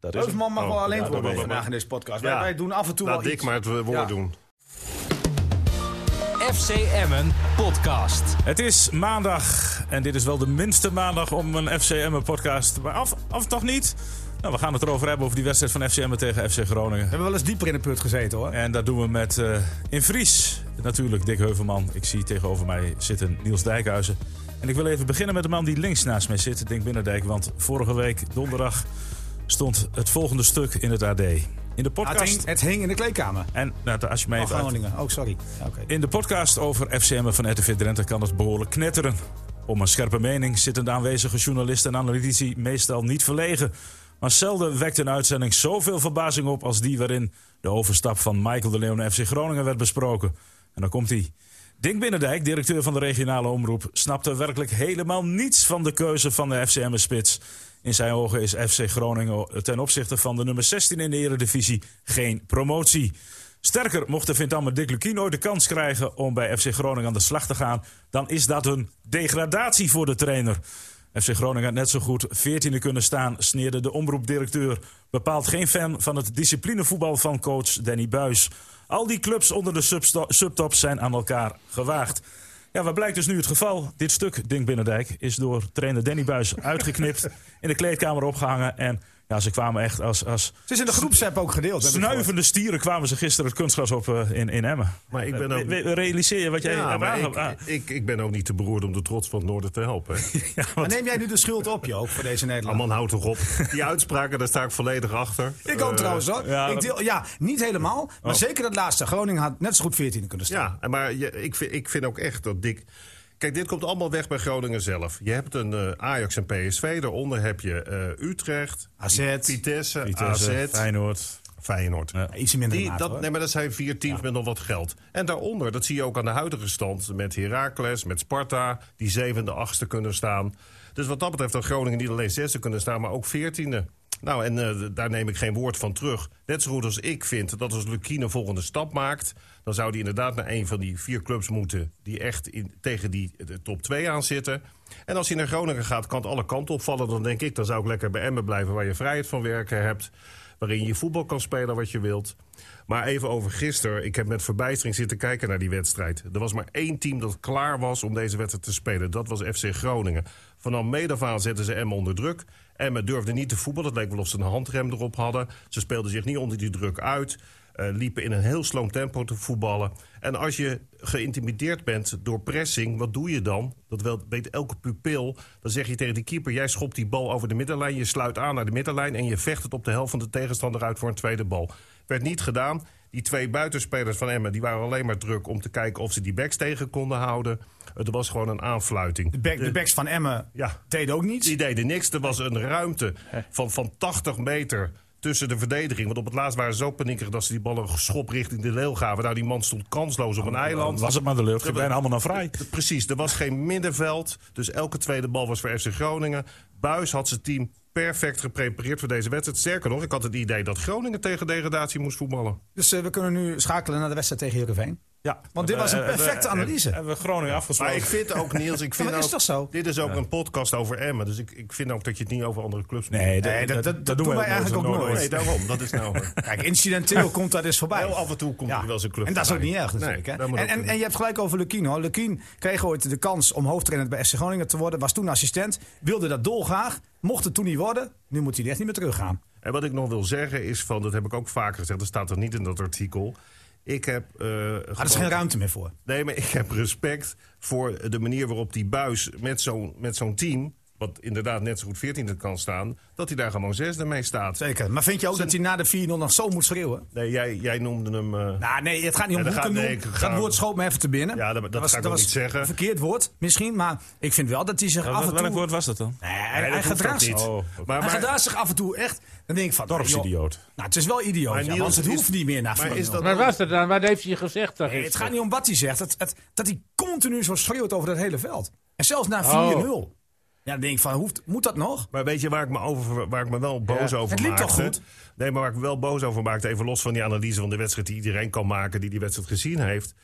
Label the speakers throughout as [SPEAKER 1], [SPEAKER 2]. [SPEAKER 1] Dat is
[SPEAKER 2] Heusman mag
[SPEAKER 3] Oh,
[SPEAKER 2] wel alleen
[SPEAKER 3] ja, dat
[SPEAKER 2] worden
[SPEAKER 3] wel.
[SPEAKER 2] vandaag in deze podcast.
[SPEAKER 3] Ja.
[SPEAKER 2] Wij, wij doen af en toe
[SPEAKER 3] Laat
[SPEAKER 2] wel
[SPEAKER 3] Dick
[SPEAKER 2] iets.
[SPEAKER 3] maar het woord
[SPEAKER 2] Ja.
[SPEAKER 3] doen.
[SPEAKER 1] FC Emmen podcast.
[SPEAKER 4] Het is maandag en dit is wel de minste maandag om een FCM podcast. Maar af, af toch niet? Nou, we gaan het erover hebben over die wedstrijd van FCM tegen FC Groningen.
[SPEAKER 2] We hebben wel eens dieper in de put gezeten hoor.
[SPEAKER 4] En dat doen we met eh, in Vries natuurlijk Dick Heuvelman. Ik zie tegenover mij zitten Niels Dijkhuizen. En ik wil even beginnen met de man die links naast mij zit, Dink Binnendijk. Want vorige week donderdag stond het volgende stuk in het AD. In de
[SPEAKER 2] Ah, het, hing,
[SPEAKER 4] podcast.
[SPEAKER 2] het hing in de kleedkamer.
[SPEAKER 4] En nou, als je mij
[SPEAKER 2] Van
[SPEAKER 4] even uit-
[SPEAKER 2] Groningen. Oh, sorry. Ja, oké.
[SPEAKER 4] in de podcast over FCM van RTV Drenthe kan het behoorlijk knetteren. Om een scherpe mening zitten de aanwezige journalisten en analytici meestal niet verlegen. Maar zelden wekt een uitzending zoveel verbazing op als die waarin de overstap van Michael de Leeuw naar FC Groningen werd besproken. En dan komt hij. Dink Binnendijk, directeur van de regionale omroep, snapte werkelijk helemaal niets van de keuze van de FCM-spits. In zijn ogen is FC Groningen ten opzichte van de nummer 16 in de Eredivisie geen promotie. Sterker, mocht de Vintammer Dick Lukien ooit de kans krijgen om bij FC Groningen aan de slag te gaan, dan is dat een degradatie voor de trainer. FC Groningen had net zo goed 14e kunnen staan, sneerde de omroepdirecteur. Bepaald geen fan van het disciplinevoetbal van coach Danny Buis. Al die clubs onder de substo- subtop zijn aan elkaar gewaagd. Ja, wat blijkt dus nu het geval? Dit stuk, Dink Binnendijk, is door trainer Danny Buis uitgeknipt, in de kleedkamer opgehangen. En ja, ze kwamen echt als, als
[SPEAKER 2] Het is in de groepsapp ook gedeeld. heb ik gehoord.
[SPEAKER 4] Snuivende stieren kwamen ze gisteren het kunstgras op eh, in, in Emmen.
[SPEAKER 3] Maar ik ben
[SPEAKER 4] Eh,
[SPEAKER 3] ook-
[SPEAKER 4] we- we Realiseer je wat jij
[SPEAKER 3] Ja,
[SPEAKER 4] hebt
[SPEAKER 3] maar ik,
[SPEAKER 4] aange- ah,
[SPEAKER 3] ik, ik ben ook niet te beroerd om de trots van het Noorden te helpen. hè.
[SPEAKER 4] ja,
[SPEAKER 2] Maar
[SPEAKER 4] want-
[SPEAKER 2] neem jij nu de schuld op, Joop, voor deze
[SPEAKER 3] Ah,
[SPEAKER 2] Nederlander?
[SPEAKER 3] man, houd toch op. Die uitspraken, daar sta ik volledig achter.
[SPEAKER 2] Ik ook
[SPEAKER 3] Eh,
[SPEAKER 2] trouwens hoor.
[SPEAKER 4] ja,
[SPEAKER 2] ik deel, ja, niet helemaal. Maar zeker dat laatste. Groningen had net zo goed 14 kunnen staan.
[SPEAKER 3] Ja, maar je, ik, vind, ik vind ook echt dat Dick... Kijk, dit komt allemaal weg bij Groningen zelf. Je hebt een eh, Ajax en PSV, daaronder heb je eh, Utrecht,
[SPEAKER 2] AZ.
[SPEAKER 3] Vitesse,
[SPEAKER 4] Vitesse,
[SPEAKER 3] AZ,
[SPEAKER 4] Feyenoord.
[SPEAKER 3] Feyenoord.
[SPEAKER 4] Ja.
[SPEAKER 2] Iets in minder
[SPEAKER 3] Die,
[SPEAKER 2] maat, hoor.
[SPEAKER 3] dat, nee, maar dat zijn vier teams met nog wat geld. En daaronder, dat zie je ook aan de huidige stand... met Heracles, met Sparta, die zevende, achtste kunnen staan. Dus wat dat betreft had Groningen niet alleen zesde kunnen staan... maar ook veertiende. Nou, en eh, d- daar neem ik geen woord van terug. Net zo goed als ik vind dat als Lukien een volgende stap maakt... dan zou die inderdaad naar een van die vier clubs moeten... die echt in, tegen die eh, de top 2 aan zitten. En als hij naar Groningen gaat, kan het alle kanten opvallen. Dan denk ik, dan zou ik lekker bij Emmen blijven... waar je vrijheid van werken hebt waarin je voetbal kan spelen wat je wilt. Maar even over gisteren. Ik heb met verbijstering zitten kijken naar die wedstrijd. Er was maar één team dat klaar was om deze wedstrijd te spelen. Dat was FC Groningen. Vanaf Medavaan zetten ze Emmen onder druk. Emmen durfde niet te voetballen. Het leek wel of ze een handrem erop hadden. Ze speelden zich niet onder die druk uit. eh, liepen in een heel sloom tempo te voetballen. En als je geïntimideerd bent door pressing, wat doe je dan? Dat wel- weet elke pupil. Dan zeg je tegen die keeper: jij schopt die bal over de middenlijn. Je sluit aan naar de middenlijn. En je vecht het op de helft van de tegenstander uit voor een tweede bal. Werd niet gedaan. Die twee buitenspelers van Emmen die waren alleen maar druk om te kijken of ze die backs tegen konden houden. Het was gewoon een aanfluiting.
[SPEAKER 2] De, back- de backs van Emmen
[SPEAKER 3] Ja.
[SPEAKER 2] deden ook niets.
[SPEAKER 3] Die deden niks. Er was een ruimte van, van 80 meter tussen de verdediging. Want op het laatst waren ze zo paniekerig dat ze die ballen een schop richting de leeuw gaven. Nou, die man stond kansloos op een eiland. Eh,
[SPEAKER 4] Was het maar de lucht, ging bijna allemaal naar vrij.
[SPEAKER 3] Precies, er was geen middenveld. Dus elke tweede bal was voor FC Groningen. Buis had zijn team perfect geprepareerd voor deze wedstrijd. Sterker nog, ik had het idee dat Groningen tegen degradatie moest voetballen.
[SPEAKER 2] Dus eh, we kunnen nu schakelen naar de wedstrijd tegen Heerenveen.
[SPEAKER 4] Ja.
[SPEAKER 2] Want dit was een
[SPEAKER 4] Eh, eh, eh,
[SPEAKER 2] perfecte
[SPEAKER 4] eh,
[SPEAKER 2] analyse.
[SPEAKER 4] Hebben we Groningen
[SPEAKER 3] Maar
[SPEAKER 4] afgesproken.
[SPEAKER 3] ik vind ook, Niels, ik vind
[SPEAKER 2] maar is
[SPEAKER 3] ook-
[SPEAKER 2] toch zo?
[SPEAKER 3] dit is ook een podcast over Emmen. Dus ik, ik vind ook dat je het niet over andere clubs moet
[SPEAKER 4] Nee,
[SPEAKER 3] doen.
[SPEAKER 4] dat,
[SPEAKER 2] Nee, dat-
[SPEAKER 4] dat,
[SPEAKER 2] dat-
[SPEAKER 4] dat
[SPEAKER 2] dat
[SPEAKER 4] doen wij eigenlijk ook nooit.
[SPEAKER 3] Nee, daarom. Dat is nou...
[SPEAKER 2] Kijk, incidenteel komt dat eens voorbij.
[SPEAKER 3] Heel af en toe komt er wel eens een club
[SPEAKER 2] En dat is ook
[SPEAKER 3] voorbij.
[SPEAKER 2] niet erg natuurlijk.
[SPEAKER 3] Nee,
[SPEAKER 2] hè?
[SPEAKER 3] dat moet
[SPEAKER 2] En,
[SPEAKER 3] ook
[SPEAKER 2] en,
[SPEAKER 3] kunnen.
[SPEAKER 2] en je hebt gelijk over Lukien. hoor. Lukien kreeg ooit de kans om hoofdtrainer bij FC Groningen te worden. Was toen assistent, wilde dat dolgraag. Mocht het toen niet worden, nu moet hij er echt niet meer teruggaan.
[SPEAKER 3] En wat ik nog wil zeggen is van, dat heb ik ook vaker gezegd, dat staat er niet in dat artikel. Ik heb. eh,
[SPEAKER 2] Maar er is
[SPEAKER 3] gewoon-
[SPEAKER 2] geen ruimte meer voor.
[SPEAKER 3] Nee, maar ik heb respect voor de manier waarop die buis met zo'n met zo'n team, wat inderdaad net zo goed 14e kan staan, dat hij daar gewoon zesde mee staat.
[SPEAKER 2] Zeker. Maar vind je ook dat hij na de 4-0 nog zo moet schreeuwen?
[SPEAKER 3] Nee, jij, jij noemde hem. eh,
[SPEAKER 2] Nou, nee, het gaat niet om hoe ik
[SPEAKER 3] Ja, dat
[SPEAKER 2] hem
[SPEAKER 3] gaat-
[SPEAKER 2] noem.
[SPEAKER 3] nee, ik
[SPEAKER 2] Dat
[SPEAKER 3] ga-
[SPEAKER 2] woord schoot me even te binnen.
[SPEAKER 3] Ja, dat- dat
[SPEAKER 2] was,
[SPEAKER 3] ga ik ook
[SPEAKER 2] was
[SPEAKER 3] niet zeggen.
[SPEAKER 2] een verkeerd woord misschien, maar ik vind wel dat hij zich af en toe...
[SPEAKER 4] Welk woord was dat dan?
[SPEAKER 2] Nee, hij-
[SPEAKER 3] nee, dat
[SPEAKER 2] hij
[SPEAKER 3] hoeft ook
[SPEAKER 2] gedraagt zich.
[SPEAKER 3] niet.
[SPEAKER 4] Oh,
[SPEAKER 3] maar,
[SPEAKER 2] Hij
[SPEAKER 3] maar-
[SPEAKER 2] gedraagt zich af en toe echt. Dan denk ik van... joh,
[SPEAKER 4] Dorpsidioot.
[SPEAKER 2] Nou, het is wel idioot,
[SPEAKER 3] Maar
[SPEAKER 2] ja,
[SPEAKER 3] Niels,
[SPEAKER 2] want het
[SPEAKER 3] is-
[SPEAKER 2] hoeft niet meer na
[SPEAKER 3] maar is
[SPEAKER 2] 4-0.
[SPEAKER 3] dat
[SPEAKER 5] Wat was dat dan? Wat heeft hij gezegd dan
[SPEAKER 2] Nee, het gaat niet om wat hij zegt. Het, het- dat hij continu zo schreeuwt over dat hele veld. En zelfs na 4-0.
[SPEAKER 3] Oh.
[SPEAKER 2] Ja, dan denk ik van, hoeft, moet dat nog?
[SPEAKER 3] Maar weet je waar ik me, over, waar ik me wel boos
[SPEAKER 5] Ja.
[SPEAKER 3] over
[SPEAKER 2] Het liep
[SPEAKER 3] maakte?
[SPEAKER 2] toch goed?
[SPEAKER 3] Nee, maar waar ik me wel boos over maakte, even los van die analyse van de wedstrijd die iedereen kan maken die die wedstrijd gezien heeft,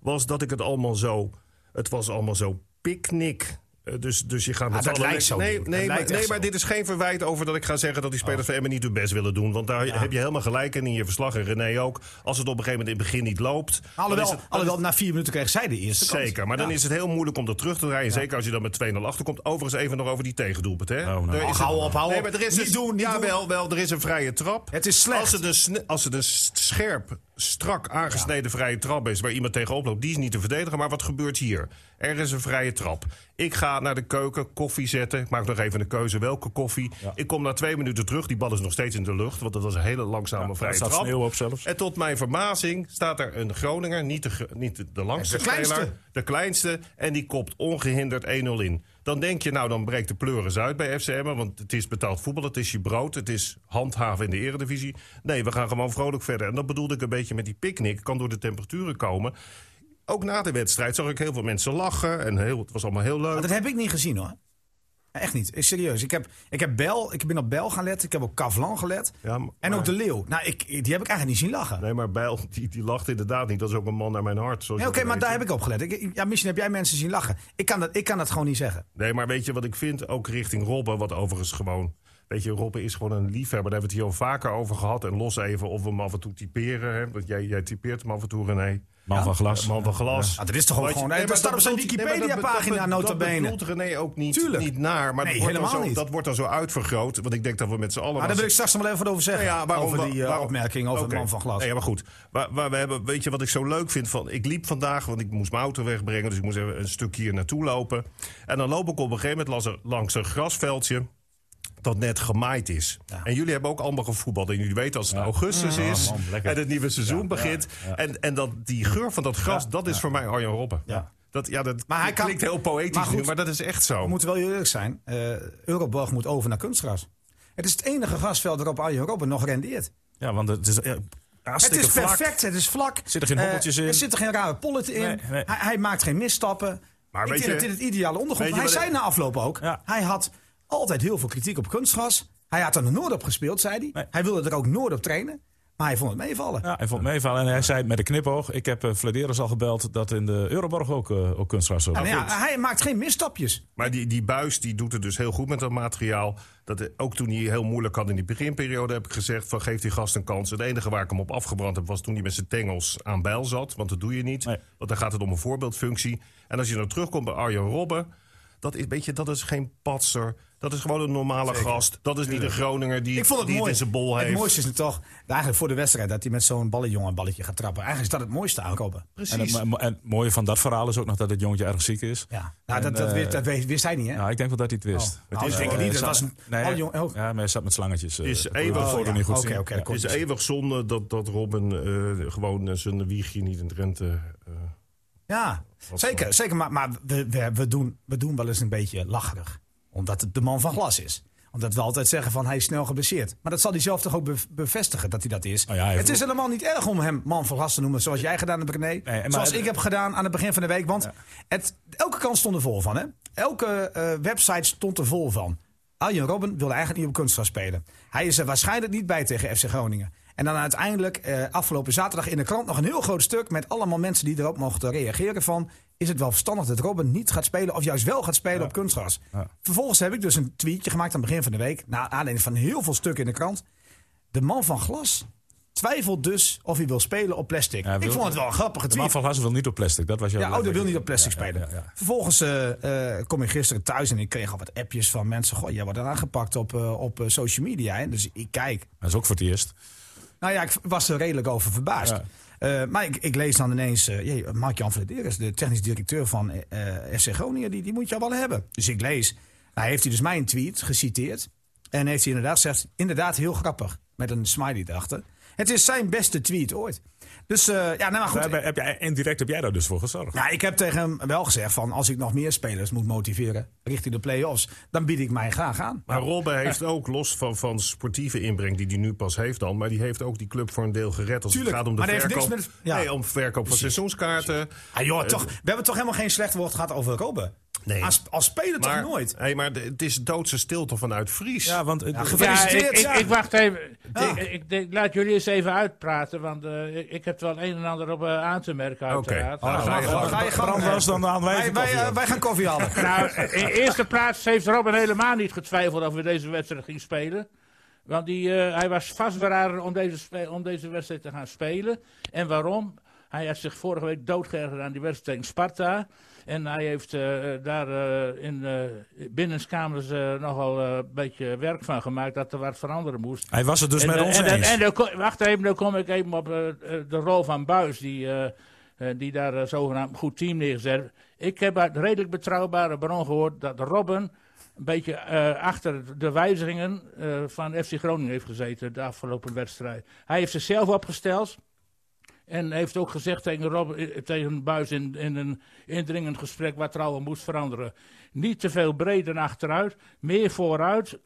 [SPEAKER 3] was dat ik het allemaal zo. Het was allemaal zo picknick. Eh, Dus, dus je gaat met
[SPEAKER 2] Ah, dat
[SPEAKER 3] z'n allen-
[SPEAKER 2] lijkt zo,
[SPEAKER 3] Nee,
[SPEAKER 2] Jeroen. Dat
[SPEAKER 3] nee, maar,
[SPEAKER 2] lijkt echt
[SPEAKER 3] nee maar
[SPEAKER 2] zo. Oh.
[SPEAKER 3] dit is geen verwijt over dat ik ga zeggen dat die spelers van Emmen niet hun best willen doen. Want daar heb je helemaal gelijk in, in je verslag en René ook. Als het op een gegeven moment in het begin niet loopt. dan
[SPEAKER 2] Alhoewel,
[SPEAKER 3] is het- dan is
[SPEAKER 2] alhoewel na vier minuten kreeg zij de eerste kans.
[SPEAKER 3] Zeker, maar dan is het heel moeilijk om dat terug te draaien. Zeker als je dan met 2-0 achterkomt. Overigens even nog over die tegendoelpunt.
[SPEAKER 2] Oh,
[SPEAKER 3] Hè?
[SPEAKER 4] nou.
[SPEAKER 3] Er is
[SPEAKER 2] Ach,
[SPEAKER 3] een-
[SPEAKER 2] hou op, hou
[SPEAKER 3] nee,
[SPEAKER 2] op.
[SPEAKER 3] maar er is
[SPEAKER 2] Niet
[SPEAKER 3] een,
[SPEAKER 2] doen, niet
[SPEAKER 3] ja,
[SPEAKER 2] doen.
[SPEAKER 3] Wel, wel, er is een vrije trap.
[SPEAKER 2] Het is slecht.
[SPEAKER 3] Als het een, sne- als het een s- scherp, strak aangesneden vrije trap is... waar iemand tegenop loopt, die is niet te verdedigen. Maar wat gebeurt hier? Er is een vrije trap. Ik ga naar de keuken, koffie zetten. Ik maak nog even een keuze, welke koffie. Ik kom na twee minuten terug. Die bal is nog steeds in de lucht, want dat was een hele langzame vrije
[SPEAKER 4] staat
[SPEAKER 3] trap.
[SPEAKER 4] sneeuw op zelfs.
[SPEAKER 3] En tot mijn verbazing staat er een Groninger, niet de, gro- niet de- de langste
[SPEAKER 2] De kleinste.
[SPEAKER 3] speler, de kleinste, en die kopt ongehinderd 1-0 in. Dan denk je, nou, dan breekt de pleuris uit bij FCM, want het is betaald voetbal, het is je brood, het is handhaven in de eredivisie. Nee, we gaan gewoon vrolijk verder. En dat bedoelde ik een beetje met die picknick, kan door de temperaturen komen. Ook na de wedstrijd zag ik heel veel mensen lachen en heel, het was allemaal heel leuk.
[SPEAKER 2] Maar dat heb ik niet gezien hoor. Echt niet. Ik, serieus. Ik heb, ik heb Bel, ik ben op Bel gaan letten. Ik heb op Kavlan gelet.
[SPEAKER 3] Ja, maar-
[SPEAKER 2] en ook De Leeuw. Nou, ik, die heb ik eigenlijk niet zien lachen.
[SPEAKER 3] Nee, maar Bijl, die, die lacht inderdaad niet. Dat is ook een man naar mijn hart. zoals
[SPEAKER 2] Nee,
[SPEAKER 3] je
[SPEAKER 2] Oké,
[SPEAKER 3] dat
[SPEAKER 2] maar
[SPEAKER 3] weet.
[SPEAKER 2] daar heb ik op gelet. Ik- ik- ja, misschien heb jij mensen zien lachen. Ik kan dat, ik kan dat gewoon niet zeggen.
[SPEAKER 3] Nee, maar weet je wat ik vind? Ook richting Robben, wat overigens gewoon... Weet je, Robben is gewoon een liefhebber. Daar hebben we het hier al vaker over gehad. En los even of we hem af en toe typeren. Hè? Want jij, jij typeert hem af en toe, René.
[SPEAKER 4] Man van glas.
[SPEAKER 3] Man van glas.
[SPEAKER 2] Ja, dat is toch ook
[SPEAKER 3] Wat je-
[SPEAKER 2] gewoon-
[SPEAKER 3] Nee,
[SPEAKER 2] dat
[SPEAKER 3] maar
[SPEAKER 2] staat op zijn
[SPEAKER 3] bedoelt- nee, maar dat
[SPEAKER 2] Wikipedia-pagina,
[SPEAKER 3] bedoelt-
[SPEAKER 2] nota bene.
[SPEAKER 3] Dat bedoelt René ook niet,
[SPEAKER 2] Tuurlijk.
[SPEAKER 3] niet naar. Maar
[SPEAKER 2] Nee,
[SPEAKER 3] dat, wordt dan
[SPEAKER 2] helemaal
[SPEAKER 3] zo,
[SPEAKER 2] niet.
[SPEAKER 3] dat wordt dan zo uitvergroot. Want ik denk dat we met z'n allen...
[SPEAKER 2] Maar Ah, daar wil
[SPEAKER 3] wel
[SPEAKER 2] ik straks nog wel even wat over zeggen.
[SPEAKER 3] nou ja, waarom,
[SPEAKER 2] over die eh,
[SPEAKER 3] waarom-
[SPEAKER 2] opmerking over
[SPEAKER 3] Oké.
[SPEAKER 2] man van glas.
[SPEAKER 3] Nee, ja, maar goed. Waar, waar we hebben, weet je wat ik zo leuk vind? Van, ik liep vandaag, want ik moest mijn auto wegbrengen. Dus ik moest even een stuk hier naartoe lopen. En dan loop ik op een gegeven moment langs een, langs een grasveldje. Dat net gemaaid is. En jullie hebben ook allemaal gevoetbald. En jullie weten als het augustus is.
[SPEAKER 4] man, lekker.
[SPEAKER 3] en het nieuwe seizoen begint. En, en dat, die geur van dat gras, dat is voor mij Arjen Robben.
[SPEAKER 2] Ja.
[SPEAKER 3] Dat, ja, dat
[SPEAKER 2] Maar hij kan-
[SPEAKER 3] klinkt heel poëtisch
[SPEAKER 2] maar goed.
[SPEAKER 3] nu, maar dat is echt zo.
[SPEAKER 2] We moeten wel eerlijk zijn. eh Euroborg moet over naar kunstgras. Het is het enige grasveld waarop Arjen Robben nog rendeert.
[SPEAKER 4] Ja, want het is ja,
[SPEAKER 2] Het
[SPEAKER 4] hartstikke
[SPEAKER 2] is
[SPEAKER 4] vlak.
[SPEAKER 2] perfect, het is vlak.
[SPEAKER 4] Zit er geen
[SPEAKER 2] Eh,
[SPEAKER 4] hobbeltjes in?
[SPEAKER 2] Er zitten geen rare pollet in.
[SPEAKER 4] Nee, nee.
[SPEAKER 2] Hij, hij maakt geen misstappen.
[SPEAKER 3] Maar
[SPEAKER 2] ik
[SPEAKER 3] weet
[SPEAKER 2] vind
[SPEAKER 3] je-
[SPEAKER 2] dat dit het ideale ondergrond.
[SPEAKER 3] weet je
[SPEAKER 2] Hij
[SPEAKER 3] wat
[SPEAKER 2] zei na afloop ook,
[SPEAKER 4] Ja.
[SPEAKER 2] hij had altijd heel veel kritiek op kunstgras. Hij had er nog nooit op gespeeld, zei hij.
[SPEAKER 4] Nee.
[SPEAKER 2] Hij wilde er ook nooit op trainen. Maar hij vond het meevallen.
[SPEAKER 4] Ja, hij vond het meevallen en hij zei met een knipoog. Ik heb eh Vladeres al gebeld dat in de Euroborg ook, eh ook kunstgras wordt.
[SPEAKER 2] Nou ja, hij maakt geen misstapjes.
[SPEAKER 3] Maar die, die buis die doet het dus heel goed met dat materiaal. Dat, eh, ook toen hij heel moeilijk had in die beginperiode heb ik gezegd... van geef die gast een kans. Het enige waar ik hem op afgebrand heb... was toen hij met zijn tengels aan bijl zat. Want dat doe je niet.
[SPEAKER 4] Nee.
[SPEAKER 3] Want dan gaat het om een voorbeeldfunctie. En als je dan terugkomt bij Arjen Robben... Dat is, weet je, dat is geen patser. Dat is gewoon een normale gast. Dat is niet de Groninger die,
[SPEAKER 2] Ik vond het
[SPEAKER 3] die
[SPEAKER 2] mooi.
[SPEAKER 3] in zijn bol
[SPEAKER 2] Het
[SPEAKER 3] heeft.
[SPEAKER 2] mooiste is toch eigenlijk voor de wedstrijd dat hij met zo'n ballenjongen een balletje gaat trappen. Eigenlijk is dat het mooiste aan Robben.
[SPEAKER 4] En het,
[SPEAKER 3] Precies.
[SPEAKER 4] mo- mo- en het mooie van dat verhaal is ook nog dat het jongetje erg ziek is.
[SPEAKER 2] Ja. Nou,
[SPEAKER 4] En,
[SPEAKER 2] dat, dat,
[SPEAKER 4] eh,
[SPEAKER 2] wist, dat wist- wist hij niet, hè?
[SPEAKER 4] Nou, ik denk wel dat hij het wist.
[SPEAKER 2] Oh. Nou, ik denk het
[SPEAKER 4] eh,
[SPEAKER 2] niet. Dat
[SPEAKER 4] zat-
[SPEAKER 2] was een-
[SPEAKER 4] nee,
[SPEAKER 2] oh, jong- oh.
[SPEAKER 4] Ja, maar hij zat met slangetjes. eh,
[SPEAKER 3] Is
[SPEAKER 4] dat
[SPEAKER 3] even-
[SPEAKER 4] kon je op de
[SPEAKER 3] Oh,
[SPEAKER 4] foto
[SPEAKER 3] ja.
[SPEAKER 4] niet goed
[SPEAKER 2] Oké,
[SPEAKER 4] zien.
[SPEAKER 2] oké,
[SPEAKER 4] Ja.
[SPEAKER 2] dat dus. kon
[SPEAKER 3] Het is eeuwig zonde dat, dat Robben eh, gewoon eh, zijn wiegje niet in Drenthe... eh,
[SPEAKER 2] Ja, zeker. zeker maar maar we, we, we, doen, we doen wel eens een beetje lacherig. Omdat het de man van glas is. Omdat we altijd zeggen van hij is snel geblesseerd. Maar dat zal hij zelf toch ook bev- bevestigen dat hij dat is.
[SPEAKER 4] Oh ja, hij heeft
[SPEAKER 2] het is helemaal niet erg om hem man van glas te noemen. Zoals jij gedaan hebt, René.
[SPEAKER 4] maar
[SPEAKER 2] zoals
[SPEAKER 4] het-
[SPEAKER 2] ik heb gedaan aan het begin van de week. Want het, elke kant stond er vol van. Hè? Elke eh, website stond er vol van. Arjen Robben wilde eigenlijk niet op kunstgras spelen. Hij is er waarschijnlijk niet bij tegen FC Groningen. En dan uiteindelijk, eh, afgelopen zaterdag in de krant, nog een heel groot stuk met allemaal mensen die erop mochten reageren van... is het wel verstandig dat Robben niet gaat spelen of juist wel gaat spelen op kunstgras? Vervolgens heb ik dus een tweetje gemaakt aan het begin van de week... naar aanleiding van heel veel stukken in de krant. De man van glas twijfelt dus of hij wil spelen op plastic.
[SPEAKER 4] Ja,
[SPEAKER 2] ik
[SPEAKER 4] wil-
[SPEAKER 2] vond het wel een grappige
[SPEAKER 4] De man
[SPEAKER 2] tweet.
[SPEAKER 4] van Hassen wil niet op plastic. Dat was jouw
[SPEAKER 2] Ja, oh, dat wil niet op plastic
[SPEAKER 4] Ja, ja,
[SPEAKER 2] spelen.
[SPEAKER 4] ja, ja.
[SPEAKER 2] Vervolgens eh, eh, kom ik gisteren thuis en ik kreeg al wat appjes van mensen. Goh, jij wordt aangepakt op, eh, op eh, social media. Hè? Dus ik kijk.
[SPEAKER 4] Dat is ook voor het eerst.
[SPEAKER 2] Nou ja, ik was er redelijk over verbaasd.
[SPEAKER 4] Ja.
[SPEAKER 2] Eh, maar ik, ik lees dan ineens, eh, jee, Mark-Jan Flederis, de technisch directeur van eh, eh, FC Groningen, die, die moet je al wel hebben. Dus ik lees, nou, heeft hij dus mijn tweet geciteerd. En heeft hij inderdaad gezegd, inderdaad heel grappig, met een smiley erachter. Het is zijn beste tweet ooit. Dus eh, ja, nou maar goed.
[SPEAKER 4] Daar heb, heb jij, indirect heb jij daar dus voor gezorgd.
[SPEAKER 2] Nou, ik heb tegen hem wel gezegd van als ik nog meer spelers moet motiveren richting de play-offs, dan bied ik mij graag aan.
[SPEAKER 3] Maar Robben heeft ook, los van, van sportieve inbreng die hij nu pas heeft dan... maar die heeft ook die club voor een deel gered als
[SPEAKER 2] Tuurlijk,
[SPEAKER 3] het gaat om de
[SPEAKER 2] maar dat heeft
[SPEAKER 3] verkoop,
[SPEAKER 2] niks met- ja.
[SPEAKER 3] nee, om verkoop van seizoenskaarten. Eh,
[SPEAKER 2] Ah, joh, toch, we hebben toch helemaal geen slecht woord gehad over Robben?
[SPEAKER 3] Nee.
[SPEAKER 2] Als, als speler
[SPEAKER 3] Maar,
[SPEAKER 2] toch nooit?
[SPEAKER 3] Hey, maar de- het is doodse stilte vanuit Fries.
[SPEAKER 4] Ja, want eh,
[SPEAKER 2] Ja,
[SPEAKER 4] de-
[SPEAKER 2] gefeliciteerd.
[SPEAKER 5] Ja, ik, ik,
[SPEAKER 2] Gefeliciteerd, ja.
[SPEAKER 5] ik wacht even.
[SPEAKER 2] Ja.
[SPEAKER 5] Ik, ik denk, laat jullie eens even uitpraten, want eh, ik, ik heb wel een en ander op eh, aan te merken
[SPEAKER 3] Oké.
[SPEAKER 5] uiteraard.
[SPEAKER 3] Oh,
[SPEAKER 2] Ga je gang, ga je gang.
[SPEAKER 4] Bram was dan aan wij
[SPEAKER 2] Wij, wij,
[SPEAKER 4] even koffie
[SPEAKER 2] eh,
[SPEAKER 4] aan.
[SPEAKER 2] wij gaan koffie halen.
[SPEAKER 5] Nou, in eerste plaats heeft Robin helemaal niet getwijfeld of we deze wedstrijd ging spelen. Want die, eh, hij was vastberaden om deze, spe- om deze wedstrijd te gaan spelen. En waarom? Hij had zich vorige week doodgeërgerd aan die wedstrijd tegen Sparta. En hij heeft eh, eh, daar eh, in eh binnenskamers eh, nogal eh, een beetje werk van gemaakt dat er wat veranderen moest.
[SPEAKER 4] Hij was het dus
[SPEAKER 5] en,
[SPEAKER 4] met
[SPEAKER 5] eh,
[SPEAKER 4] ons
[SPEAKER 5] en, en,
[SPEAKER 4] eens.
[SPEAKER 5] en dan ko- wacht even, dan kom ik even op eh, eh, de rol van Buis, die, eh, eh, die daar eh, zogenaamd een goed team neerzet. Ik heb uit redelijk betrouwbare bron gehoord dat Robben een beetje eh, achter de wijzigingen eh, van FC Groningen heeft gezeten de afgelopen wedstrijd. Hij heeft zichzelf opgesteld. En heeft ook gezegd tegen, Rob, eh, tegen Buis in, in een indringend gesprek wat er allemaal moest veranderen. Niet te veel breder achteruit, meer vooruit.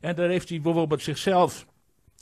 [SPEAKER 5] En daar heeft hij bijvoorbeeld zichzelf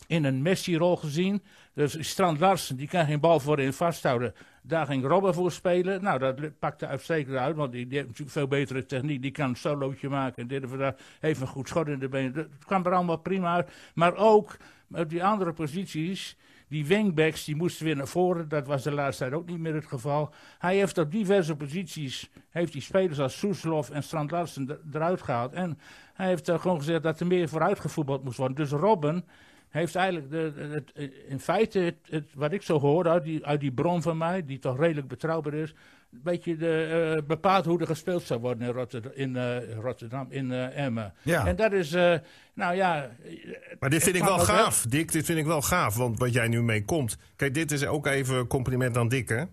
[SPEAKER 5] in een Messi-rol gezien. Dus Strand Larsen, die kan geen bal voorin vasthouden. Daar ging Robben voor spelen. Nou, dat lu- pakte uitstekend uit, want die, die heeft natuurlijk veel betere techniek. Die kan een solootje maken en dit en dat. Heeft een goed schot in de benen. Dat kwam er allemaal prima uit. Maar ook op die andere posities, die wingbacks, die moesten weer naar voren. Dat was de laatste tijd ook niet meer het geval. Hij heeft op diverse posities heeft die spelers als Soeslof en Strand Larsen er- eruit gehaald. En hij heeft eh, gewoon gezegd dat er meer vooruit gevoetbald moest worden. Dus Robben heeft eigenlijk de, de- het, eh, in feite, het, het- wat ik zo hoor uit die, uit die bron van mij, die toch redelijk betrouwbaar is, een beetje de, eh, bepaald hoe er gespeeld zou worden in, Rotterd- in eh, Rotterdam, in eh, Emmen.
[SPEAKER 2] Ja.
[SPEAKER 5] En dat is, eh, nou ja... eh,
[SPEAKER 3] Maar dit vind ik
[SPEAKER 5] kan
[SPEAKER 3] wel
[SPEAKER 5] ook, hè?
[SPEAKER 3] gaaf, Dick. Dit vind ik wel gaaf, want wat jij nu mee komt. Kijk, dit is ook even compliment aan Dick, hè?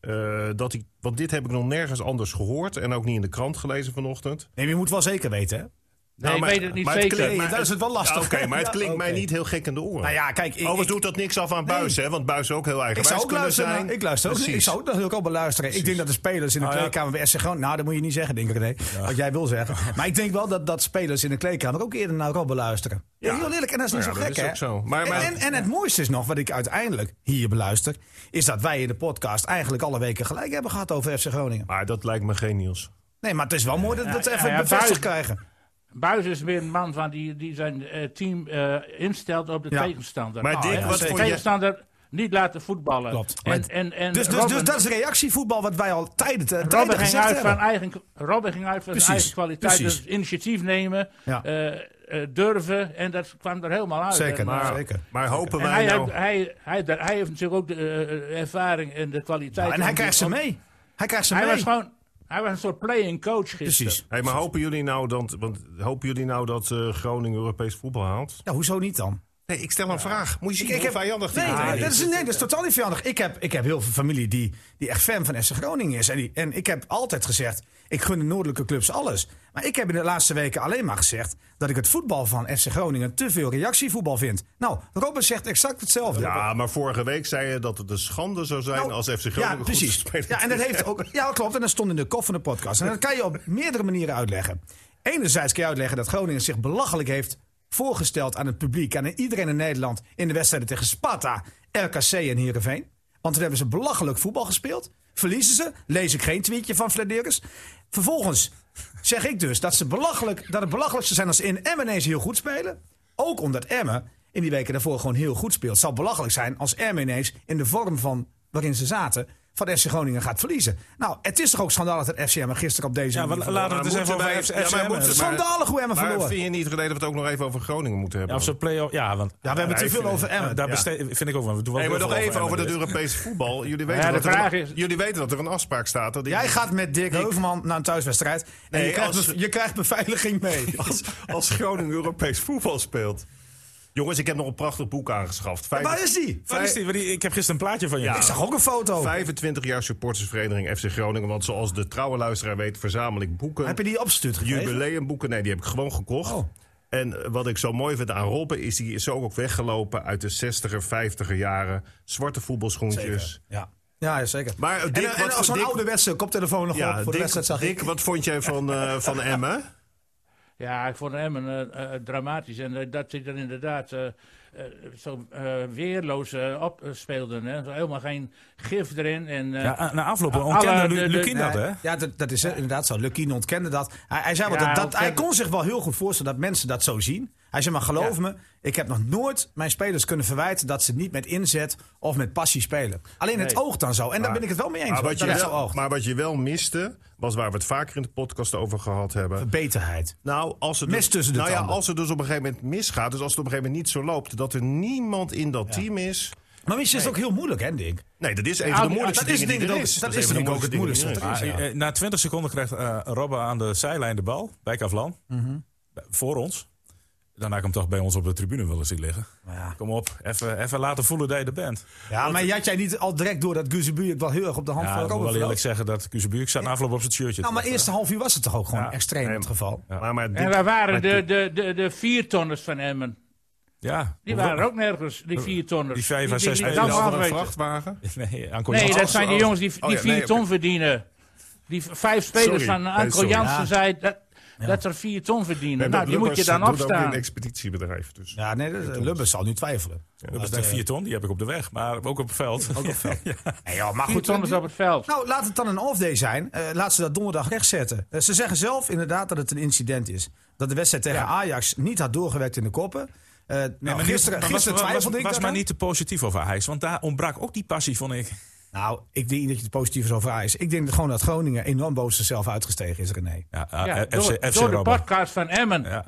[SPEAKER 3] Eh, dat ik, want dit heb ik nog nergens anders gehoord en ook niet in de krant gelezen vanochtend. Nou,
[SPEAKER 2] Nee, maar je moet wel zeker weten, hè?
[SPEAKER 5] Nee, ik
[SPEAKER 3] maar-
[SPEAKER 5] weet het niet
[SPEAKER 3] maar het
[SPEAKER 5] zeker.
[SPEAKER 3] klinkt-
[SPEAKER 2] Nee, daar is het wel lastig.
[SPEAKER 3] Ja, Oké, maar het
[SPEAKER 2] Ja,
[SPEAKER 3] klinkt mij
[SPEAKER 2] oké.
[SPEAKER 3] niet heel gek in de oren.
[SPEAKER 2] Nou ja, kijk, ik,
[SPEAKER 3] Overigens
[SPEAKER 2] ik,
[SPEAKER 3] doet dat niks af aan Buis, hè? Want Buis is ook heel
[SPEAKER 2] ik
[SPEAKER 3] eigenwijs
[SPEAKER 2] zou ook
[SPEAKER 3] kunnen
[SPEAKER 2] luisteren.
[SPEAKER 3] zijn.
[SPEAKER 2] naar- Ik luister ook niet. Ik
[SPEAKER 3] Precies.
[SPEAKER 2] zou ook, dat ook al beluisteren. Ik denk dat de spelers in de
[SPEAKER 4] Nou ja.
[SPEAKER 2] kleedkamer bij SC Groningen... Nou, dat moet je niet zeggen, denk ik, René. Wat jij wil zeggen. Maar ik denk wel dat, dat spelers in de kleedkamer ook eerder naar Robben luisteren. Ja.
[SPEAKER 3] Ja.
[SPEAKER 2] Heel eerlijk, en dat is niet
[SPEAKER 3] Nou
[SPEAKER 2] zo
[SPEAKER 3] ja,
[SPEAKER 2] gek,
[SPEAKER 3] dat
[SPEAKER 2] hè?
[SPEAKER 3] is ook zo. Maar- maar-
[SPEAKER 2] en, en, en het mooiste is nog, wat ik uiteindelijk hier beluister... is dat wij in de podcast eigenlijk alle weken gelijk hebben gehad over FC Groningen.
[SPEAKER 3] Maar dat lijkt me geen nieuws.
[SPEAKER 2] Nee, maar het is wel mooi dat we het
[SPEAKER 5] Ja,
[SPEAKER 2] even
[SPEAKER 5] ja, ja,
[SPEAKER 2] bevestigd
[SPEAKER 5] buiten-
[SPEAKER 2] krijgen.
[SPEAKER 5] Buis is weer een man van die, die zijn eh, team eh, instelt op de
[SPEAKER 2] Ja.
[SPEAKER 5] tegenstander. Ah,
[SPEAKER 3] Maar Dick,
[SPEAKER 2] ja,
[SPEAKER 3] wat
[SPEAKER 2] zeker.
[SPEAKER 5] de
[SPEAKER 3] vond je...
[SPEAKER 5] tegenstander niet laten voetballen.
[SPEAKER 2] Klopt.
[SPEAKER 5] En, en, en
[SPEAKER 2] Dus, dus,
[SPEAKER 5] Robben-
[SPEAKER 2] dus dat is reactievoetbal wat wij al tijden, te-
[SPEAKER 5] Robben
[SPEAKER 2] tijden
[SPEAKER 5] ging,
[SPEAKER 2] gezegd
[SPEAKER 5] uit
[SPEAKER 2] hebben.
[SPEAKER 5] van eigen, Robben ging uit van
[SPEAKER 2] Precies,
[SPEAKER 5] zijn eigen kwaliteit.
[SPEAKER 2] precies.
[SPEAKER 5] Dus initiatief nemen,
[SPEAKER 2] Ja.
[SPEAKER 5] eh, eh, durven. En dat kwam er helemaal uit.
[SPEAKER 2] Zeker,
[SPEAKER 5] En, eh,
[SPEAKER 2] nou,
[SPEAKER 3] Maar,
[SPEAKER 2] zeker.
[SPEAKER 3] maar hopen
[SPEAKER 5] en
[SPEAKER 3] wij
[SPEAKER 5] hij,
[SPEAKER 3] nou...
[SPEAKER 5] heeft- hij, hij, hij, heeft natuurlijk ook de eh, ervaring en de kwaliteit.
[SPEAKER 2] Nou, en hij
[SPEAKER 5] om-
[SPEAKER 2] krijgt ze
[SPEAKER 5] om-
[SPEAKER 2] mee. Hij krijgt ze
[SPEAKER 5] Hij
[SPEAKER 2] mee.
[SPEAKER 5] was gewoon hij was een soort playing coach gisteren.
[SPEAKER 2] Precies.
[SPEAKER 3] Hey, maar hopen jullie nou, dan, want, hopen jullie nou dat eh, Groningen Europees voetbal haalt?
[SPEAKER 2] Ja, Nou, hoezo niet dan?
[SPEAKER 3] Nee, ik stel een vraag. Moet je zien
[SPEAKER 2] Ik
[SPEAKER 3] hoe
[SPEAKER 2] heb,
[SPEAKER 3] vijandig die
[SPEAKER 2] nee,
[SPEAKER 3] aarde
[SPEAKER 2] nee, dat is, nee, dat is totaal niet vijandig. Ik heb, ik heb heel veel familie die, die echt fan van SC Groningen is. En, die, en ik heb altijd gezegd, ik gun de noordelijke clubs alles. Maar ik heb in de laatste weken alleen maar gezegd... dat ik het voetbal van FC Groningen te veel reactievoetbal vind. Nou, Robert zegt exact hetzelfde.
[SPEAKER 3] Ja, maar vorige week zei je dat het een schande zou zijn
[SPEAKER 2] Nou,
[SPEAKER 3] als FC Groningen
[SPEAKER 2] Ja,
[SPEAKER 3] goed
[SPEAKER 2] precies.
[SPEAKER 3] speelt.
[SPEAKER 2] Ja, en dat heeft ook, ja, klopt. En dat stond in de kop van de podcast. En dat kan je op meerdere manieren uitleggen. Enerzijds kan je uitleggen dat Groningen zich belachelijk heeft voorgesteld aan het publiek, aan iedereen in Nederland in de wedstrijden tegen Sparta, RKC en Heerenveen. Want toen hebben ze belachelijk voetbal gespeeld. Verliezen ze. Lees ik geen tweetje van Flederis. Vervolgens zeg ik dus dat, ze belachelijk, dat het belachelijkste zijn als ze in Emmen ineens heel goed spelen. Ook omdat Emmen in die weken daarvoor gewoon heel goed speelt. Het zou belachelijk zijn als Emmen ineens in de vorm van waarin ze zaten... van FC Groningen gaat verliezen. Nou, het is toch ook schandalig dat FC Emmen gisteren op deze
[SPEAKER 4] Ja,
[SPEAKER 2] manier
[SPEAKER 4] maar
[SPEAKER 2] verloor.
[SPEAKER 4] laten we het
[SPEAKER 3] Maar
[SPEAKER 4] eens
[SPEAKER 3] moeten wij-
[SPEAKER 4] even over
[SPEAKER 3] ja, maar
[SPEAKER 4] FCM hebben.
[SPEAKER 3] moeten ze-
[SPEAKER 2] Schandalig hoe Emmen
[SPEAKER 3] Maar
[SPEAKER 2] verloor.
[SPEAKER 3] vind je niet reden dat we het ook nog even over Groningen moeten
[SPEAKER 4] Ja,
[SPEAKER 3] hebben?
[SPEAKER 4] of ze play-off... Ja, want...
[SPEAKER 2] Ja, we hebben te
[SPEAKER 3] Ja,
[SPEAKER 2] veel
[SPEAKER 3] even-
[SPEAKER 2] over Emmen.
[SPEAKER 4] Daar
[SPEAKER 2] Ja.
[SPEAKER 4] besteed- vind ik ook wel. We doen wel
[SPEAKER 3] Hey, maar
[SPEAKER 4] heel
[SPEAKER 3] nog
[SPEAKER 4] veel
[SPEAKER 3] even over
[SPEAKER 4] Emmen
[SPEAKER 3] dat
[SPEAKER 4] dit.
[SPEAKER 3] Europese voetbal. Jullie weten,
[SPEAKER 5] Ja, de
[SPEAKER 3] dat er
[SPEAKER 5] vraag
[SPEAKER 3] een,
[SPEAKER 5] is-
[SPEAKER 3] jullie weten dat er een afspraak staat. Dat
[SPEAKER 2] Jij gaat met Dirk Heuvelman naar een thuiswedstrijd. En
[SPEAKER 3] Nee,
[SPEAKER 2] je, krijgt
[SPEAKER 3] als-
[SPEAKER 2] be- je krijgt beveiliging mee.
[SPEAKER 3] als, als Groningen Europees voetbal speelt. Jongens, ik heb nog een prachtig boek aangeschaft. Vijf-
[SPEAKER 2] Waar is die? Oh.
[SPEAKER 4] Waar is die? Want die- Ik heb gisteren een plaatje van je.
[SPEAKER 3] Ja.
[SPEAKER 2] Ik zag ook een foto.
[SPEAKER 3] 25 jaar supportersvereniging FC Groningen. Want zoals de trouwe luisteraar weet, verzamel ik boeken.
[SPEAKER 2] Heb je die opgestuurd gekregen?
[SPEAKER 3] jubileumboeken. Nee, die heb ik gewoon gekocht.
[SPEAKER 2] Oh.
[SPEAKER 3] En eh, wat ik zo mooi vind aan Robben is, die is zo ook weggelopen uit de 60er, 50er jaren. Zwarte voetbalschoentjes.
[SPEAKER 4] Dus.
[SPEAKER 2] Ja. Ja, zeker.
[SPEAKER 3] Maar, eh, Dick,
[SPEAKER 2] en, en
[SPEAKER 3] wat
[SPEAKER 2] als
[SPEAKER 3] voor
[SPEAKER 2] zo'n
[SPEAKER 3] Dick-
[SPEAKER 2] ouderwetse koptelefoon nog op voor de wedstrijd zag
[SPEAKER 3] Dick,
[SPEAKER 2] ik.
[SPEAKER 3] wat vond jij van, eh, van Emmen?
[SPEAKER 5] Ja, ik vond hem een, eh, eh, dramatisch. En eh, dat hij er inderdaad eh, eh, zo eh, weerloos eh, op speelden. Hè. Zo helemaal geen gif erin. En, eh,
[SPEAKER 4] Ja, a- na afloop
[SPEAKER 5] Alle-
[SPEAKER 4] ontkende
[SPEAKER 5] ah, de-
[SPEAKER 4] Lu-
[SPEAKER 5] de-
[SPEAKER 4] Lukin
[SPEAKER 2] Nee,
[SPEAKER 4] dat, hè?
[SPEAKER 2] Ja, dat, dat is eh, inderdaad zo. Lukien ontkende dat. Hij, hij, zei wel
[SPEAKER 5] Ja,
[SPEAKER 2] dat, dat, hij
[SPEAKER 5] ontkende-
[SPEAKER 2] kon zich wel heel goed voorstellen dat mensen dat zo zien. Hij zei, maar geloof me, ik heb nog nooit mijn spelers kunnen verwijten... dat ze niet met inzet of met passie spelen. Alleen het
[SPEAKER 5] Nee.
[SPEAKER 2] oog dan zo. En daar ben ik het wel mee eens.
[SPEAKER 3] Maar
[SPEAKER 2] hoor,
[SPEAKER 3] wat,
[SPEAKER 2] dat
[SPEAKER 3] je
[SPEAKER 2] het zo
[SPEAKER 3] wel,
[SPEAKER 2] oogt.
[SPEAKER 3] maar wat je wel miste, was waar we het vaker in de podcast over gehad hebben.
[SPEAKER 2] Beterheid.
[SPEAKER 3] Nou, als het
[SPEAKER 2] Mes
[SPEAKER 3] dus-
[SPEAKER 2] tussen de
[SPEAKER 3] nou ja,
[SPEAKER 2] tanden.
[SPEAKER 3] als het dus op een gegeven moment misgaat, dus als het op een gegeven moment niet zo loopt, dat er niemand in dat team is.
[SPEAKER 2] Maar misschien is het ook heel moeilijk, hè, Dick?
[SPEAKER 3] Nee, dat is een
[SPEAKER 5] Ah, die-
[SPEAKER 3] van de moeilijkste
[SPEAKER 2] dat is denk
[SPEAKER 3] dingen die
[SPEAKER 2] ik
[SPEAKER 3] er
[SPEAKER 2] ook-
[SPEAKER 3] is.
[SPEAKER 2] dat is
[SPEAKER 3] een
[SPEAKER 2] denk
[SPEAKER 3] van
[SPEAKER 2] ik
[SPEAKER 3] de
[SPEAKER 2] ook
[SPEAKER 3] moeilijkste
[SPEAKER 2] het
[SPEAKER 3] dingen die er
[SPEAKER 4] Ah,
[SPEAKER 2] ja.
[SPEAKER 4] eh, Na 20 seconden krijgt eh Robben aan de zijlijn de bal bij Kavlan.
[SPEAKER 2] Mhm.
[SPEAKER 4] Eh, Voor ons. Daarna komt toch bij ons op de tribune willen zien liggen.
[SPEAKER 2] Nou ja.
[SPEAKER 4] Kom op, even, even laten voelen dat je er bent.
[SPEAKER 2] Ja, maar jij had jij niet al direct door dat Guzebu het wel heel erg op de hand
[SPEAKER 4] Ja,
[SPEAKER 2] van
[SPEAKER 4] ik moet
[SPEAKER 2] Robert
[SPEAKER 4] wel eerlijk
[SPEAKER 2] verloopt?
[SPEAKER 4] zeggen dat Kuzebuurk staat na afloop op zijn shirtje.
[SPEAKER 2] Nou, maar
[SPEAKER 4] trok, hè.
[SPEAKER 2] eerste half uur was het toch ook gewoon
[SPEAKER 4] Ja.
[SPEAKER 2] extreem
[SPEAKER 3] Nee,
[SPEAKER 2] het geval?
[SPEAKER 3] is. Maar, maar dit-
[SPEAKER 5] en waar waren
[SPEAKER 3] maar
[SPEAKER 5] de,
[SPEAKER 3] dit-
[SPEAKER 5] de, de, de viertonners van Emmen?
[SPEAKER 4] Ja.
[SPEAKER 5] Die waren ook nergens, die viertonners.
[SPEAKER 4] Die vijf à zes
[SPEAKER 5] die,
[SPEAKER 3] Heb
[SPEAKER 5] die,
[SPEAKER 3] je
[SPEAKER 4] dan
[SPEAKER 3] nou
[SPEAKER 5] allemaal
[SPEAKER 3] over een
[SPEAKER 5] afweten.
[SPEAKER 3] vrachtwagen?
[SPEAKER 4] Nee, Anko
[SPEAKER 5] Nee,
[SPEAKER 4] Jansen.
[SPEAKER 5] dat zijn die
[SPEAKER 3] oh,
[SPEAKER 5] jongens die,
[SPEAKER 3] oh
[SPEAKER 5] die
[SPEAKER 3] ja,
[SPEAKER 5] vier
[SPEAKER 3] nee,
[SPEAKER 5] ton verdienen. Die v- vijf spelers
[SPEAKER 3] Sorry.
[SPEAKER 5] van
[SPEAKER 3] Nee,
[SPEAKER 5] Anko
[SPEAKER 3] sorry.
[SPEAKER 5] Jansen
[SPEAKER 2] Ja.
[SPEAKER 5] zei dat, dat er vier ton verdienen.
[SPEAKER 3] Nee,
[SPEAKER 5] nou,
[SPEAKER 3] dat
[SPEAKER 5] die moet je dan
[SPEAKER 3] Lubbers doet ook in
[SPEAKER 5] opstaan.
[SPEAKER 3] een expeditiebedrijf. Dus.
[SPEAKER 2] Ja, nee, dat- Lubbers zal nu twijfelen. eh,
[SPEAKER 4] Dat is denk ik vier ton, die heb ik op de weg. Maar ook op het veld. Ook op het veld.
[SPEAKER 2] Nee, joh, maar
[SPEAKER 5] Vier
[SPEAKER 2] goed,
[SPEAKER 5] tonners op het veld.
[SPEAKER 2] Nou, laat het dan een off-day zijn. Eh, laat ze dat donderdag rechtzetten. Eh, ze zeggen zelf inderdaad dat het een incident is. Dat de wedstrijd tegen Ajax niet had doorgewerkt in de koppen. Eh, nou,
[SPEAKER 4] Maar nu-
[SPEAKER 2] gisteren
[SPEAKER 4] maar was-
[SPEAKER 2] gisteren
[SPEAKER 4] was-
[SPEAKER 2] twijfelde
[SPEAKER 4] was,
[SPEAKER 2] ik
[SPEAKER 4] was maar
[SPEAKER 2] daaraan.
[SPEAKER 4] niet te positief over Ajax. Want daar ontbrak ook die passie, vond ik.
[SPEAKER 2] Nou, ik denk niet dat je het positief is over Ajax. Ik denk dat gewoon dat Groningen enorm boos zichzelf uitgestegen is, René.
[SPEAKER 4] Ja,
[SPEAKER 3] Nou,
[SPEAKER 5] Ja,
[SPEAKER 4] eh, FC,
[SPEAKER 5] door,
[SPEAKER 4] FC
[SPEAKER 5] door de
[SPEAKER 4] Robben.
[SPEAKER 5] podcast van Emmen.
[SPEAKER 4] Ja.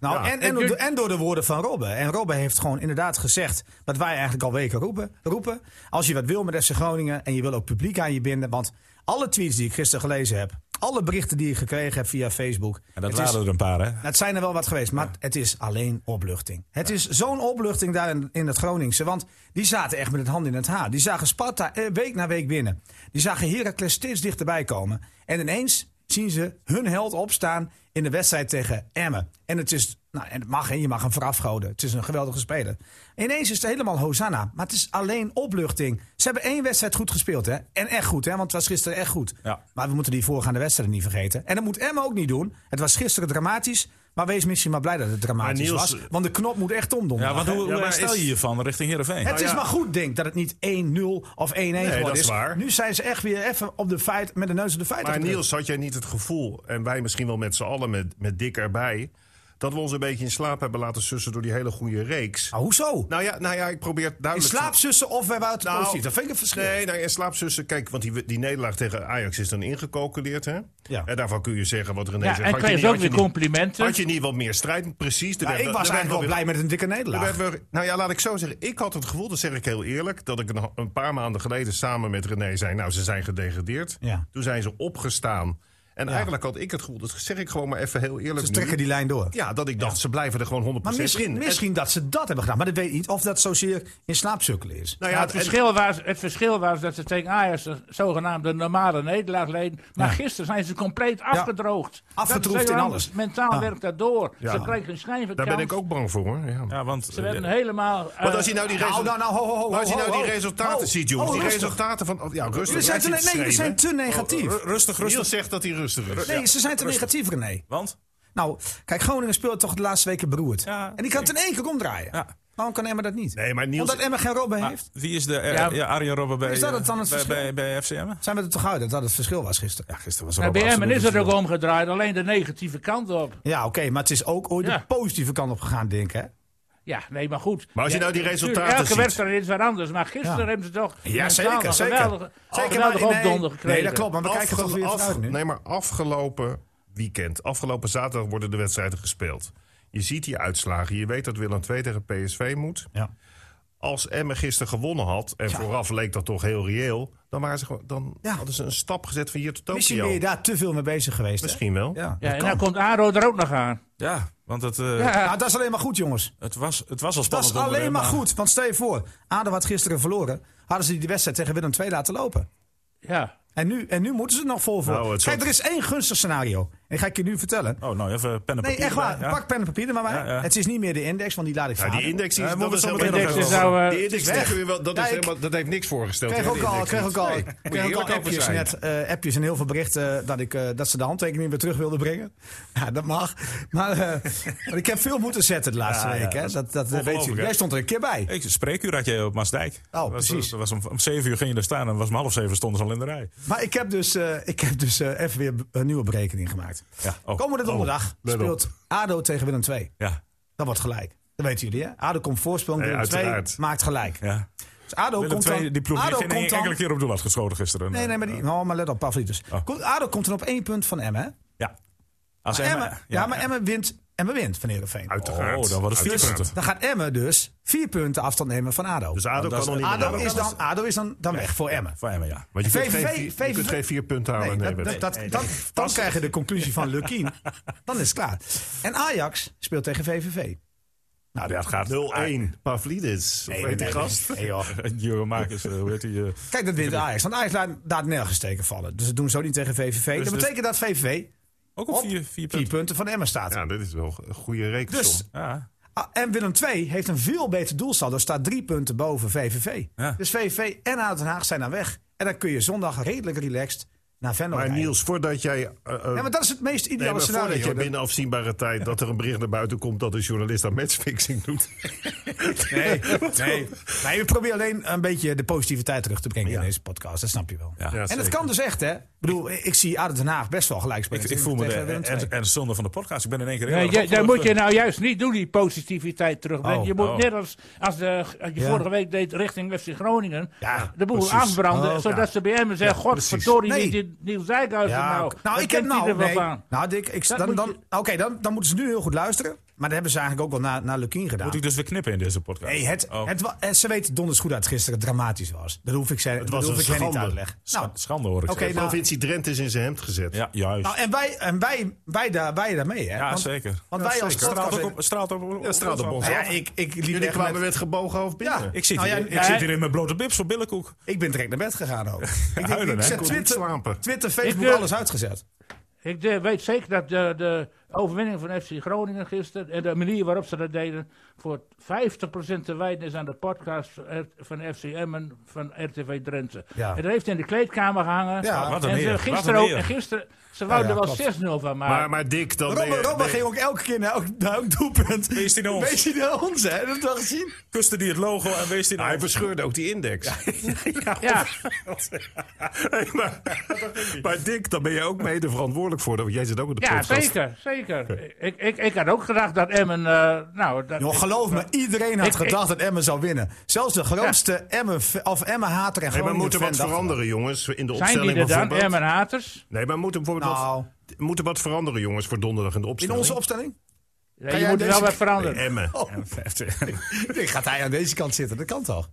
[SPEAKER 2] Nou,
[SPEAKER 3] Ja.
[SPEAKER 2] en, en,
[SPEAKER 5] En
[SPEAKER 2] door de-
[SPEAKER 5] nu-
[SPEAKER 2] en door de woorden van Robben. En Robben heeft gewoon inderdaad gezegd wat wij eigenlijk al weken roepen. roepen. Als je wat wil met FC Groningen en je wil ook publiek aan je binden. Want alle tweets die ik gisteren gelezen heb, alle berichten die ik gekregen heb via Facebook.
[SPEAKER 4] En dat
[SPEAKER 2] het is-
[SPEAKER 4] waren er een paar, hè?
[SPEAKER 2] Nou, het zijn er wel wat geweest, maar het is alleen opluchting. Het is zo'n opluchting daar in, in het Groningse. Want die zaten echt met het hand in het haar. Die zagen Sparta eh, week na week winnen. Die zagen Heracles steeds dichterbij komen. En ineens zien ze hun held opstaan in de wedstrijd tegen Emmen. En het is, nou, en het mag, hè, je mag hem voorafgoden. Het is een geweldige speler. Ineens is het helemaal Hosanna. Maar het is alleen opluchting. Ze hebben één wedstrijd goed gespeeld, hè? En echt goed, hè? Want het was gisteren echt goed.
[SPEAKER 4] Ja.
[SPEAKER 2] Maar we moeten die voorgaande wedstrijden niet vergeten. En dat moet Emma ook niet doen. Het was gisteren dramatisch. Maar wees misschien maar blij dat het dramatisch
[SPEAKER 3] Maar Niels, eh,
[SPEAKER 2] was. Want de knop moet echt om
[SPEAKER 4] Ja,
[SPEAKER 2] donderdag,
[SPEAKER 4] want
[SPEAKER 2] hè?
[SPEAKER 4] hoe, hoe
[SPEAKER 3] Ja, maar
[SPEAKER 4] herstel je
[SPEAKER 3] is- Nou
[SPEAKER 4] hiervan richting Heerenveen?
[SPEAKER 2] Het is
[SPEAKER 3] ja.
[SPEAKER 2] maar goed, denk dat het niet 1-0 of 1-1 geworden
[SPEAKER 3] dat is
[SPEAKER 2] is.
[SPEAKER 3] waar.
[SPEAKER 2] Nu zijn ze echt weer even op de feit, met de neus op de feiten.
[SPEAKER 3] Maar
[SPEAKER 2] gedrukt.
[SPEAKER 3] Niels, had jij niet het gevoel, en wij misschien wel met z'n allen met, met Dick erbij, dat we ons een beetje in slaap hebben laten sussen door die hele goede reeks?
[SPEAKER 5] Oh.
[SPEAKER 2] Nou, hoezo?
[SPEAKER 3] Nou ja, nou ja, ik probeer het
[SPEAKER 2] In
[SPEAKER 3] duidelijk te-
[SPEAKER 2] slaapzussen of wij waren het
[SPEAKER 3] Nou,
[SPEAKER 2] positief? Dat vind ik een verschil.
[SPEAKER 3] Nee, nou, en slaapzussen, kijk, want die, die nederlaag tegen Ajax is dan ingecalculeerd, hè?
[SPEAKER 2] Ja.
[SPEAKER 3] En daarvan kun je zeggen wat René
[SPEAKER 5] Ja,
[SPEAKER 3] zegt.
[SPEAKER 5] en
[SPEAKER 3] had je
[SPEAKER 5] kreeg
[SPEAKER 3] niet-
[SPEAKER 5] ze ook
[SPEAKER 3] had je
[SPEAKER 5] weer
[SPEAKER 3] niet-
[SPEAKER 5] complimenten.
[SPEAKER 3] Had je niet wat meer strijd? Precies. er
[SPEAKER 2] Ja,
[SPEAKER 3] werd-
[SPEAKER 2] ik
[SPEAKER 3] er
[SPEAKER 2] was
[SPEAKER 3] werd
[SPEAKER 2] eigenlijk wel
[SPEAKER 3] weer-
[SPEAKER 2] blij met een dikke
[SPEAKER 3] er
[SPEAKER 2] nederlaag.
[SPEAKER 3] werd weer- nou ja, laat ik zo zeggen. Ik had het gevoel, dat zeg ik heel eerlijk, dat ik een, een paar maanden geleden samen met René zei: Nou, ze zijn gedegradeerd.
[SPEAKER 2] Ja.
[SPEAKER 3] Toen zijn ze opgestaan. En eigenlijk had ik het gevoel, dat zeg ik gewoon maar even heel eerlijk.
[SPEAKER 2] Ze
[SPEAKER 3] nu,
[SPEAKER 2] trekken die lijn door.
[SPEAKER 3] Ja, dat ik dacht, ze blijven er gewoon 100%
[SPEAKER 2] Maar
[SPEAKER 3] in.
[SPEAKER 2] misschien,
[SPEAKER 3] En-
[SPEAKER 2] misschien dat ze dat hebben gedaan. Maar dat weet ik niet of dat zozeer in slaapzukkelen is.
[SPEAKER 3] nou
[SPEAKER 5] Ja,
[SPEAKER 3] ja,
[SPEAKER 5] het,
[SPEAKER 3] en-
[SPEAKER 5] verschil was, het verschil was dat ze tegen Ajax een zogenaamde normale nederlaag leden. Maar gisteren zijn ze compleet afgedroogd.
[SPEAKER 2] Afgetroefd
[SPEAKER 5] Dat is
[SPEAKER 2] in
[SPEAKER 5] heel
[SPEAKER 2] alles.
[SPEAKER 5] Mentaal werkt dat door.
[SPEAKER 3] Ja.
[SPEAKER 5] Ze kregen een schijnverkans.
[SPEAKER 3] daar ben ik ook bang voor. Hoor. Ja.
[SPEAKER 4] Ja, want
[SPEAKER 5] Ze werden
[SPEAKER 4] eh,
[SPEAKER 5] helemaal... eh,
[SPEAKER 3] Want als je nou die,
[SPEAKER 2] Nou,
[SPEAKER 3] resul-
[SPEAKER 2] nou, nou, ho, ho, ho.
[SPEAKER 3] maar als je
[SPEAKER 2] ho,
[SPEAKER 3] nou die
[SPEAKER 2] ho.
[SPEAKER 3] resultaten
[SPEAKER 2] Oh,
[SPEAKER 3] ziet, jongens,
[SPEAKER 2] oh,
[SPEAKER 3] die
[SPEAKER 2] rustig.
[SPEAKER 3] resultaten van. Ja, rustig.
[SPEAKER 2] Jullie zijn
[SPEAKER 3] hij
[SPEAKER 2] te,
[SPEAKER 3] zit
[SPEAKER 2] nee, jullie
[SPEAKER 3] schreeuwen. Oh,
[SPEAKER 2] zijn te negatief.
[SPEAKER 4] ru- rustig, rustig.
[SPEAKER 3] Niels zegt dat hij rustig is.
[SPEAKER 2] Nee, ze zijn te negatief, René.
[SPEAKER 4] Want?
[SPEAKER 2] Nou, kijk, Groningen speelt toch de laatste weken beroerd.
[SPEAKER 4] Ja,
[SPEAKER 2] en die kan het in één keer omdraaien.
[SPEAKER 4] Ja.
[SPEAKER 2] Waarom kan Emma dat niet?
[SPEAKER 3] Nee, maar Niels-
[SPEAKER 2] Omdat Emma geen Robben heeft.
[SPEAKER 4] Wie is de eh,
[SPEAKER 5] Ja.
[SPEAKER 4] ja. Arjen Robben bij,
[SPEAKER 2] Is dat het dan het
[SPEAKER 4] eh, bij, bij,
[SPEAKER 2] verschil?
[SPEAKER 4] bij FCM?
[SPEAKER 2] Zijn we er toch uit dat dat het verschil was gisteren?
[SPEAKER 4] Ja, gisteren was
[SPEAKER 5] Nou, bij Emmen is het
[SPEAKER 4] er
[SPEAKER 5] ook omgedraaid, alleen de negatieve kant op.
[SPEAKER 2] Ja, oké, maar het is ook ooit
[SPEAKER 5] Ja.
[SPEAKER 2] de positieve kant op gegaan, denk ik. hè?
[SPEAKER 5] Ja, nee, maar goed.
[SPEAKER 3] Maar als je
[SPEAKER 5] Ja,
[SPEAKER 3] nou die
[SPEAKER 5] tuurlijk,
[SPEAKER 3] resultaten
[SPEAKER 5] Elke
[SPEAKER 3] ziet.
[SPEAKER 5] wedstrijd is wat anders, maar gisteren
[SPEAKER 2] Ja.
[SPEAKER 5] hebben ze toch
[SPEAKER 2] Ja,
[SPEAKER 5] een
[SPEAKER 2] zeker, zeker.
[SPEAKER 5] geweldige,
[SPEAKER 2] Zeker,
[SPEAKER 5] geweldige
[SPEAKER 2] maar- nee,
[SPEAKER 5] opdonder
[SPEAKER 2] nee,
[SPEAKER 5] gekregen.
[SPEAKER 2] dat klopt, maar we kijken toch
[SPEAKER 3] Afge-
[SPEAKER 2] weer
[SPEAKER 3] af-
[SPEAKER 2] vooruit nu.
[SPEAKER 3] Nee, maar afgelopen weekend, afgelopen zaterdag worden de wedstrijden gespeeld. Je ziet die uitslagen. Je weet dat Willem II tegen PSV moet.
[SPEAKER 2] Ja.
[SPEAKER 3] Als Emmen gisteren gewonnen had, en vooraf leek dat toch heel reëel... dan, waren ze gewoon, dan
[SPEAKER 2] Ja.
[SPEAKER 3] hadden ze een stap gezet van hier tot Tokio.
[SPEAKER 2] Misschien ben je daar te veel mee bezig geweest. hè?
[SPEAKER 3] Misschien wel.
[SPEAKER 2] Ja.
[SPEAKER 5] Ja, en dan komt Aro er ook nog aan.
[SPEAKER 4] Ja, want het, eh,
[SPEAKER 5] Ja.
[SPEAKER 2] Nou, dat is alleen maar goed, jongens.
[SPEAKER 4] het, was, het was al
[SPEAKER 2] Dat
[SPEAKER 4] spannend.
[SPEAKER 2] is alleen
[SPEAKER 4] onderwerp,
[SPEAKER 2] maar goed. Want stel je voor, Ado had gisteren verloren. Hadden ze die wedstrijd tegen Willem II laten lopen.
[SPEAKER 5] Ja.
[SPEAKER 2] En nu, en nu moeten ze het nog vol voor.
[SPEAKER 4] Nou, het
[SPEAKER 2] Kijk,
[SPEAKER 4] zal-
[SPEAKER 2] er is één gunstig scenario. En ga ik je nu vertellen.
[SPEAKER 4] Oh, nou even pen en
[SPEAKER 2] Nee,
[SPEAKER 4] papier.
[SPEAKER 2] echt waar.
[SPEAKER 4] erbij, ja.
[SPEAKER 2] Pak pen en papier er maar bij.
[SPEAKER 4] Ja, ja.
[SPEAKER 2] Het is niet meer de index, want die laat ik
[SPEAKER 3] Ja,
[SPEAKER 2] varen.
[SPEAKER 3] die index
[SPEAKER 4] Ja,
[SPEAKER 3] is,
[SPEAKER 4] we
[SPEAKER 3] dat
[SPEAKER 4] moeten
[SPEAKER 3] is
[SPEAKER 4] zo
[SPEAKER 3] helemaal
[SPEAKER 4] meteen
[SPEAKER 3] niks.
[SPEAKER 4] nog
[SPEAKER 5] even over-
[SPEAKER 3] Die index
[SPEAKER 2] Die is weg.
[SPEAKER 3] tegen u wel- dat, is
[SPEAKER 2] Kijk.
[SPEAKER 3] helemaal, dat heeft niks voorgesteld.
[SPEAKER 2] Ik kreeg ook
[SPEAKER 3] die
[SPEAKER 2] al,
[SPEAKER 3] index
[SPEAKER 2] kreeg
[SPEAKER 3] niet.
[SPEAKER 2] ook al,
[SPEAKER 3] Nee,
[SPEAKER 2] ik
[SPEAKER 3] moet je
[SPEAKER 2] kreeg ook
[SPEAKER 3] eerlijk
[SPEAKER 2] al
[SPEAKER 3] over
[SPEAKER 2] appjes,
[SPEAKER 3] zijn.
[SPEAKER 2] net, eh, appjes en heel veel berichten dat, ik, eh, dat ze de handtekening weer terug wilden brengen. Ja, dat mag. Maar, eh, maar ik heb veel moeten zetten de laatste
[SPEAKER 4] Ja, ja,
[SPEAKER 2] week. Hè.
[SPEAKER 4] dat is
[SPEAKER 2] Dat, dat eh, weet je.
[SPEAKER 4] ongelooflijk, hè?
[SPEAKER 2] Jij stond er een keer bij.
[SPEAKER 4] Ik spreek u had jij op Maasdijk. Dat was-
[SPEAKER 2] Oh, precies.
[SPEAKER 4] dat was om, om 7 uur ging je er staan en was om half zeven stonden ze al in de rij.
[SPEAKER 2] Maar ik heb dus, eh, ik heb dus eh, even weer een nieuwe berekening gemaakt.
[SPEAKER 4] Ja. Oh.
[SPEAKER 2] Komende donderdag
[SPEAKER 3] let op.
[SPEAKER 2] speelt ADO tegen Willem II.
[SPEAKER 4] Ja,
[SPEAKER 2] Dat wordt gelijk. Dat weten jullie, hè? ADO komt voorspelen,
[SPEAKER 3] Nee,
[SPEAKER 2] Willem II
[SPEAKER 3] uiteraard.
[SPEAKER 2] maakt gelijk.
[SPEAKER 4] ja.
[SPEAKER 2] Dus ADO
[SPEAKER 4] Willem
[SPEAKER 2] komt
[SPEAKER 4] II,
[SPEAKER 2] dan...
[SPEAKER 4] die ploeg
[SPEAKER 2] ADO
[SPEAKER 4] heeft geen
[SPEAKER 2] komt dan-
[SPEAKER 4] enkele keer op doel had geschoten gisteren.
[SPEAKER 2] Nee, nee, maar, die, nou, maar let op, Pavlidis.
[SPEAKER 4] Oh.
[SPEAKER 2] Komt- ADO komt dan op één punt van Emmen, hè?
[SPEAKER 4] Ja. Als
[SPEAKER 2] Maar
[SPEAKER 4] Emma-
[SPEAKER 2] Emmen, ja, maar Emmen wint, Emmen wint van Heerenveen.
[SPEAKER 3] Uiteraard.
[SPEAKER 4] Oh, dan wordt het vier
[SPEAKER 3] Uiteraard.
[SPEAKER 4] punten.
[SPEAKER 2] Dan gaat Emmen dus vier punten afstand nemen van ADO.
[SPEAKER 3] Dus ADO
[SPEAKER 4] dat
[SPEAKER 3] kan
[SPEAKER 4] is- Oh,
[SPEAKER 3] nog niet meer
[SPEAKER 2] ADO,
[SPEAKER 3] naar
[SPEAKER 2] Ah, is
[SPEAKER 3] boven.
[SPEAKER 2] dan, ADO is dan, dan weg voor Emmen.
[SPEAKER 4] Van Emma, ja.
[SPEAKER 3] Want je kunt,
[SPEAKER 2] VVV
[SPEAKER 3] geen, vier- je kunt geen vier punten halen.
[SPEAKER 2] Nee,
[SPEAKER 3] Nee,
[SPEAKER 2] dat, dat, dat, dan, dan krijg je de conclusie van Lukien. Dan is het klaar. En Ajax speelt tegen VVV.
[SPEAKER 4] Nou, dat gaat
[SPEAKER 3] 0-1. Ah, Pavlidis. Of heet die gast?
[SPEAKER 2] Nee, joh.
[SPEAKER 4] Jurgen Marcus, eh, hoe heet die? eh,
[SPEAKER 2] Kijk, dat wint Ajax. Want Ajax laat, laat nergens tegen vallen. Dus dat doen ze ook niet tegen VVV.
[SPEAKER 4] Dus-
[SPEAKER 2] dat betekent dat VVV
[SPEAKER 4] ook op
[SPEAKER 2] op
[SPEAKER 4] vier, vier
[SPEAKER 2] punten.
[SPEAKER 4] punten.
[SPEAKER 2] van Emmen staat.
[SPEAKER 3] Ja, dit is wel een goede reeks.
[SPEAKER 2] Dus-
[SPEAKER 4] Ja.
[SPEAKER 2] Ah, En Willem II heeft een veel beter doelsaldo. Staat drie punten boven VVV.
[SPEAKER 4] Ja.
[SPEAKER 2] Dus VVV en ADO Den Haag zijn dan weg. En dan kun je zondag redelijk relaxed naar Venlo
[SPEAKER 3] Maar
[SPEAKER 2] rijden.
[SPEAKER 3] Niels, voordat jij... eh, eh,
[SPEAKER 2] Ja, maar dat is het meest
[SPEAKER 3] nee,
[SPEAKER 2] ideale
[SPEAKER 3] maar voordat
[SPEAKER 2] scenario.
[SPEAKER 3] jij binnen afzienbare tijd dat er een bericht naar buiten komt dat een journalist aan matchfixing doet.
[SPEAKER 2] Nee, nee. nee, we proberen alleen een beetje de positiviteit terug te brengen in deze podcast. Dat snap je wel.
[SPEAKER 4] Ja.
[SPEAKER 2] en dat
[SPEAKER 3] zeker.
[SPEAKER 2] kan dus echt, hè? Ik bedoel, ik zie Aden Den Haag best wel gelijk
[SPEAKER 4] Ik,
[SPEAKER 2] spelen.
[SPEAKER 4] ik voel me de
[SPEAKER 2] tegen Willem
[SPEAKER 4] en,
[SPEAKER 2] II.
[SPEAKER 4] en, en zonde van de podcast. Ik ben in één keer heel
[SPEAKER 5] Nee,
[SPEAKER 4] erg
[SPEAKER 5] jij- dat moet je
[SPEAKER 4] opgelucht.
[SPEAKER 5] nou juist niet doen, die positiviteit terugbrengen.
[SPEAKER 2] Oh,
[SPEAKER 5] je moet
[SPEAKER 4] oh.
[SPEAKER 5] net als, als, de, als je
[SPEAKER 2] Ja.
[SPEAKER 5] vorige week deed richting FC Groningen...
[SPEAKER 2] Ja,
[SPEAKER 5] de boel
[SPEAKER 2] precies.
[SPEAKER 5] afbranden,
[SPEAKER 2] Oh,
[SPEAKER 5] zodat
[SPEAKER 2] ja.
[SPEAKER 5] ze bij hem zeggen... Godverdorie,
[SPEAKER 2] Nee.
[SPEAKER 5] niet die Niels Dijkhuizen
[SPEAKER 2] Ja,
[SPEAKER 5] nou.
[SPEAKER 2] oké.
[SPEAKER 5] Daar
[SPEAKER 2] nou, ik heb
[SPEAKER 5] kent hij
[SPEAKER 2] nou.
[SPEAKER 5] er wel
[SPEAKER 2] Nee,
[SPEAKER 5] van.
[SPEAKER 2] nou, Dick, ik,
[SPEAKER 5] Dat
[SPEAKER 2] dan,
[SPEAKER 5] moet
[SPEAKER 2] dan,
[SPEAKER 5] je-
[SPEAKER 2] Oké, dan, dan moeten ze nu heel goed luisteren. Maar dat hebben ze eigenlijk ook wel naar naar Lukien gedaan.
[SPEAKER 4] Moet ik dus weer knippen in deze podcast?
[SPEAKER 2] Nee, het,
[SPEAKER 4] Oh,
[SPEAKER 2] het, wa- eh, ze weten donders goed dat het gisteren dramatisch was. Dat hoef ik, ze, dat
[SPEAKER 3] was
[SPEAKER 2] hoef
[SPEAKER 3] een
[SPEAKER 2] ik hen niet
[SPEAKER 3] schande.
[SPEAKER 2] uit te leggen.
[SPEAKER 4] scha-
[SPEAKER 2] Nou,
[SPEAKER 4] schande hoor ik.
[SPEAKER 2] Oké,
[SPEAKER 4] zeggen.
[SPEAKER 2] nou-
[SPEAKER 3] Provincie Drenthe is in zijn hemd gezet.
[SPEAKER 4] ja, juist.
[SPEAKER 2] nou, en wij, en wij, wij, daar, wij daarmee, hè?
[SPEAKER 4] ja,
[SPEAKER 2] want,
[SPEAKER 4] zeker.
[SPEAKER 2] Want
[SPEAKER 3] Ja,
[SPEAKER 2] wij als
[SPEAKER 3] zeker.
[SPEAKER 4] Straalt
[SPEAKER 2] podcast...
[SPEAKER 4] ook op, straalt ook op,
[SPEAKER 3] Ja, straalt op ons
[SPEAKER 2] Nou ja,
[SPEAKER 3] af.
[SPEAKER 2] ik, ik liep
[SPEAKER 3] Jullie
[SPEAKER 2] echt
[SPEAKER 3] kwamen
[SPEAKER 2] met-
[SPEAKER 3] met, gebogen hoofd binnen.
[SPEAKER 2] Ja,
[SPEAKER 4] Ik zit,
[SPEAKER 2] Nou ja,
[SPEAKER 4] hier, ik
[SPEAKER 2] ja,
[SPEAKER 4] zit
[SPEAKER 2] hij-
[SPEAKER 4] hier in mijn blote bips voor billenkoek.
[SPEAKER 2] Ik ben direct naar bed gegaan ook. ik, denk,
[SPEAKER 4] Huilen,
[SPEAKER 2] ik
[SPEAKER 4] hè?
[SPEAKER 2] zet
[SPEAKER 3] kon niet
[SPEAKER 2] Twitter,
[SPEAKER 3] slapen.
[SPEAKER 2] Twitter, Facebook,
[SPEAKER 5] Ik, eh,
[SPEAKER 2] alles uitgezet.
[SPEAKER 5] Ik de- weet zeker dat de, de overwinning van FC Groningen gisteren... en de manier waarop ze dat deden... voor 50% te wijten is aan de podcast van FC Emmen van RTV Drenthe.
[SPEAKER 2] Ja.
[SPEAKER 5] En dat heeft in de kleedkamer gehangen.
[SPEAKER 2] Ja,
[SPEAKER 4] wat een
[SPEAKER 5] en
[SPEAKER 4] eer,
[SPEAKER 5] ze,
[SPEAKER 4] wat
[SPEAKER 5] gisteren,
[SPEAKER 4] een
[SPEAKER 5] ook,
[SPEAKER 4] eer.
[SPEAKER 5] en gisteren, ze wouden
[SPEAKER 2] ja, klopt.
[SPEAKER 5] er wel 6-0 van maken.
[SPEAKER 3] Maar, maar Dick, dan ben
[SPEAKER 2] Robben
[SPEAKER 3] je-
[SPEAKER 2] Robben
[SPEAKER 3] ben je-
[SPEAKER 2] ging ook elke keer naar elk, naar elk doelpunt.
[SPEAKER 4] Wees die naar ons.
[SPEAKER 2] Wees die naar ons, hè? Dat heb je wel gezien.
[SPEAKER 4] Kuste die het logo en wees die
[SPEAKER 3] Nou, hij
[SPEAKER 4] nou...
[SPEAKER 3] verscheurde ook die index.
[SPEAKER 5] ja.
[SPEAKER 3] Hey, maar, maar Dick, dan ben je ook mede verantwoordelijk voor. Want jij zit ook in de
[SPEAKER 5] Ja,
[SPEAKER 3] podcast.
[SPEAKER 5] zeker, zeker. Ik, ik, ik had ook gedacht dat Emmen... eh, nou, dat,
[SPEAKER 2] Joh,
[SPEAKER 5] ik-
[SPEAKER 2] geloof me, iedereen had
[SPEAKER 5] Ik- ik-
[SPEAKER 2] gedacht dat Emmen zou winnen. Zelfs de grootste Emmen, of Emmen-hater en
[SPEAKER 3] Nee, maar
[SPEAKER 2] Groningen
[SPEAKER 3] moeten
[SPEAKER 2] fan
[SPEAKER 3] wat
[SPEAKER 2] dacht dat.
[SPEAKER 3] veranderen, jongens, in de
[SPEAKER 5] zijn
[SPEAKER 3] opstelling
[SPEAKER 5] die er dan,
[SPEAKER 3] bijvoorbeeld?
[SPEAKER 5] Emmen Haters?
[SPEAKER 3] Nee, maar moeten bijvoorbeeld
[SPEAKER 2] Nou.
[SPEAKER 3] wat, moeten wat veranderen, jongens, voor donderdag in de
[SPEAKER 2] In
[SPEAKER 3] opstelling?
[SPEAKER 2] onze opstelling?
[SPEAKER 5] Ja,
[SPEAKER 2] Kan
[SPEAKER 5] je
[SPEAKER 2] jij
[SPEAKER 5] moet er wel
[SPEAKER 2] deze-
[SPEAKER 5] wat veranderen.
[SPEAKER 3] Nee, Emmen.
[SPEAKER 2] Oh, ik denk, gaat hij aan deze kant zitten? Dat kan toch?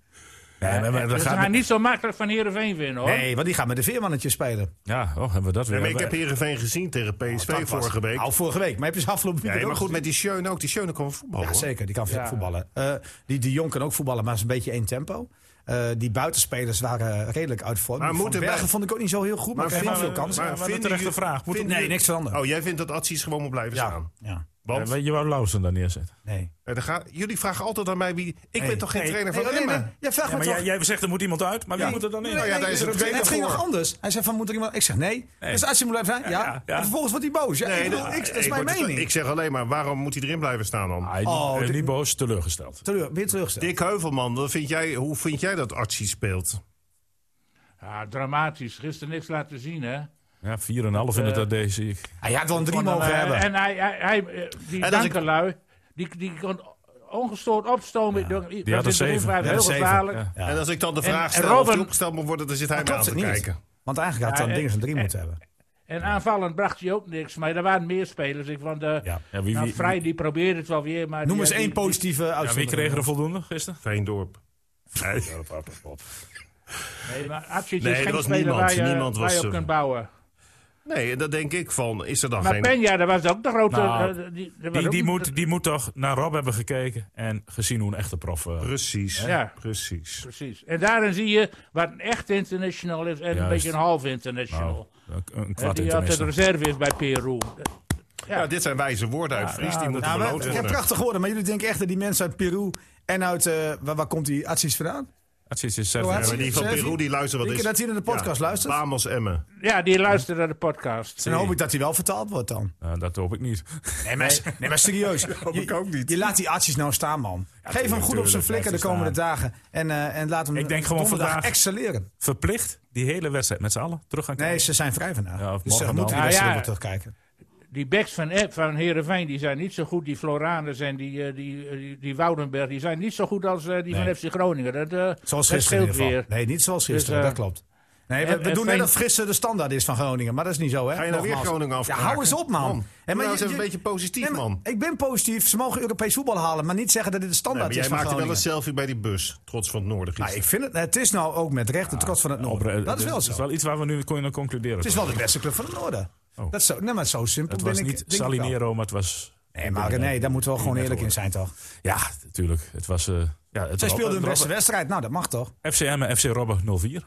[SPEAKER 4] Nee, maar- maar
[SPEAKER 5] Dus
[SPEAKER 4] dat
[SPEAKER 5] ze
[SPEAKER 4] gaat-
[SPEAKER 5] gaan niet zo makkelijk van Heerenveen winnen, hoor.
[SPEAKER 2] Nee, want die gaat met de veermannetje spelen.
[SPEAKER 4] Ja, oh, hebben we dat weer.
[SPEAKER 3] Nee, maar ik heb Heerenveen gezien tegen PSV
[SPEAKER 2] Dat was-
[SPEAKER 3] vorige week.
[SPEAKER 2] Nou, vorige week. Maar heb je ze afgelopen weekend
[SPEAKER 3] Nee, maar
[SPEAKER 2] ook
[SPEAKER 3] goed, met die Schöne ook. Die Schöne kan voetballen.
[SPEAKER 2] Ja,
[SPEAKER 3] hoor.
[SPEAKER 2] zeker. Die kan veel voetballen. Eh, die de Jong kan ook voetballen, maar is een beetje één tempo. Eh, die buitenspelers waren redelijk uit vorm.
[SPEAKER 3] Maar
[SPEAKER 2] Van
[SPEAKER 3] moeten wij-
[SPEAKER 2] Bergen vond ik ook niet zo heel goed, maar, kreeg wel
[SPEAKER 3] vinden-
[SPEAKER 2] veel kansen.
[SPEAKER 4] maar- maar
[SPEAKER 3] vinden
[SPEAKER 4] een terechte
[SPEAKER 3] jullie-
[SPEAKER 4] vraag. Moet-
[SPEAKER 3] vinden
[SPEAKER 2] nee,
[SPEAKER 3] jullie-
[SPEAKER 2] niks veranderen.
[SPEAKER 3] Oh, jij vindt dat Atsies gewoon moet blijven
[SPEAKER 2] ja.
[SPEAKER 3] staan?
[SPEAKER 2] ja.
[SPEAKER 3] Want
[SPEAKER 4] Je wou Lausen daar neerzetten.
[SPEAKER 2] Nee.
[SPEAKER 3] eh, dan gaan- jullie vragen altijd aan mij wie... Ik ben toch geen
[SPEAKER 4] nee.
[SPEAKER 3] trainer
[SPEAKER 2] Nee,
[SPEAKER 3] van
[SPEAKER 2] oh, nee,
[SPEAKER 3] Emmen?
[SPEAKER 2] nee. Ja, vraag me
[SPEAKER 4] Ja,
[SPEAKER 2] toch.
[SPEAKER 4] maar jij, jij zegt er moet iemand uit, maar wie moet er dan in?
[SPEAKER 3] Nou ja, daar is het
[SPEAKER 2] het
[SPEAKER 3] tweede
[SPEAKER 2] ging nog
[SPEAKER 3] voor.
[SPEAKER 2] anders. Hij zei van, moet er iemand... Ik zeg nee.
[SPEAKER 4] Nee.
[SPEAKER 2] Dus als je moet blijven zijn, ja.
[SPEAKER 4] ja, ja.
[SPEAKER 2] En vervolgens wordt hij boos. Ja, ik bedoel,
[SPEAKER 3] nou,
[SPEAKER 2] ik- dat is
[SPEAKER 3] ik
[SPEAKER 2] mijn
[SPEAKER 3] word-
[SPEAKER 2] mening.
[SPEAKER 3] Ik zeg alleen maar, waarom moet hij erin blijven staan dan?
[SPEAKER 4] Ah, Hij
[SPEAKER 2] Oh,
[SPEAKER 4] is
[SPEAKER 2] dit-
[SPEAKER 4] niet boos, teleurgesteld.
[SPEAKER 2] Teleur, weer terugstellen.
[SPEAKER 3] Dick Heuvelman, wat vind jij, hoe vind jij dat Archie speelt?
[SPEAKER 5] Ja, Ah, dramatisch. Gisteren niks laten zien, hè.
[SPEAKER 4] Ja, 4,5 in het AD zie ik.
[SPEAKER 2] Hij had wel een drie
[SPEAKER 5] Van,
[SPEAKER 2] mogen
[SPEAKER 5] eh,
[SPEAKER 2] hebben.
[SPEAKER 5] En hij, hij, hij, eh, die
[SPEAKER 3] En als ik-
[SPEAKER 5] dankelui, die, die kon ongestoord opstomen. door, die
[SPEAKER 4] had een zeven. Ja,
[SPEAKER 5] heel
[SPEAKER 2] een zeven,
[SPEAKER 5] gevaarlijk.
[SPEAKER 4] ja.
[SPEAKER 2] Ja.
[SPEAKER 3] En als ik dan de
[SPEAKER 5] En-
[SPEAKER 3] vraag
[SPEAKER 5] en
[SPEAKER 3] stel of
[SPEAKER 5] Robin-
[SPEAKER 3] hij opgesteld moet worden, dan zit hij
[SPEAKER 2] Maar
[SPEAKER 3] mij aan
[SPEAKER 2] klopt
[SPEAKER 3] te
[SPEAKER 2] het niet.
[SPEAKER 3] kijken.
[SPEAKER 2] Want eigenlijk had dan
[SPEAKER 5] Ja,
[SPEAKER 2] dingen een drie
[SPEAKER 5] eh,
[SPEAKER 2] moeten hebben.
[SPEAKER 5] En aanvallend bracht hij ook niks. Maar er waren meer spelers. Ik vond de,
[SPEAKER 2] Ja.
[SPEAKER 4] Ja, wie,
[SPEAKER 5] nou,
[SPEAKER 4] wie,
[SPEAKER 5] Vrij die probeerde het wel weer. Maar
[SPEAKER 2] Noem
[SPEAKER 5] die-
[SPEAKER 2] eens
[SPEAKER 5] die-
[SPEAKER 2] één
[SPEAKER 5] die-
[SPEAKER 2] positieve
[SPEAKER 4] ja, wie
[SPEAKER 2] uitzondering.
[SPEAKER 4] kreeg er voldoende gisteren?
[SPEAKER 3] Veendorp. Nee,
[SPEAKER 5] Nee, maar Absic
[SPEAKER 3] Nee,
[SPEAKER 5] is
[SPEAKER 3] er
[SPEAKER 5] geen
[SPEAKER 3] was
[SPEAKER 5] speler
[SPEAKER 3] niemand.
[SPEAKER 5] waar je,
[SPEAKER 3] Niemand
[SPEAKER 5] waar je
[SPEAKER 3] was,
[SPEAKER 5] op
[SPEAKER 3] eh,
[SPEAKER 5] kunt bouwen.
[SPEAKER 3] Nee, en dan denk ik van, is er dan
[SPEAKER 5] Maar
[SPEAKER 3] geen...
[SPEAKER 5] Penja, dat was ook de grote...
[SPEAKER 4] Nou,
[SPEAKER 5] eh, die, dat was
[SPEAKER 4] Die,
[SPEAKER 5] ook
[SPEAKER 4] die,
[SPEAKER 5] niet-
[SPEAKER 4] moet, die moet toch naar Rob hebben gekeken en gezien hoe een echte prof... eh,
[SPEAKER 3] Precies,
[SPEAKER 5] Ja.
[SPEAKER 3] precies.
[SPEAKER 5] Precies. En daarin zie je wat een echt international is en een
[SPEAKER 4] Juist.
[SPEAKER 5] beetje een half
[SPEAKER 4] nou,
[SPEAKER 5] international.
[SPEAKER 4] een een
[SPEAKER 5] Eh,
[SPEAKER 4] kwart
[SPEAKER 5] die altijd
[SPEAKER 4] international.
[SPEAKER 2] dus-
[SPEAKER 5] reserve is bij Peru.
[SPEAKER 3] Ja. dit zijn wijze woorden uit Fries, die moeten
[SPEAKER 2] Nou, maar,
[SPEAKER 3] beloond
[SPEAKER 2] ja,
[SPEAKER 3] worden.
[SPEAKER 2] prachtig geworden. Maar jullie denken echt dat die mensen uit Peru en uit... eh, waar, waar komt die acties vandaan?
[SPEAKER 4] Het is- eh, het is-
[SPEAKER 3] Ja, maar die van
[SPEAKER 2] Servi-
[SPEAKER 3] Peru, die luisteren wat
[SPEAKER 2] Denk
[SPEAKER 3] is...
[SPEAKER 2] je dat hij naar de podcast luistert?
[SPEAKER 3] Lamos Emmen.
[SPEAKER 5] Ja, die luisteren naar de podcast.
[SPEAKER 2] En dan hoop ik dat hij wel vertaald wordt dan.
[SPEAKER 4] Nou, dat hoop ik niet.
[SPEAKER 2] Nee, maar, nee, maar serieus.
[SPEAKER 3] hoop ik ook niet.
[SPEAKER 2] Je laat die acties nou staan, man. Geef hem goed op
[SPEAKER 4] tuurlijk,
[SPEAKER 2] zijn flikken de
[SPEAKER 4] blijft
[SPEAKER 2] komende
[SPEAKER 4] hij
[SPEAKER 2] dagen. En, eh, en laat hem
[SPEAKER 4] Ik denk gewoon
[SPEAKER 2] donderdag
[SPEAKER 4] vandaag-
[SPEAKER 2] excelleren.
[SPEAKER 4] Verplicht die hele wedstrijd met z'n allen terug gaan kijken.
[SPEAKER 2] Nee, ze zijn vrij vandaag.
[SPEAKER 4] Ja, of
[SPEAKER 2] dus ze
[SPEAKER 4] morgen
[SPEAKER 2] moeten
[SPEAKER 4] dan.
[SPEAKER 2] die
[SPEAKER 5] Ah,
[SPEAKER 2] wedstrijd
[SPEAKER 5] ja.
[SPEAKER 2] wel terugkijken.
[SPEAKER 5] Die backs van, eh, van Heerenveen, die zijn niet zo goed. Die Floranus en die, eh, die, eh, die, die Woudenberg, die zijn niet zo goed als eh, die
[SPEAKER 2] Nee.
[SPEAKER 5] van FC Groningen. Dat, eh,
[SPEAKER 2] Zoals
[SPEAKER 5] dat
[SPEAKER 2] gisteren in
[SPEAKER 5] scheelt
[SPEAKER 2] ieder geval.
[SPEAKER 5] weer.
[SPEAKER 2] Nee, niet zoals gisteren,
[SPEAKER 5] Dus, eh,
[SPEAKER 2] dat klopt. Nee, we,
[SPEAKER 5] en-
[SPEAKER 2] we
[SPEAKER 5] en
[SPEAKER 2] doen net
[SPEAKER 5] Veen-
[SPEAKER 2] dat gisteren de standaard is van Groningen, maar dat is niet zo, hè?
[SPEAKER 3] Ga je nou weer
[SPEAKER 2] Nogmaals.
[SPEAKER 3] Groningen af?
[SPEAKER 2] Ja, hou eens op, man.
[SPEAKER 3] man
[SPEAKER 2] Hè,
[SPEAKER 3] doe nou
[SPEAKER 2] je-
[SPEAKER 3] eens even
[SPEAKER 2] je-
[SPEAKER 3] een beetje positief,
[SPEAKER 2] Nee, maar
[SPEAKER 3] man.
[SPEAKER 2] Ik ben positief. Ze mogen Europees voetbal halen, maar niet zeggen dat dit de
[SPEAKER 3] Nee,
[SPEAKER 2] standaard
[SPEAKER 3] maar jij
[SPEAKER 2] is van
[SPEAKER 3] maakte wel
[SPEAKER 2] Groningen.
[SPEAKER 3] een selfie bij die bus. Trots van het noorden
[SPEAKER 2] Nou,
[SPEAKER 3] gisteren.
[SPEAKER 2] ik vind het, het is nou ook met recht de trots van het Noorden.
[SPEAKER 4] Opre-
[SPEAKER 2] dat is wel
[SPEAKER 4] dus
[SPEAKER 2] zo.
[SPEAKER 4] Het is wel iets waar we nu kunnen concluderen.
[SPEAKER 2] het is wel de beste club van het Noorden.
[SPEAKER 4] Oh.
[SPEAKER 2] Dat is zo, nee, maar zo simpel
[SPEAKER 4] het
[SPEAKER 2] ben
[SPEAKER 4] was
[SPEAKER 2] ik-
[SPEAKER 4] niet
[SPEAKER 2] denk ik wel.
[SPEAKER 4] Salinero, maar het was...
[SPEAKER 2] Nee, maar nee, daar moeten we wel gewoon eerlijk in zijn, toch?
[SPEAKER 4] Ja, natuurlijk. Het was... eh ja, het
[SPEAKER 2] Zij
[SPEAKER 4] was-
[SPEAKER 2] speelden hun
[SPEAKER 4] Robben-
[SPEAKER 2] beste wedstrijd. Nou, dat mag toch?
[SPEAKER 4] FCM en FC Robben 04.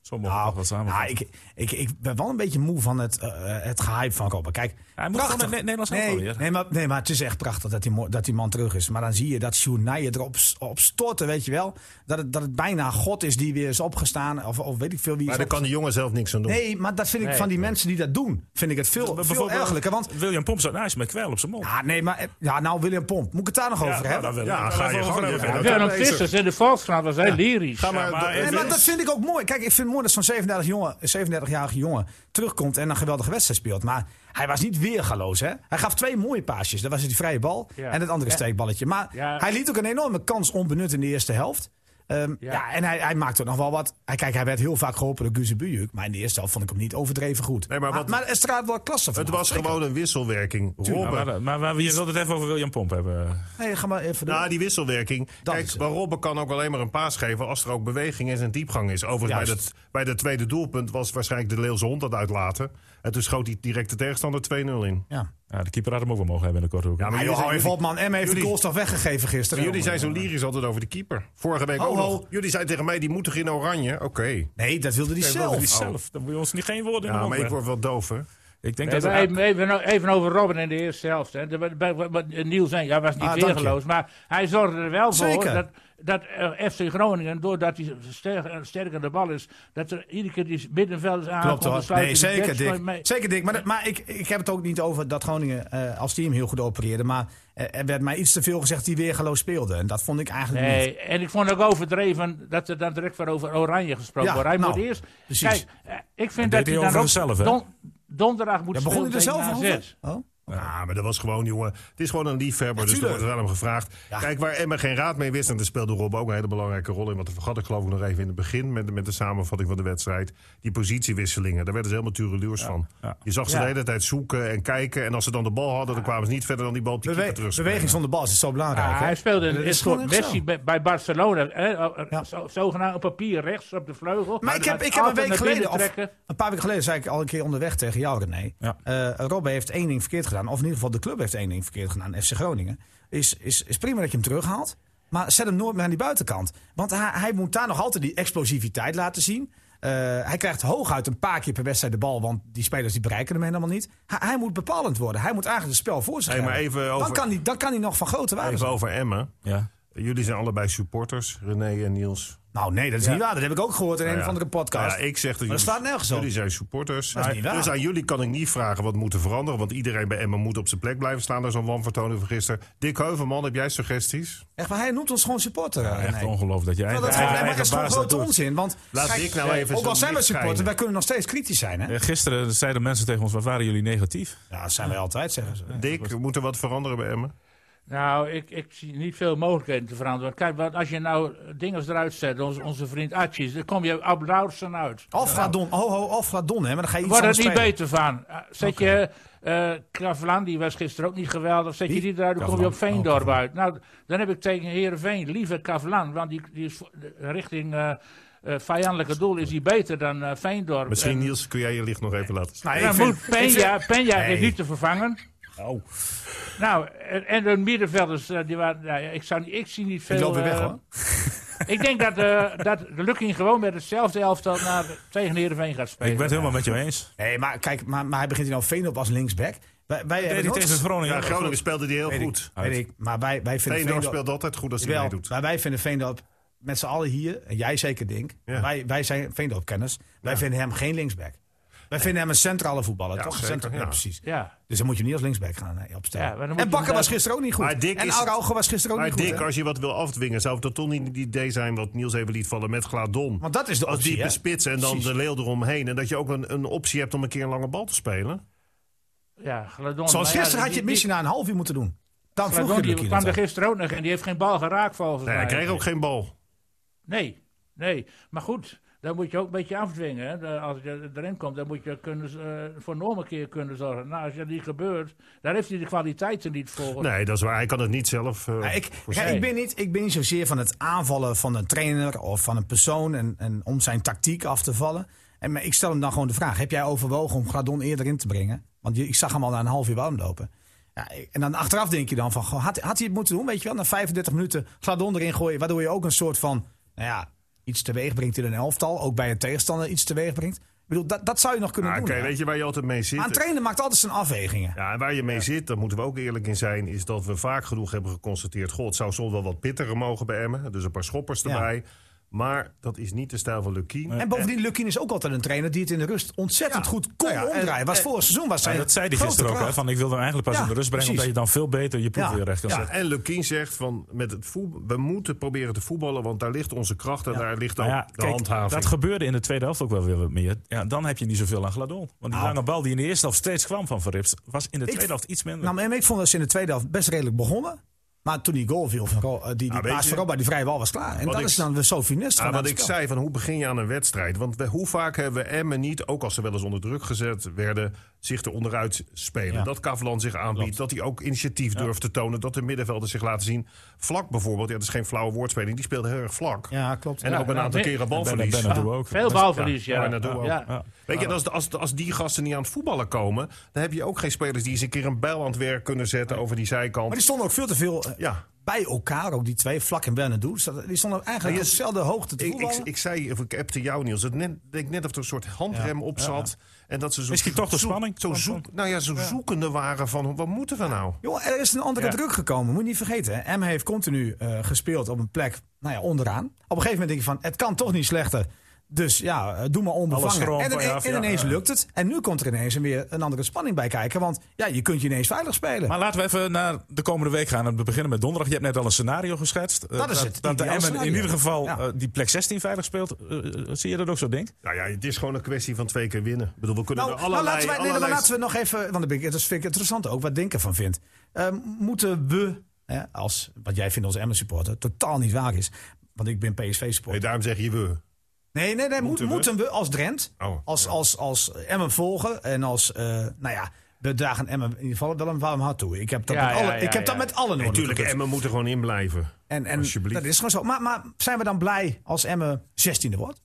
[SPEAKER 4] Zo mogen we
[SPEAKER 2] Nou,
[SPEAKER 4] dat wel samen.
[SPEAKER 2] nou, ik, ik, ik ben wel een beetje moe van het, eh, het gehype van Robben. Kijk,
[SPEAKER 4] Hij moet
[SPEAKER 2] prachtig.
[SPEAKER 4] gewoon met Ne- Nederlands
[SPEAKER 2] nee,
[SPEAKER 4] elftal weer.
[SPEAKER 2] Nee maar, nee, maar het is echt prachtig dat die, mo- dat die man terug is. Maar dan zie je dat Sjoenaaien erop s- op storten, weet je wel. Dat het, dat het bijna God is die weer is opgestaan. Of, of weet ik veel wie is
[SPEAKER 3] Maar daar kan de jongen zelf niks aan doen.
[SPEAKER 2] Nee, maar dat vind ik
[SPEAKER 5] Nee,
[SPEAKER 2] van die
[SPEAKER 5] nee.
[SPEAKER 2] mensen die dat doen, vind ik het
[SPEAKER 4] Dus
[SPEAKER 2] veel, veel ergelijker. Want
[SPEAKER 4] William Pomp zat naast met kwijl op zijn mond.
[SPEAKER 2] ja, nee, maar eh, ja, nou William Pomp, moet ik het daar nog over
[SPEAKER 4] nou,
[SPEAKER 2] hebben?
[SPEAKER 4] daar wil ik
[SPEAKER 3] Ja,
[SPEAKER 4] wel
[SPEAKER 3] ga
[SPEAKER 4] even
[SPEAKER 3] je
[SPEAKER 4] over
[SPEAKER 3] gang,
[SPEAKER 4] hebben.
[SPEAKER 3] je bent-
[SPEAKER 5] Björn Vissers in de Volkskrant was heel lyrisch.
[SPEAKER 3] Ga maar,
[SPEAKER 4] Ja, maar-
[SPEAKER 2] Nee,
[SPEAKER 3] eh,
[SPEAKER 2] maar dat vind ik ook mooi. Kijk, ik vind het mooi dat zo'n 37 jongen, 37-jarige jongen terugkomt en een geweldige wedstrijd speelt. Maar hij was niet weergaloos, hè? Hij gaf twee mooie paasjes. Dat was die vrije bal
[SPEAKER 5] Ja.
[SPEAKER 2] en het andere steekballetje. Maar
[SPEAKER 5] Ja.
[SPEAKER 2] hij liet ook een enorme kans onbenut in de eerste helft. Ehm, ja.
[SPEAKER 5] Ja.
[SPEAKER 2] en hij, hij maakte ook nog wel wat. Hij, kijk, hij werd heel vaak geholpen door Guze Bujuk. Maar in de eerste helft vond ik hem niet overdreven goed.
[SPEAKER 3] Nee, maar wat-
[SPEAKER 2] maar er straat wel klasse van.
[SPEAKER 3] het was gewoon een wisselwerking.
[SPEAKER 4] Ja, maar,
[SPEAKER 3] Robben
[SPEAKER 4] Nou, maar, maar je wilt het even over William Pomp hebben.
[SPEAKER 2] Nee, ga maar even door.
[SPEAKER 3] Nou, die wisselwerking.
[SPEAKER 2] Dat
[SPEAKER 3] Kijk,
[SPEAKER 2] is het.
[SPEAKER 3] maar Robben kan ook alleen maar een paas geven als er ook beweging is en diepgang is. Overigens, bij
[SPEAKER 2] Juist.
[SPEAKER 3] dat, bij dat tweede doelpunt was waarschijnlijk de Leeuwse hond dat uitlaten. En toen schoot hij direct de tegenstander 2-0 in.
[SPEAKER 2] ja.
[SPEAKER 4] Ja, de keeper had hem ook wel mogen hebben in de korte hoek.
[SPEAKER 3] Ja, maar
[SPEAKER 2] Maar
[SPEAKER 3] jullie
[SPEAKER 2] hou
[SPEAKER 3] zijn-
[SPEAKER 2] even op, man. Emma heeft de
[SPEAKER 3] jullie-
[SPEAKER 2] goals toch weggegeven gisteren.
[SPEAKER 3] jullie zijn zo lyrisch altijd over de keeper. Vorige week
[SPEAKER 2] Ho,
[SPEAKER 3] ook
[SPEAKER 2] ho.
[SPEAKER 3] nog. Jullie zeiden tegen mij, die moet toch in oranje? Oké.
[SPEAKER 2] Nee, dat wilde hij zelf.
[SPEAKER 4] zelf. Die zelf. Dan moet je ons niet geen woorden in de
[SPEAKER 3] Oh, Ja, maar
[SPEAKER 4] mond
[SPEAKER 3] ik
[SPEAKER 4] leggen.
[SPEAKER 3] word wel doof, hè?
[SPEAKER 4] Ik denk
[SPEAKER 5] Nee,
[SPEAKER 4] dat...
[SPEAKER 5] maar even, even, even over Robin in de eerste helft. Hè. De- wat- wat- wat eh, Niels zei, hij was niet
[SPEAKER 2] Ah, dank je.
[SPEAKER 5] weergeloos. Maar hij zorgde er wel voor
[SPEAKER 2] Zeker.
[SPEAKER 5] dat, dat eh, FC Groningen, doordat hij ster- sterk aan de bal is, dat er iedere keer die middenvelders aan
[SPEAKER 2] Klopt hoor. Nee, zeker Dick.
[SPEAKER 5] Mee.
[SPEAKER 2] Zeker Dick. Maar, dat- maar ik, ik heb het ook niet over dat Groningen eh, als team heel goed opereerde. Maar eh, er werd mij iets te veel gezegd die weergeloos speelde. En dat vond ik eigenlijk niet.
[SPEAKER 5] Nee, en ik vond ook overdreven dat er dan direct weer over Oranje gesproken
[SPEAKER 2] Ja,
[SPEAKER 5] wordt. Hij
[SPEAKER 2] nou,
[SPEAKER 5] moet eerst.
[SPEAKER 2] precies.
[SPEAKER 5] Kijk, eh, ik vind
[SPEAKER 4] Dat
[SPEAKER 5] dat,
[SPEAKER 4] deed hij
[SPEAKER 5] hij
[SPEAKER 4] over
[SPEAKER 5] dan ook
[SPEAKER 4] zichzelf, hè?
[SPEAKER 5] don- donderdag moet
[SPEAKER 2] Ja,
[SPEAKER 5] spelen
[SPEAKER 2] begon hij er
[SPEAKER 5] tegen
[SPEAKER 2] zelf
[SPEAKER 5] AZ.
[SPEAKER 2] over? Oh?
[SPEAKER 3] Ja, maar dat was gewoon, jongen. Het is gewoon een liefhebber, dus er
[SPEAKER 2] tuurlijk.
[SPEAKER 3] wordt wel hem gevraagd. Kijk, waar Emma geen raad mee wist, en daar speelde Rob ook een hele belangrijke rol in. Want dat vergat ik geloof ik nog even in het begin met, met de samenvatting van de wedstrijd. Die positiewisselingen, daar werden ze helemaal tureluurs van.
[SPEAKER 4] ja.
[SPEAKER 3] Je zag ze
[SPEAKER 5] Ja.
[SPEAKER 3] de hele tijd zoeken en kijken. En als ze dan de bal hadden, dan kwamen ze niet verder dan die bal op de
[SPEAKER 2] Bewe-
[SPEAKER 3] keeper terug.
[SPEAKER 2] beweging zonder bal is zo belangrijk.
[SPEAKER 5] Ja,
[SPEAKER 2] hè?
[SPEAKER 5] hij speelde
[SPEAKER 2] Dat
[SPEAKER 5] een
[SPEAKER 2] is
[SPEAKER 5] een soort
[SPEAKER 2] gewoon echt
[SPEAKER 5] Messi
[SPEAKER 2] zo.
[SPEAKER 5] bij, bij Barcelona. Hè? O-
[SPEAKER 2] Ja.
[SPEAKER 5] zo- zogenaamd op papier rechts op de vleugel.
[SPEAKER 2] Maar ik heb, ik heb een week geleden, of een paar weken geleden, zei ik al een keer onderweg tegen jou, René.
[SPEAKER 4] Ja.
[SPEAKER 2] Eh, Robben heeft één ding verkeerd gedaan. Of in ieder geval de club heeft één ding verkeerd gedaan. FC Groningen. Is, is, is prima dat je hem terughaalt. Maar zet hem nooit meer aan die buitenkant. Want hij, hij moet daar nog altijd die explosiviteit laten zien. Eh, hij krijgt hooguit een paar keer per wedstrijd de bal. Want die spelers die bereiken hem helemaal niet. Hij, hij moet bepalend worden. Hij moet eigenlijk het spel voor zich
[SPEAKER 3] Hey, maar
[SPEAKER 2] hebben.
[SPEAKER 3] even
[SPEAKER 2] Dan
[SPEAKER 3] over-
[SPEAKER 2] kan, hij, dan kan hij nog van grote waarde
[SPEAKER 3] Even
[SPEAKER 2] zijn.
[SPEAKER 3] over Emma.
[SPEAKER 4] Ja.
[SPEAKER 3] Jullie zijn allebei supporters, René en Niels.
[SPEAKER 2] Nou nee, dat is niet waar. Dat heb ik ook gehoord in een
[SPEAKER 3] Nou
[SPEAKER 2] of
[SPEAKER 3] ja.
[SPEAKER 2] andere podcast.
[SPEAKER 3] Nou Ja, ik zeg dat
[SPEAKER 2] dat
[SPEAKER 3] jullie,
[SPEAKER 2] staat nergens op.
[SPEAKER 3] jullie zijn supporters.
[SPEAKER 2] Dat is niet waar.
[SPEAKER 3] dus aan jullie kan ik niet vragen wat moet er veranderen. Want iedereen bij Emma moet op zijn plek blijven staan. Daar zo'n wanvertoning van gisteren. Dick Heuvelman, heb jij suggesties?
[SPEAKER 2] Echt, maar hij noemt ons gewoon supporter. René.
[SPEAKER 4] Echt ongelooflijk dat je
[SPEAKER 2] Terwijl dat
[SPEAKER 4] eigenlijk...
[SPEAKER 2] gewoon-
[SPEAKER 4] Ja,
[SPEAKER 2] nee, maar dat is gewoon
[SPEAKER 4] eigen baas
[SPEAKER 2] grote
[SPEAKER 4] dat doet.
[SPEAKER 2] onzin. Want
[SPEAKER 3] Laat
[SPEAKER 2] kijk,
[SPEAKER 3] Dick nou
[SPEAKER 2] eh,
[SPEAKER 3] even
[SPEAKER 2] ook al
[SPEAKER 3] zijn
[SPEAKER 2] zijn we
[SPEAKER 3] licht
[SPEAKER 2] supporter,
[SPEAKER 3] schijnen.
[SPEAKER 2] wij kunnen nog steeds kritisch zijn. Hè?
[SPEAKER 4] Eh, Gisteren zeiden mensen tegen ons, wat waren jullie negatief?
[SPEAKER 2] Ja, dat zijn wij altijd, zeggen ze.
[SPEAKER 3] Dick, moet er wat veranderen bij Emma?
[SPEAKER 5] Nou, ik, ik zie niet veel mogelijkheden te veranderen. Kijk, wat, als je nou dingen eruit zet, onze, onze vriend Atjes, dan kom je op Lauwersen uit.
[SPEAKER 2] Afradon, ho ho, Afradon, hè, maar dan ga je iets
[SPEAKER 5] Wordt
[SPEAKER 2] anders
[SPEAKER 5] er niet
[SPEAKER 2] spelen.
[SPEAKER 5] beter van. Eh, Zet je eh Kravlan, die was gisteren ook niet geweldig. Zet
[SPEAKER 2] Wie?
[SPEAKER 5] je die eruit, dan kom je op
[SPEAKER 4] Kavlan. Oh,
[SPEAKER 5] Veendorp
[SPEAKER 4] Kavlan.
[SPEAKER 5] uit. Nou, dan heb ik tegen Heerenveen liever Kavlan. Want die, die is vo- richting eh, eh, vijandelijke doel is die beter dan eh, Veendorp.
[SPEAKER 3] Misschien,
[SPEAKER 5] En-
[SPEAKER 3] Niels, kun jij je licht nog even laten staan.
[SPEAKER 2] Nou, ik
[SPEAKER 5] dan
[SPEAKER 2] vind-
[SPEAKER 5] moet Peña, Peña
[SPEAKER 3] Nee.
[SPEAKER 5] is niet te vervangen.
[SPEAKER 4] Nou,
[SPEAKER 5] Nou, en, en de middenvelders, eh, die waren, nou, ja, ik, zou, niet- ik zie niet veel...
[SPEAKER 2] ik loop weer weg
[SPEAKER 5] eh,
[SPEAKER 2] hoor.
[SPEAKER 5] Ik denk dat, eh dat Lukking gewoon met hetzelfde elftal naar, tegen Heerenveen gaat spelen.
[SPEAKER 4] ik ben het helemaal met je eens.
[SPEAKER 2] Nee, maar kijk, maar, maar hij begint hier nou Veenop als linksback. Wij, wij
[SPEAKER 4] Deed
[SPEAKER 2] hebben
[SPEAKER 4] hij
[SPEAKER 2] nooit-
[SPEAKER 4] tegen Groningen.
[SPEAKER 3] Ja, Groningen speelde die heel
[SPEAKER 2] Weet ik,
[SPEAKER 3] goed.
[SPEAKER 2] weet ik, maar wij, wij vinden
[SPEAKER 3] Veendorp
[SPEAKER 2] Veendorp-
[SPEAKER 3] speelt altijd goed als hij
[SPEAKER 2] Jawel,
[SPEAKER 3] meedoet.
[SPEAKER 2] maar wij vinden Veendorp met z'n allen hier, en jij zeker Dink,
[SPEAKER 3] Ja.
[SPEAKER 2] wij, wij zijn Veendorp-kenners, wij vinden hem geen linksback. Wij vinden hem een centrale voetballer,
[SPEAKER 3] Ja,
[SPEAKER 2] toch? Een
[SPEAKER 3] zeker,
[SPEAKER 2] centra-
[SPEAKER 3] ja.
[SPEAKER 2] precies.
[SPEAKER 5] Ja.
[SPEAKER 2] Dus dan moet je hem niet als linksback gaan eh,
[SPEAKER 5] Ja, maar
[SPEAKER 2] opstellen.
[SPEAKER 5] dan moet
[SPEAKER 2] en
[SPEAKER 5] je
[SPEAKER 2] Bakker was
[SPEAKER 5] inderdaad-
[SPEAKER 2] gisteren ook niet goed.
[SPEAKER 3] Maar Dick
[SPEAKER 2] en
[SPEAKER 3] is-
[SPEAKER 2] Araujo was gisteren ook
[SPEAKER 3] Maar
[SPEAKER 2] niet goed.
[SPEAKER 3] Dick,
[SPEAKER 2] hè?
[SPEAKER 3] als je wat wil afdwingen, zou het dat toch niet het idee zijn wat Niels even liet vallen met Gladon?
[SPEAKER 2] Want dat is de
[SPEAKER 3] als
[SPEAKER 2] optie,
[SPEAKER 3] die
[SPEAKER 2] hè?
[SPEAKER 3] spitsen en dan
[SPEAKER 2] Precies.
[SPEAKER 3] de leeuw eromheen. En dat je ook een, een optie hebt om een keer een lange bal te spelen.
[SPEAKER 5] Ja, Gladon.
[SPEAKER 2] Zoals
[SPEAKER 5] maar ja,
[SPEAKER 2] gisteren had
[SPEAKER 5] die-
[SPEAKER 2] je het misschien na een half uur moeten doen. Dan
[SPEAKER 5] die-
[SPEAKER 2] vroeg
[SPEAKER 5] Gladon
[SPEAKER 2] je
[SPEAKER 5] die
[SPEAKER 2] Lucky
[SPEAKER 5] kwam
[SPEAKER 2] dat
[SPEAKER 5] er
[SPEAKER 2] ook.
[SPEAKER 5] gisteren ook nog en die heeft geen bal geraakt volgens
[SPEAKER 3] Nee,
[SPEAKER 5] mij.
[SPEAKER 3] hij kreeg ook geen bal.
[SPEAKER 5] Nee, nee. Maar goed, dan moet je ook een beetje afdwingen. Hè. De- Als je erin komt, dan moet je kunnen, z- eh, voor nog een keer kunnen zorgen. Nou, als dat niet gebeurt, daar heeft hij de kwaliteiten niet voor.
[SPEAKER 3] Nee, dat is waar. Hij kan het niet zelf. eh,
[SPEAKER 2] Ja, ik,
[SPEAKER 3] voorzien.
[SPEAKER 2] kijk, ik, ben niet, ik ben niet zozeer van het aanvallen van een trainer of van een persoon en, en om zijn tactiek af te vallen. En, maar ik stel hem dan gewoon de vraag: heb jij overwogen om Gladon eerder in te brengen? Want je- ik zag hem al na een half uur warm lopen. Ja, ik- en dan achteraf denk je dan van, goh, had, had hij het moeten doen? Weet je wel, na 35 minuten Gladon erin gooien, waardoor je ook een soort van, nou ja, iets teweeg brengt in een elftal. Ook bij een tegenstander iets teweeg brengt. Ik bedoel, dat, dat zou je nog kunnen
[SPEAKER 3] Nou,
[SPEAKER 2] doen.
[SPEAKER 3] kijk,
[SPEAKER 2] hè?
[SPEAKER 3] weet je waar je altijd mee zit?
[SPEAKER 2] maar een trainer maakt altijd zijn afwegingen.
[SPEAKER 3] Ja, en waar je mee zit, daar moeten we ook eerlijk in zijn, is dat we vaak genoeg hebben geconstateerd. God, het zou soms wel wat pittiger mogen bij Emmen. Dus een paar schoppers
[SPEAKER 2] Ja.
[SPEAKER 3] erbij. Maar dat is niet de stijl van Lukien.
[SPEAKER 2] En bovendien, Lukien is ook altijd een trainer die het in de rust ontzettend goed kon
[SPEAKER 3] Nou ja, en-
[SPEAKER 2] omdraaien. Was vorig seizoen was hij
[SPEAKER 4] Ja, dat zei hij
[SPEAKER 2] grote
[SPEAKER 4] gisteren ook,
[SPEAKER 2] kracht.
[SPEAKER 4] hè, van ik wil hem eigenlijk pas
[SPEAKER 2] Ja,
[SPEAKER 4] in de rust brengen,
[SPEAKER 2] precies.
[SPEAKER 4] omdat je dan veel beter je ploeg
[SPEAKER 2] Ja,
[SPEAKER 4] weer recht kan
[SPEAKER 3] Ja,
[SPEAKER 4] zetten.
[SPEAKER 3] en Lukien zegt van met het voetbal, we moeten proberen te voetballen, want daar ligt onze kracht en daar ligt ook
[SPEAKER 4] Nou ja,
[SPEAKER 3] de
[SPEAKER 4] kijk,
[SPEAKER 3] handhaving.
[SPEAKER 4] dat gebeurde in de tweede helft ook wel weer wat meer. Ja, dan heb je niet zoveel aan Gladon. Want
[SPEAKER 3] Nou.
[SPEAKER 4] die lange bal die in de eerste helft steeds kwam van Van Rips, was in de tweede helft iets minder.
[SPEAKER 2] Nou, en ik vond dat ze in de tweede helft best redelijk begonnen. Maar toen die goal viel, van, Ro- eh, die, die
[SPEAKER 3] Ja, Nou, weet
[SPEAKER 2] paas
[SPEAKER 3] je-
[SPEAKER 2] van Robba, die vrije bal was klaar. En
[SPEAKER 3] Wat
[SPEAKER 2] dat
[SPEAKER 3] ik-
[SPEAKER 2] is dan weer zo finest.
[SPEAKER 3] Ja,
[SPEAKER 2] van
[SPEAKER 3] Ah, wat
[SPEAKER 2] het
[SPEAKER 3] ik
[SPEAKER 2] spel.
[SPEAKER 3] zei, van hoe begin je aan een wedstrijd? Want we- hoe vaak hebben we Emmen niet, ook als ze wel eens onder druk gezet werden, zich er onderuit spelen. Dat Kavlan zich aanbiedt, dat hij ook initiatief durft te tonen, dat de middenvelden zich laten zien. Vlak bijvoorbeeld, ja, dat is geen flauwe woordspeling, die speelde heel erg vlak.
[SPEAKER 2] Ja, klopt.
[SPEAKER 3] En
[SPEAKER 5] Ja,
[SPEAKER 3] ook een
[SPEAKER 5] ja,
[SPEAKER 3] aantal
[SPEAKER 5] nee.
[SPEAKER 3] keren
[SPEAKER 4] ben,
[SPEAKER 3] balverlies.
[SPEAKER 4] ben, ook.
[SPEAKER 5] Veel balverlies, ja.
[SPEAKER 3] Ja, Bernardo ook.
[SPEAKER 5] ja. Nou,
[SPEAKER 4] Ja.
[SPEAKER 3] Weet
[SPEAKER 2] Ah.
[SPEAKER 3] je, en als, als, als die gasten niet aan het voetballen komen, dan heb je ook geen spelers die eens een keer een bijl aan het werk kunnen zetten over die zijkant.
[SPEAKER 2] Maar die stonden ook veel te veel eh,
[SPEAKER 3] Ja.
[SPEAKER 2] bij elkaar. Ook die twee, Vlak en Bernardo. Ze- Die stonden eigenlijk
[SPEAKER 3] Ja,
[SPEAKER 2] op
[SPEAKER 3] Nou, je-
[SPEAKER 2] dezelfde hoogte te
[SPEAKER 3] Ik, ik,
[SPEAKER 2] voetballen.
[SPEAKER 3] ik zei, of ik appte jou Niels, het net, denk net of er een soort handrem op zat. En dat ze zo,
[SPEAKER 4] Misschien toch de
[SPEAKER 3] zo-
[SPEAKER 4] spanning?
[SPEAKER 3] Zo, zoek, nou ja, zo zoekende waren van, wat moeten we nou?
[SPEAKER 2] Joh, er is een andere
[SPEAKER 3] Ja.
[SPEAKER 2] druk gekomen. Moet je niet vergeten. hè. M heeft continu eh, gespeeld op een plek nou ja, onderaan. Op een gegeven moment denk je van, het kan toch niet slechter. Dus ja, eh, doe maar
[SPEAKER 4] Alles
[SPEAKER 2] onbevangen.
[SPEAKER 4] erop,
[SPEAKER 2] En, ine-
[SPEAKER 4] ja,
[SPEAKER 2] en
[SPEAKER 4] ja,
[SPEAKER 2] ineens
[SPEAKER 4] ja.
[SPEAKER 2] lukt het. En nu komt er ineens weer een andere spanning bij kijken. Want ja, je kunt je ineens veilig spelen.
[SPEAKER 4] Maar laten we even naar de komende week gaan. En we beginnen met donderdag. Je hebt net al een scenario geschetst. Eh,
[SPEAKER 2] Dat is het
[SPEAKER 4] Dat de
[SPEAKER 2] ideale
[SPEAKER 4] Emmen in
[SPEAKER 2] scenario.
[SPEAKER 4] ieder geval
[SPEAKER 2] Ja.
[SPEAKER 4] eh, die plek 16 veilig speelt. Eh, eh, zie je dat ook zo, Denk?
[SPEAKER 3] Nou ja, het is gewoon een kwestie van twee keer winnen. Ik bedoel, we kunnen
[SPEAKER 2] nou,
[SPEAKER 3] er
[SPEAKER 2] nou,
[SPEAKER 3] allerlei...
[SPEAKER 2] laten, wij, nee, maar
[SPEAKER 3] allerlei-
[SPEAKER 2] laten we nog even, want dat vind ik, dat vind ik interessant ook, wat Dink ervan vindt. Eh, moeten we, eh, als wat jij vindt als Emmen supporter, totaal niet waar is. Want ik ben PSV supporter.
[SPEAKER 3] Nee, daarom zeg je we. Oh.
[SPEAKER 2] Nee, nee, nee. Moeten,
[SPEAKER 3] Moeten we?
[SPEAKER 2] moeten we als Drent,
[SPEAKER 3] Oh,
[SPEAKER 2] als,
[SPEAKER 3] ja.
[SPEAKER 2] als, als Emmen volgen en als, eh, nou ja, we dragen Emmen in ieder geval wel een warm hart toe. Ik heb dat
[SPEAKER 5] Ja,
[SPEAKER 2] met
[SPEAKER 5] ja,
[SPEAKER 2] alle,
[SPEAKER 5] ja,
[SPEAKER 2] ik heb dat
[SPEAKER 5] ja.
[SPEAKER 2] met alle nodig.
[SPEAKER 3] Natuurlijk, Emmen moet er gewoon in blijven.
[SPEAKER 2] En, en
[SPEAKER 3] Alsjeblieft.
[SPEAKER 2] dat is gewoon zo. Maar, maar zijn we dan blij als Emmen 16e wordt?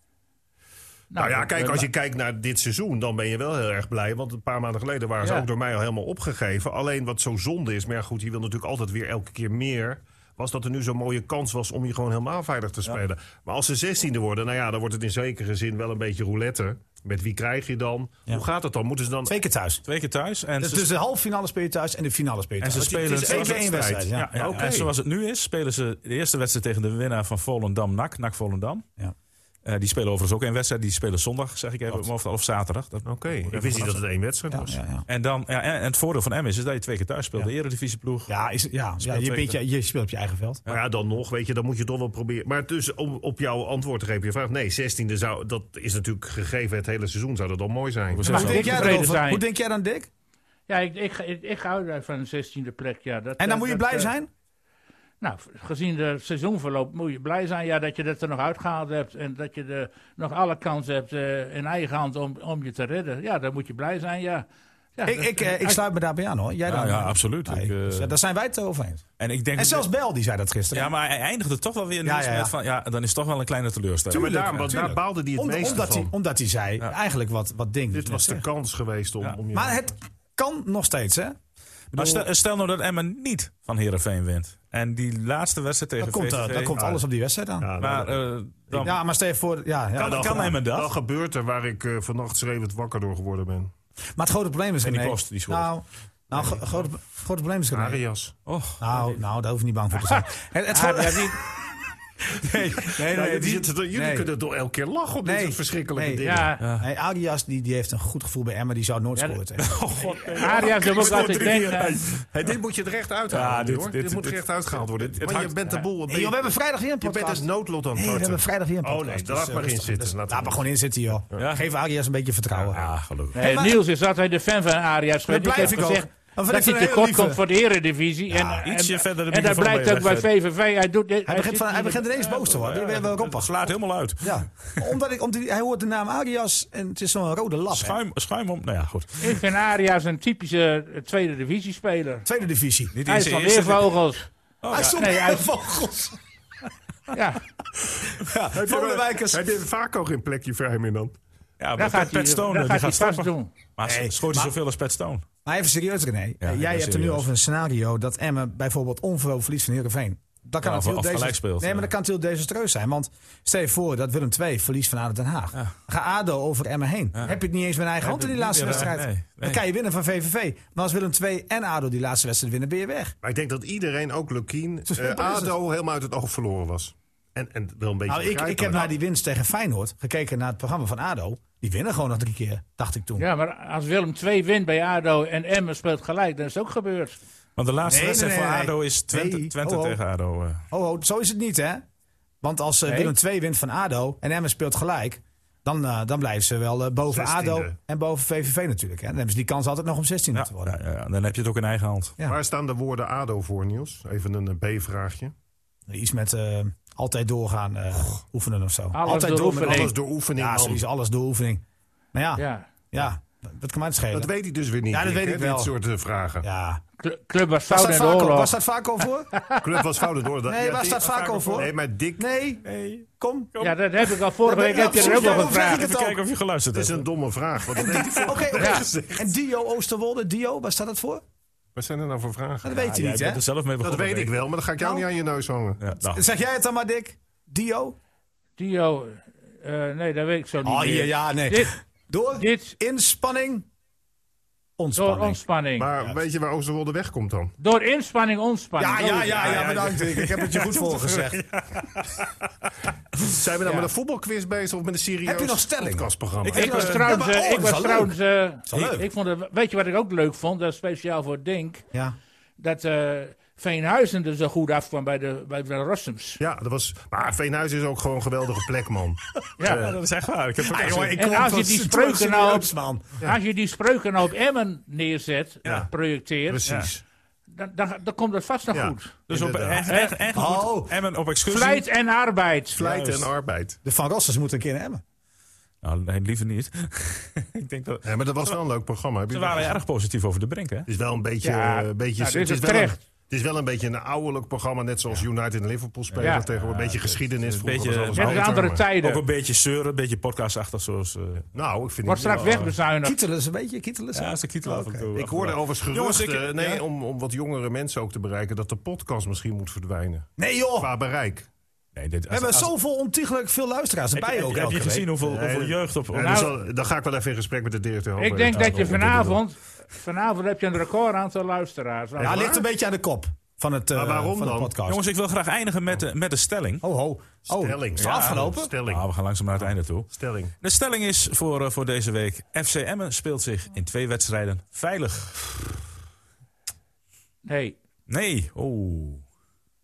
[SPEAKER 3] Nou ja,
[SPEAKER 5] dat-
[SPEAKER 3] kijk,
[SPEAKER 5] dat-
[SPEAKER 3] als je kijkt naar dit seizoen, dan ben je wel heel erg blij. Want een paar maanden geleden waren ze
[SPEAKER 5] Ja.
[SPEAKER 3] ook door mij al helemaal opgegeven. Alleen wat zo zonde is, maar ja, goed, je wil natuurlijk altijd weer elke keer meer. Was dat er nu zo'n mooie kans was om je gewoon helemaal veilig te spelen. Maar als ze zestiende worden, nou ja, dan wordt het in zekere zin wel een beetje roulette. Met wie krijg je dan? Hoe gaat het dan? Moeten ze dan...
[SPEAKER 2] Twee keer thuis.
[SPEAKER 4] Twee keer thuis. En
[SPEAKER 2] Dus,
[SPEAKER 4] ze,
[SPEAKER 2] dus de halve finale speel je thuis en de finale speel je
[SPEAKER 4] en
[SPEAKER 2] thuis.
[SPEAKER 4] ze spelen
[SPEAKER 3] is
[SPEAKER 4] zoals
[SPEAKER 3] één
[SPEAKER 4] het-
[SPEAKER 2] één wedstrijd, ja.
[SPEAKER 4] Ja, ja.
[SPEAKER 3] Oké.
[SPEAKER 4] En zoals het nu is, spelen ze de eerste wedstrijd tegen de winnaar van Volendam-NAC. NAC Volendam.
[SPEAKER 2] Ja.
[SPEAKER 4] Eh, die spelen overigens ook één wedstrijd. Die spelen zondag, zeg ik even, om half- of zaterdag. Dat-
[SPEAKER 3] Oké, ik wist niet dat het één wedstrijd was.
[SPEAKER 2] Ja, ja.
[SPEAKER 4] En, dan, ja, en, en het voordeel van Emmen is, is dat je twee keer thuis speelt. De eredivisieploeg.
[SPEAKER 2] Ja, is, ja, ja je,
[SPEAKER 4] twee
[SPEAKER 2] bent
[SPEAKER 4] keer.
[SPEAKER 2] je, je speelt op je eigen veld.
[SPEAKER 3] Maar ja, dan nog, weet je, dan moet je toch wel proberen. Maar dus om op jouw antwoord te geven, je vraag, nee, zestiende zou, dat is natuurlijk gegeven het hele seizoen, zou dat al mooi zijn.
[SPEAKER 4] We zijn
[SPEAKER 2] Maar
[SPEAKER 4] zo-
[SPEAKER 2] hoe, denk jij
[SPEAKER 5] tevreden
[SPEAKER 2] erover?
[SPEAKER 5] zijn.
[SPEAKER 2] hoe denk jij dan, Dick?
[SPEAKER 5] Ja, ik, ik, ik, ik hou van een 16e plek. Ja. Dat,
[SPEAKER 2] En dan
[SPEAKER 5] eh,
[SPEAKER 2] moet je
[SPEAKER 5] dat,
[SPEAKER 2] blij
[SPEAKER 5] eh,
[SPEAKER 2] zijn?
[SPEAKER 5] Nou, gezien de seizoenverloop moet je blij zijn ja, dat je dat er nog uitgehaald hebt. En dat je er nog alle kansen hebt eh, in eigen hand om, om je te redden. Ja, daar moet je blij zijn, ja. ja
[SPEAKER 2] Ik,
[SPEAKER 5] dat-
[SPEAKER 2] ik, eh, ik
[SPEAKER 5] als-
[SPEAKER 2] sluit me daarbij aan hoor. Jij
[SPEAKER 4] Ja,
[SPEAKER 2] dan?
[SPEAKER 4] ja, absoluut.
[SPEAKER 2] Nee,
[SPEAKER 4] Ik, eh,
[SPEAKER 2] dus, eh, daar zijn wij het over eens.
[SPEAKER 4] en ik denk
[SPEAKER 2] En
[SPEAKER 4] dat-
[SPEAKER 2] zelfs Bel die zei dat gisteren.
[SPEAKER 4] Ja, maar hij eindigde toch wel weer
[SPEAKER 2] Ja,
[SPEAKER 4] Niels,
[SPEAKER 2] ja, ja.
[SPEAKER 4] met van... Ja, dan is toch wel een kleine teleurstelling.
[SPEAKER 3] Maar
[SPEAKER 2] Tuurlijk,
[SPEAKER 3] daar, want daar
[SPEAKER 2] natuurlijk.
[SPEAKER 3] baalde hij het
[SPEAKER 2] Om-
[SPEAKER 3] meeste
[SPEAKER 2] omdat,
[SPEAKER 3] van.
[SPEAKER 2] hij, omdat hij zei eigenlijk wat, wat ding.
[SPEAKER 3] Dit was de kans geweest om,
[SPEAKER 4] Ja.
[SPEAKER 3] om je...
[SPEAKER 2] Maar het kan nog steeds hè.
[SPEAKER 4] Maar stel, stel nou dat Emmen niet van Herenveen wint. En die laatste wedstrijd tegen
[SPEAKER 2] Dan komt, eh,
[SPEAKER 4] VVV,
[SPEAKER 2] dan komt alles op die wedstrijd aan.
[SPEAKER 3] Ja, dan-
[SPEAKER 4] Maar, eh, dan,
[SPEAKER 2] Ja, maar stel je voor... Ja, ja.
[SPEAKER 4] kan, kan Emmen dat?
[SPEAKER 3] Dan gebeurt er waar ik eh, vannacht schreeuwend wakker door geworden ben.
[SPEAKER 2] Maar het grote probleem is...
[SPEAKER 4] die
[SPEAKER 2] René,
[SPEAKER 4] kost, die schuld.
[SPEAKER 2] Nou, nou gro- grote, grote probleem is... René,
[SPEAKER 3] Arias.
[SPEAKER 4] Och.
[SPEAKER 2] Nou, nou, daar hoef je niet bang voor te zijn. Het, het gro-
[SPEAKER 5] Ah, ja, die-
[SPEAKER 2] nee, nee,
[SPEAKER 3] Ja,
[SPEAKER 2] nee,
[SPEAKER 3] die
[SPEAKER 2] die-
[SPEAKER 3] zitten er- jullie
[SPEAKER 2] nee.
[SPEAKER 3] kunnen door elke keer lachen op dit
[SPEAKER 2] Nee.
[SPEAKER 3] soort verschrikkelijke
[SPEAKER 2] Nee.
[SPEAKER 3] dingen.
[SPEAKER 5] ja,
[SPEAKER 2] Nee, Arias die, die heeft een goed gevoel bij Emma. Die zou nooit
[SPEAKER 5] Ja,
[SPEAKER 2] scoren. tegen.
[SPEAKER 4] Oh, god.
[SPEAKER 5] Arias, dat ook altijd denken. aan-
[SPEAKER 3] Hey, dit moet je er echt
[SPEAKER 4] Ja,
[SPEAKER 3] uithalen,
[SPEAKER 4] dit-
[SPEAKER 3] hoor.
[SPEAKER 4] dit-
[SPEAKER 3] Dit, moet
[SPEAKER 4] dit-
[SPEAKER 3] er echt uitgehaald worden.
[SPEAKER 4] dit- het
[SPEAKER 3] maar je
[SPEAKER 4] hangt-
[SPEAKER 3] bent de boel...
[SPEAKER 2] Hey,
[SPEAKER 3] een
[SPEAKER 2] joh, we
[SPEAKER 3] beetje-
[SPEAKER 2] hebben vrijdag weer een
[SPEAKER 3] je bent
[SPEAKER 2] podcast.
[SPEAKER 3] het noodlot aan
[SPEAKER 2] Nee,
[SPEAKER 3] het
[SPEAKER 2] we hebben
[SPEAKER 3] tarten.
[SPEAKER 2] vrijdag weer een
[SPEAKER 3] Oh,
[SPEAKER 2] podcast.
[SPEAKER 3] nee, daar laat
[SPEAKER 2] eh,
[SPEAKER 3] maar in
[SPEAKER 2] rustig.
[SPEAKER 3] zitten. Laat
[SPEAKER 2] Laat
[SPEAKER 3] maar
[SPEAKER 2] maar gewoon in zitten, joh.
[SPEAKER 4] Ja.
[SPEAKER 2] Geef Arias een beetje vertrouwen.
[SPEAKER 4] Ja, gelukkig.
[SPEAKER 5] Nee,
[SPEAKER 2] maar-
[SPEAKER 5] Niels is altijd de fan van Arias.
[SPEAKER 2] Dat
[SPEAKER 5] geweest. Ik
[SPEAKER 2] blijf
[SPEAKER 5] heb
[SPEAKER 2] ik ook.
[SPEAKER 5] gezegd
[SPEAKER 2] Dat vind
[SPEAKER 5] dat
[SPEAKER 2] ik
[SPEAKER 5] hij
[SPEAKER 2] een hele
[SPEAKER 5] tekort
[SPEAKER 2] lieve.
[SPEAKER 5] komt voor de eredivisie. en,
[SPEAKER 4] ietsje
[SPEAKER 5] en,
[SPEAKER 4] verder de
[SPEAKER 5] en dat
[SPEAKER 4] microfoon
[SPEAKER 5] blijkt ook bij
[SPEAKER 4] bij
[SPEAKER 5] VVV. Hij, doet, dit-
[SPEAKER 2] Hij begint,
[SPEAKER 5] zit
[SPEAKER 2] van, hij
[SPEAKER 5] hier-
[SPEAKER 2] begint ineens boos te worden. We hebben
[SPEAKER 4] Het slaat helemaal uit.
[SPEAKER 2] Ja, omdat ik, omdat hij hoort de naam Arias en het is zo'n rode lap. hè.
[SPEAKER 4] Schuim, schuim om. Nou ja, goed.
[SPEAKER 5] Ik vind Arias een typische eh, tweede divisie speler.
[SPEAKER 2] Tweede divisie.
[SPEAKER 4] Niet
[SPEAKER 5] Hij
[SPEAKER 4] eens
[SPEAKER 5] is
[SPEAKER 4] de
[SPEAKER 5] van
[SPEAKER 4] eerste.
[SPEAKER 5] Weervogels.
[SPEAKER 4] Oh,
[SPEAKER 2] Hij
[SPEAKER 4] ja.
[SPEAKER 2] stond
[SPEAKER 5] Nee,
[SPEAKER 2] bij
[SPEAKER 5] hij-
[SPEAKER 2] de vogels.
[SPEAKER 5] Ja,
[SPEAKER 2] Ja, Vollenwijkers.
[SPEAKER 3] Heb je vaak al geen plekje vrij meer dan?
[SPEAKER 4] Ja,
[SPEAKER 5] dat
[SPEAKER 4] maar
[SPEAKER 5] gaat
[SPEAKER 4] Pet,
[SPEAKER 5] hij,
[SPEAKER 4] Pet Stone
[SPEAKER 5] dat
[SPEAKER 4] die
[SPEAKER 5] gaat
[SPEAKER 4] gaat
[SPEAKER 5] hij vast
[SPEAKER 4] stappen.
[SPEAKER 5] doen.
[SPEAKER 4] Maar
[SPEAKER 2] Nee,
[SPEAKER 4] schoot hij zoveel als Pet Stone?
[SPEAKER 2] Maar even serieus, René.
[SPEAKER 4] Ja,
[SPEAKER 2] Eh,
[SPEAKER 4] ik
[SPEAKER 2] Jij
[SPEAKER 4] ben
[SPEAKER 2] hebt het nu
[SPEAKER 4] serieus.
[SPEAKER 2] over een scenario dat Emmen bijvoorbeeld onverhoopt verlies van Heerenveen. Dat kan
[SPEAKER 4] Ja,
[SPEAKER 2] het
[SPEAKER 4] of-
[SPEAKER 2] heel
[SPEAKER 4] of
[SPEAKER 2] desast-
[SPEAKER 4] gelijk speelt,
[SPEAKER 2] Nee,
[SPEAKER 4] ja.
[SPEAKER 2] maar dat kan het heel desastreus zijn. Want stel je voor dat Willem II verliest van ADO Den Haag. Ga ADO over Emmen heen. Heb je het niet eens met eigen hand in die
[SPEAKER 4] dat-
[SPEAKER 2] laatste
[SPEAKER 4] nee,
[SPEAKER 2] wedstrijd.
[SPEAKER 4] nee, nee.
[SPEAKER 2] Dan kan je winnen van VVV. Maar als Willem II en ADO die laatste wedstrijd winnen, ben je weg.
[SPEAKER 3] Maar ik denk dat iedereen, ook Lukien,
[SPEAKER 2] Zo
[SPEAKER 3] eh
[SPEAKER 2] simpel is het.
[SPEAKER 3] ADO helemaal uit het oog verloren was. En, en wel een beetje
[SPEAKER 2] Nou, ik, ik heb
[SPEAKER 3] begrijpelijk.
[SPEAKER 2] naar die winst tegen Feyenoord gekeken naar het programma van ADO. Die winnen gewoon nog drie keer, dacht ik toen.
[SPEAKER 5] Ja, maar als Willem 2 wint bij ADO en Emmen speelt gelijk, dan is het ook gebeurd.
[SPEAKER 4] Want de laatste
[SPEAKER 2] Nee,
[SPEAKER 4] wedstrijd
[SPEAKER 2] nee,
[SPEAKER 4] voor
[SPEAKER 2] nee, nee.
[SPEAKER 4] ADO is Twente,
[SPEAKER 2] Nee, oh.
[SPEAKER 4] Twente
[SPEAKER 2] ho, ho.
[SPEAKER 4] tegen ADO. eh.
[SPEAKER 2] Oh, oh, zo is het niet, hè? Want als eh,
[SPEAKER 5] Nee.
[SPEAKER 2] Willem II wint van ADO en Emmen speelt gelijk... dan, eh, dan blijven ze wel eh, boven
[SPEAKER 3] 16e.
[SPEAKER 2] ADO en boven VVV natuurlijk. Hè? Dan hebben ze die kans altijd nog om 16
[SPEAKER 4] Ja,
[SPEAKER 2] te worden.
[SPEAKER 4] ja, ja, dan heb je het ook in eigen hand.
[SPEAKER 2] Ja.
[SPEAKER 3] Waar staan de woorden ADO voor, Niels? Even een eh, B-vraagje.
[SPEAKER 2] Iets met eh, altijd doorgaan, eh, oefenen of zo. altijd
[SPEAKER 5] door
[SPEAKER 2] met
[SPEAKER 5] oefening.
[SPEAKER 3] Alles door oefening.
[SPEAKER 2] Ja,
[SPEAKER 3] man.
[SPEAKER 2] zoiets, alles door oefening. Nou ja, ja.
[SPEAKER 5] Ja.
[SPEAKER 2] dat kan mij het schelen.
[SPEAKER 3] Dat weet hij dus weer niet.
[SPEAKER 2] Ja, dat
[SPEAKER 3] Dick,
[SPEAKER 2] weet
[SPEAKER 3] hè,
[SPEAKER 2] ik wel.
[SPEAKER 3] Dit soort eh, vragen.
[SPEAKER 2] ja.
[SPEAKER 5] Cl- Club was
[SPEAKER 2] Waar
[SPEAKER 5] fout
[SPEAKER 2] staat
[SPEAKER 5] in de
[SPEAKER 2] Vaco- Waar
[SPEAKER 5] oorlog.
[SPEAKER 2] staat Vaco voor?
[SPEAKER 3] Club was fout door. dat-
[SPEAKER 2] Nee,
[SPEAKER 3] ja,
[SPEAKER 2] waar
[SPEAKER 3] die-
[SPEAKER 2] staat Vaco voor?
[SPEAKER 3] Nee, maar Dick,
[SPEAKER 2] Nee, kom.
[SPEAKER 5] Ja, dat heb ik al vorige
[SPEAKER 2] Ja,
[SPEAKER 5] week heb je er
[SPEAKER 2] precies,
[SPEAKER 5] ook al
[SPEAKER 2] daarom zeg
[SPEAKER 5] gevraagd.
[SPEAKER 2] ik
[SPEAKER 4] Even
[SPEAKER 2] ook.
[SPEAKER 4] kijken of je geluisterd
[SPEAKER 3] dat
[SPEAKER 4] hebt.
[SPEAKER 3] is een domme vraag. Wat heeft hij
[SPEAKER 2] Oké,
[SPEAKER 3] voor?
[SPEAKER 2] oké.
[SPEAKER 5] Ja.
[SPEAKER 2] En Dio Oosterwolde, Dio, waar staat dat voor?
[SPEAKER 3] Wat zijn er nou voor vragen?
[SPEAKER 2] Dat weet je
[SPEAKER 4] Jij
[SPEAKER 2] niet,
[SPEAKER 4] bent
[SPEAKER 2] hè?
[SPEAKER 4] er zelf mee
[SPEAKER 3] Dat
[SPEAKER 4] begonnen.
[SPEAKER 3] weet ik wel, maar dan ga ik jou
[SPEAKER 2] Nou.
[SPEAKER 3] niet aan je neus hangen.
[SPEAKER 4] Ja, nou,
[SPEAKER 2] Zeg jij het dan maar, Dick? Dio?
[SPEAKER 5] Dio, eh, nee, dat weet ik zo niet
[SPEAKER 2] Oh,
[SPEAKER 5] meer.
[SPEAKER 2] ja, ja, nee.
[SPEAKER 5] Dit,
[SPEAKER 2] Door
[SPEAKER 5] dit
[SPEAKER 2] inspanning,
[SPEAKER 5] door
[SPEAKER 2] ontspanning.
[SPEAKER 5] ontspanning.
[SPEAKER 3] Maar weet je waar Oosterwolde wegkomt dan?
[SPEAKER 5] Door inspanning, ontspanning.
[SPEAKER 2] ja,
[SPEAKER 5] Zo
[SPEAKER 2] ja,
[SPEAKER 5] is
[SPEAKER 2] ja,
[SPEAKER 5] het.
[SPEAKER 2] ja, bedankt. Ik heb het je goed voorgezegd.
[SPEAKER 3] Zijn we nou
[SPEAKER 5] Ja.
[SPEAKER 3] met een voetbalquiz bezig of met een serieus
[SPEAKER 2] Heb je nog stellingen?
[SPEAKER 3] podcastprogramma?
[SPEAKER 5] Ik was
[SPEAKER 2] Ja,
[SPEAKER 5] trouwens,
[SPEAKER 2] maar-
[SPEAKER 5] eh,
[SPEAKER 2] oh,
[SPEAKER 5] ik
[SPEAKER 2] dat is
[SPEAKER 5] was
[SPEAKER 2] wel leuk.
[SPEAKER 5] trouwens, eh,
[SPEAKER 2] wel leuk.
[SPEAKER 5] ik- ik vond het, weet je wat ik ook leuk vond? Dat is speciaal voor Dink.
[SPEAKER 2] Ja.
[SPEAKER 5] Dat eh, Veenhuizen er zo goed afkwam bij de, bij de Rossums.
[SPEAKER 3] Ja, dat was. Maar Veenhuis is ook gewoon een geweldige plek, man.
[SPEAKER 5] Ja.
[SPEAKER 4] ja, dat is echt waar. Ik heb het ook gezien.
[SPEAKER 5] En als je die spreuken nou op-
[SPEAKER 2] man.
[SPEAKER 5] Als je die spreuken nou op Emmen neerzet,
[SPEAKER 3] Ja.
[SPEAKER 5] projecteert,
[SPEAKER 3] Precies.
[SPEAKER 5] dan, dan, dan komt dat vast nog
[SPEAKER 3] Ja.
[SPEAKER 5] goed.
[SPEAKER 4] Dus op,
[SPEAKER 3] Inderdaad.
[SPEAKER 4] echt, echt, echt
[SPEAKER 2] Oh.
[SPEAKER 4] goed. Emmen op excursie.
[SPEAKER 5] Vlijt en arbeid.
[SPEAKER 3] Vlijt
[SPEAKER 4] Juist.
[SPEAKER 3] en arbeid.
[SPEAKER 2] De Van Rossers moeten een keer hebben.
[SPEAKER 4] Nou, nee, liever niet. ik denk dat...
[SPEAKER 3] Ja, maar dat was wel een leuk programma. Heb je
[SPEAKER 4] Ze
[SPEAKER 3] dat
[SPEAKER 4] waren
[SPEAKER 3] gezien?
[SPEAKER 4] erg positief over de brink, hè?
[SPEAKER 3] Het is wel een beetje.
[SPEAKER 5] Ja,
[SPEAKER 3] eh, een beetje
[SPEAKER 5] nou, dit is
[SPEAKER 3] het, wel een,
[SPEAKER 5] terecht.
[SPEAKER 3] het is wel een beetje een ouderlijk programma, net zoals United en Liverpool spelen
[SPEAKER 5] Ja.
[SPEAKER 3] tegenwoordig. Een beetje geschiedenis.
[SPEAKER 4] een
[SPEAKER 3] Vroeger
[SPEAKER 4] beetje-
[SPEAKER 3] was alles
[SPEAKER 5] Het is
[SPEAKER 3] beter,
[SPEAKER 5] andere
[SPEAKER 3] maar-
[SPEAKER 5] tijden.
[SPEAKER 4] Ook een beetje zeuren, een beetje podcastachtig zoals... eh
[SPEAKER 3] Nou, ik vind
[SPEAKER 5] Wordt
[SPEAKER 3] het
[SPEAKER 5] straks wegbezuinigd.
[SPEAKER 2] Kietelen ze een beetje, kietelen ze.
[SPEAKER 4] ja, ze kietelen af en toe.
[SPEAKER 3] Ik hoorde overigens
[SPEAKER 4] Jongens,
[SPEAKER 3] geruchten,
[SPEAKER 4] ik-
[SPEAKER 3] nee,
[SPEAKER 4] ja.
[SPEAKER 3] om, om wat jongere mensen ook te bereiken, dat de podcast misschien moet verdwijnen.
[SPEAKER 2] Nee joh, we
[SPEAKER 3] Qua bereik.
[SPEAKER 4] Nee, dit, als,
[SPEAKER 2] hebben
[SPEAKER 4] als-
[SPEAKER 2] zoveel ontiegelijk veel luisteraars
[SPEAKER 4] heb,
[SPEAKER 2] erbij
[SPEAKER 4] heb-
[SPEAKER 2] ook
[SPEAKER 4] heb
[SPEAKER 2] elke
[SPEAKER 4] je
[SPEAKER 2] week.
[SPEAKER 4] gezien hoeveel, hoeveel
[SPEAKER 3] Nee,
[SPEAKER 4] jeugd op... op-
[SPEAKER 3] Ja,
[SPEAKER 4] nou,
[SPEAKER 3] dus al- dan ga ik wel even in gesprek met de directeur. over
[SPEAKER 5] Ik denk
[SPEAKER 3] het
[SPEAKER 5] dat je
[SPEAKER 3] aantal onderwerpen.
[SPEAKER 5] vanavond, vanavond heb je een record aantal luisteraars.
[SPEAKER 2] Ja,
[SPEAKER 5] Want-
[SPEAKER 2] ligt een beetje aan de kop van, het, eh,
[SPEAKER 3] Maar waarom
[SPEAKER 2] van de
[SPEAKER 3] dan?
[SPEAKER 2] podcast.
[SPEAKER 4] Jongens, ik wil graag eindigen met, de- met de stelling.
[SPEAKER 2] ho, ho. Oh,
[SPEAKER 3] Stelling.
[SPEAKER 2] is het
[SPEAKER 3] Ja,
[SPEAKER 2] afgelopen?
[SPEAKER 3] Stelling.
[SPEAKER 4] Nou, we gaan langzaam naar het einde toe.
[SPEAKER 3] Stelling.
[SPEAKER 4] De stelling is voor, eh, voor deze week... FC Emmen speelt zich in twee wedstrijden veilig.
[SPEAKER 5] Nee,
[SPEAKER 4] Nee. Oh.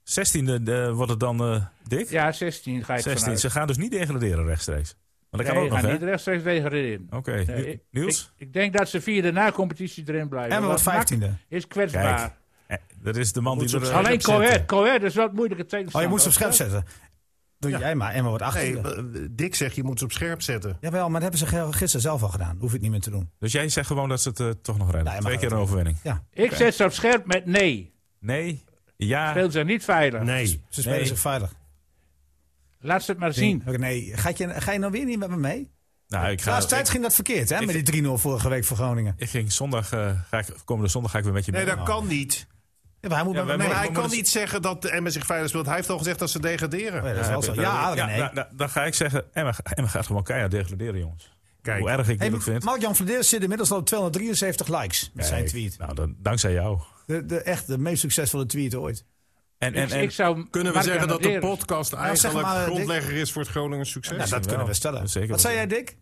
[SPEAKER 4] 16e eh, wordt het dan eh dik?
[SPEAKER 5] ja, 16 ga ik
[SPEAKER 4] 16.
[SPEAKER 5] vanuit.
[SPEAKER 4] Ze gaan dus niet degraderen rechtstreeks. Want dat kan
[SPEAKER 5] Nee,
[SPEAKER 4] ook
[SPEAKER 5] je
[SPEAKER 4] nog,
[SPEAKER 5] gaat
[SPEAKER 4] hè?
[SPEAKER 5] niet rechtstreeks degraderen.
[SPEAKER 4] Oké,
[SPEAKER 5] Nee,
[SPEAKER 4] Niels?
[SPEAKER 5] ik- Ik, ik denk dat ze via de na-competitie erin blijven.
[SPEAKER 2] En we wat
[SPEAKER 5] Want NAC
[SPEAKER 2] 15e.
[SPEAKER 5] Is kwetsbaar.
[SPEAKER 4] Kijk, Eh, dat is de man die
[SPEAKER 3] Moet
[SPEAKER 4] er...
[SPEAKER 3] ze
[SPEAKER 4] eh,
[SPEAKER 5] Alleen
[SPEAKER 3] scherp
[SPEAKER 5] Coët.
[SPEAKER 3] zetten.
[SPEAKER 5] Coët is wel het moeilijke tegenstander.
[SPEAKER 2] Oh, je moet ze op scherp
[SPEAKER 5] hè?
[SPEAKER 2] zetten. Doe
[SPEAKER 3] Ja.
[SPEAKER 2] jij maar. Emma wordt 18.
[SPEAKER 3] Nee, eh, Dick zegt je moet ze op scherp zetten.
[SPEAKER 2] Jawel, maar dat hebben ze ge- gisteren zelf al gedaan. Hoef je het niet meer te doen.
[SPEAKER 4] Dus jij zegt gewoon dat ze het eh, toch nog redden.
[SPEAKER 2] Nee, maar
[SPEAKER 4] Twee keer
[SPEAKER 2] goed.
[SPEAKER 4] een overwinning.
[SPEAKER 5] Ik zet ze op scherp met nee.
[SPEAKER 4] Nee, ja,
[SPEAKER 5] Speelt ze niet veilig.
[SPEAKER 3] Nee.
[SPEAKER 2] Ze spelen
[SPEAKER 4] Nee.
[SPEAKER 2] zich veilig.
[SPEAKER 5] Laat ze het maar zien.
[SPEAKER 2] Nee, ga je, ga je nou weer niet met me mee?
[SPEAKER 4] nou, ik ga...
[SPEAKER 2] Laatste tijd
[SPEAKER 4] ik-
[SPEAKER 2] ging dat verkeerd, hè?
[SPEAKER 4] ik-
[SPEAKER 2] Met die 3-0 vorige week voor Groningen.
[SPEAKER 4] Ik ging zondag, eh, ga ik, komende zondag ga ik weer met je mee. Oh.
[SPEAKER 3] Nee, dat kan niet.
[SPEAKER 2] Ja, maar hij moet
[SPEAKER 4] Ja,
[SPEAKER 2] met me
[SPEAKER 4] wij
[SPEAKER 2] mee.
[SPEAKER 3] Nee,
[SPEAKER 4] moeten-
[SPEAKER 3] hij kan
[SPEAKER 4] maar dat-
[SPEAKER 3] niet zeggen dat de Emmen zich veilig speelt. Hij heeft al gezegd dat ze
[SPEAKER 2] Nee,
[SPEAKER 3] degraderen.
[SPEAKER 2] dat is wel zo.
[SPEAKER 4] Ja,
[SPEAKER 2] Ja,
[SPEAKER 4] ja,
[SPEAKER 2] nee.
[SPEAKER 4] da- da- dan ga ik zeggen, Emma, Emma gaat gewoon keihard degraderen, jongens.
[SPEAKER 3] Kijk.
[SPEAKER 4] Hoe erg ik
[SPEAKER 2] Hey,
[SPEAKER 4] dit ook vind.
[SPEAKER 2] Mark-Jan Verdeer zit inmiddels al op 273 likes met zijn
[SPEAKER 4] Kijk,
[SPEAKER 2] tweet.
[SPEAKER 4] Nou, dan, dankzij jou.
[SPEAKER 2] De, de, echt de meest succesvolle tweet ooit.
[SPEAKER 4] En, en,
[SPEAKER 5] Ik,
[SPEAKER 4] en,
[SPEAKER 5] ik zou
[SPEAKER 3] Kunnen we
[SPEAKER 5] Mark
[SPEAKER 3] zeggen dat de
[SPEAKER 5] Amadeus-
[SPEAKER 3] podcast eigenlijk
[SPEAKER 2] maar, eh, Dick.
[SPEAKER 3] grondlegger is voor het Groningen succes?
[SPEAKER 2] Nou, dat
[SPEAKER 4] wel.
[SPEAKER 2] kunnen we stellen.
[SPEAKER 4] Zeker
[SPEAKER 2] Wat
[SPEAKER 4] wel.
[SPEAKER 2] zei jij, Dick?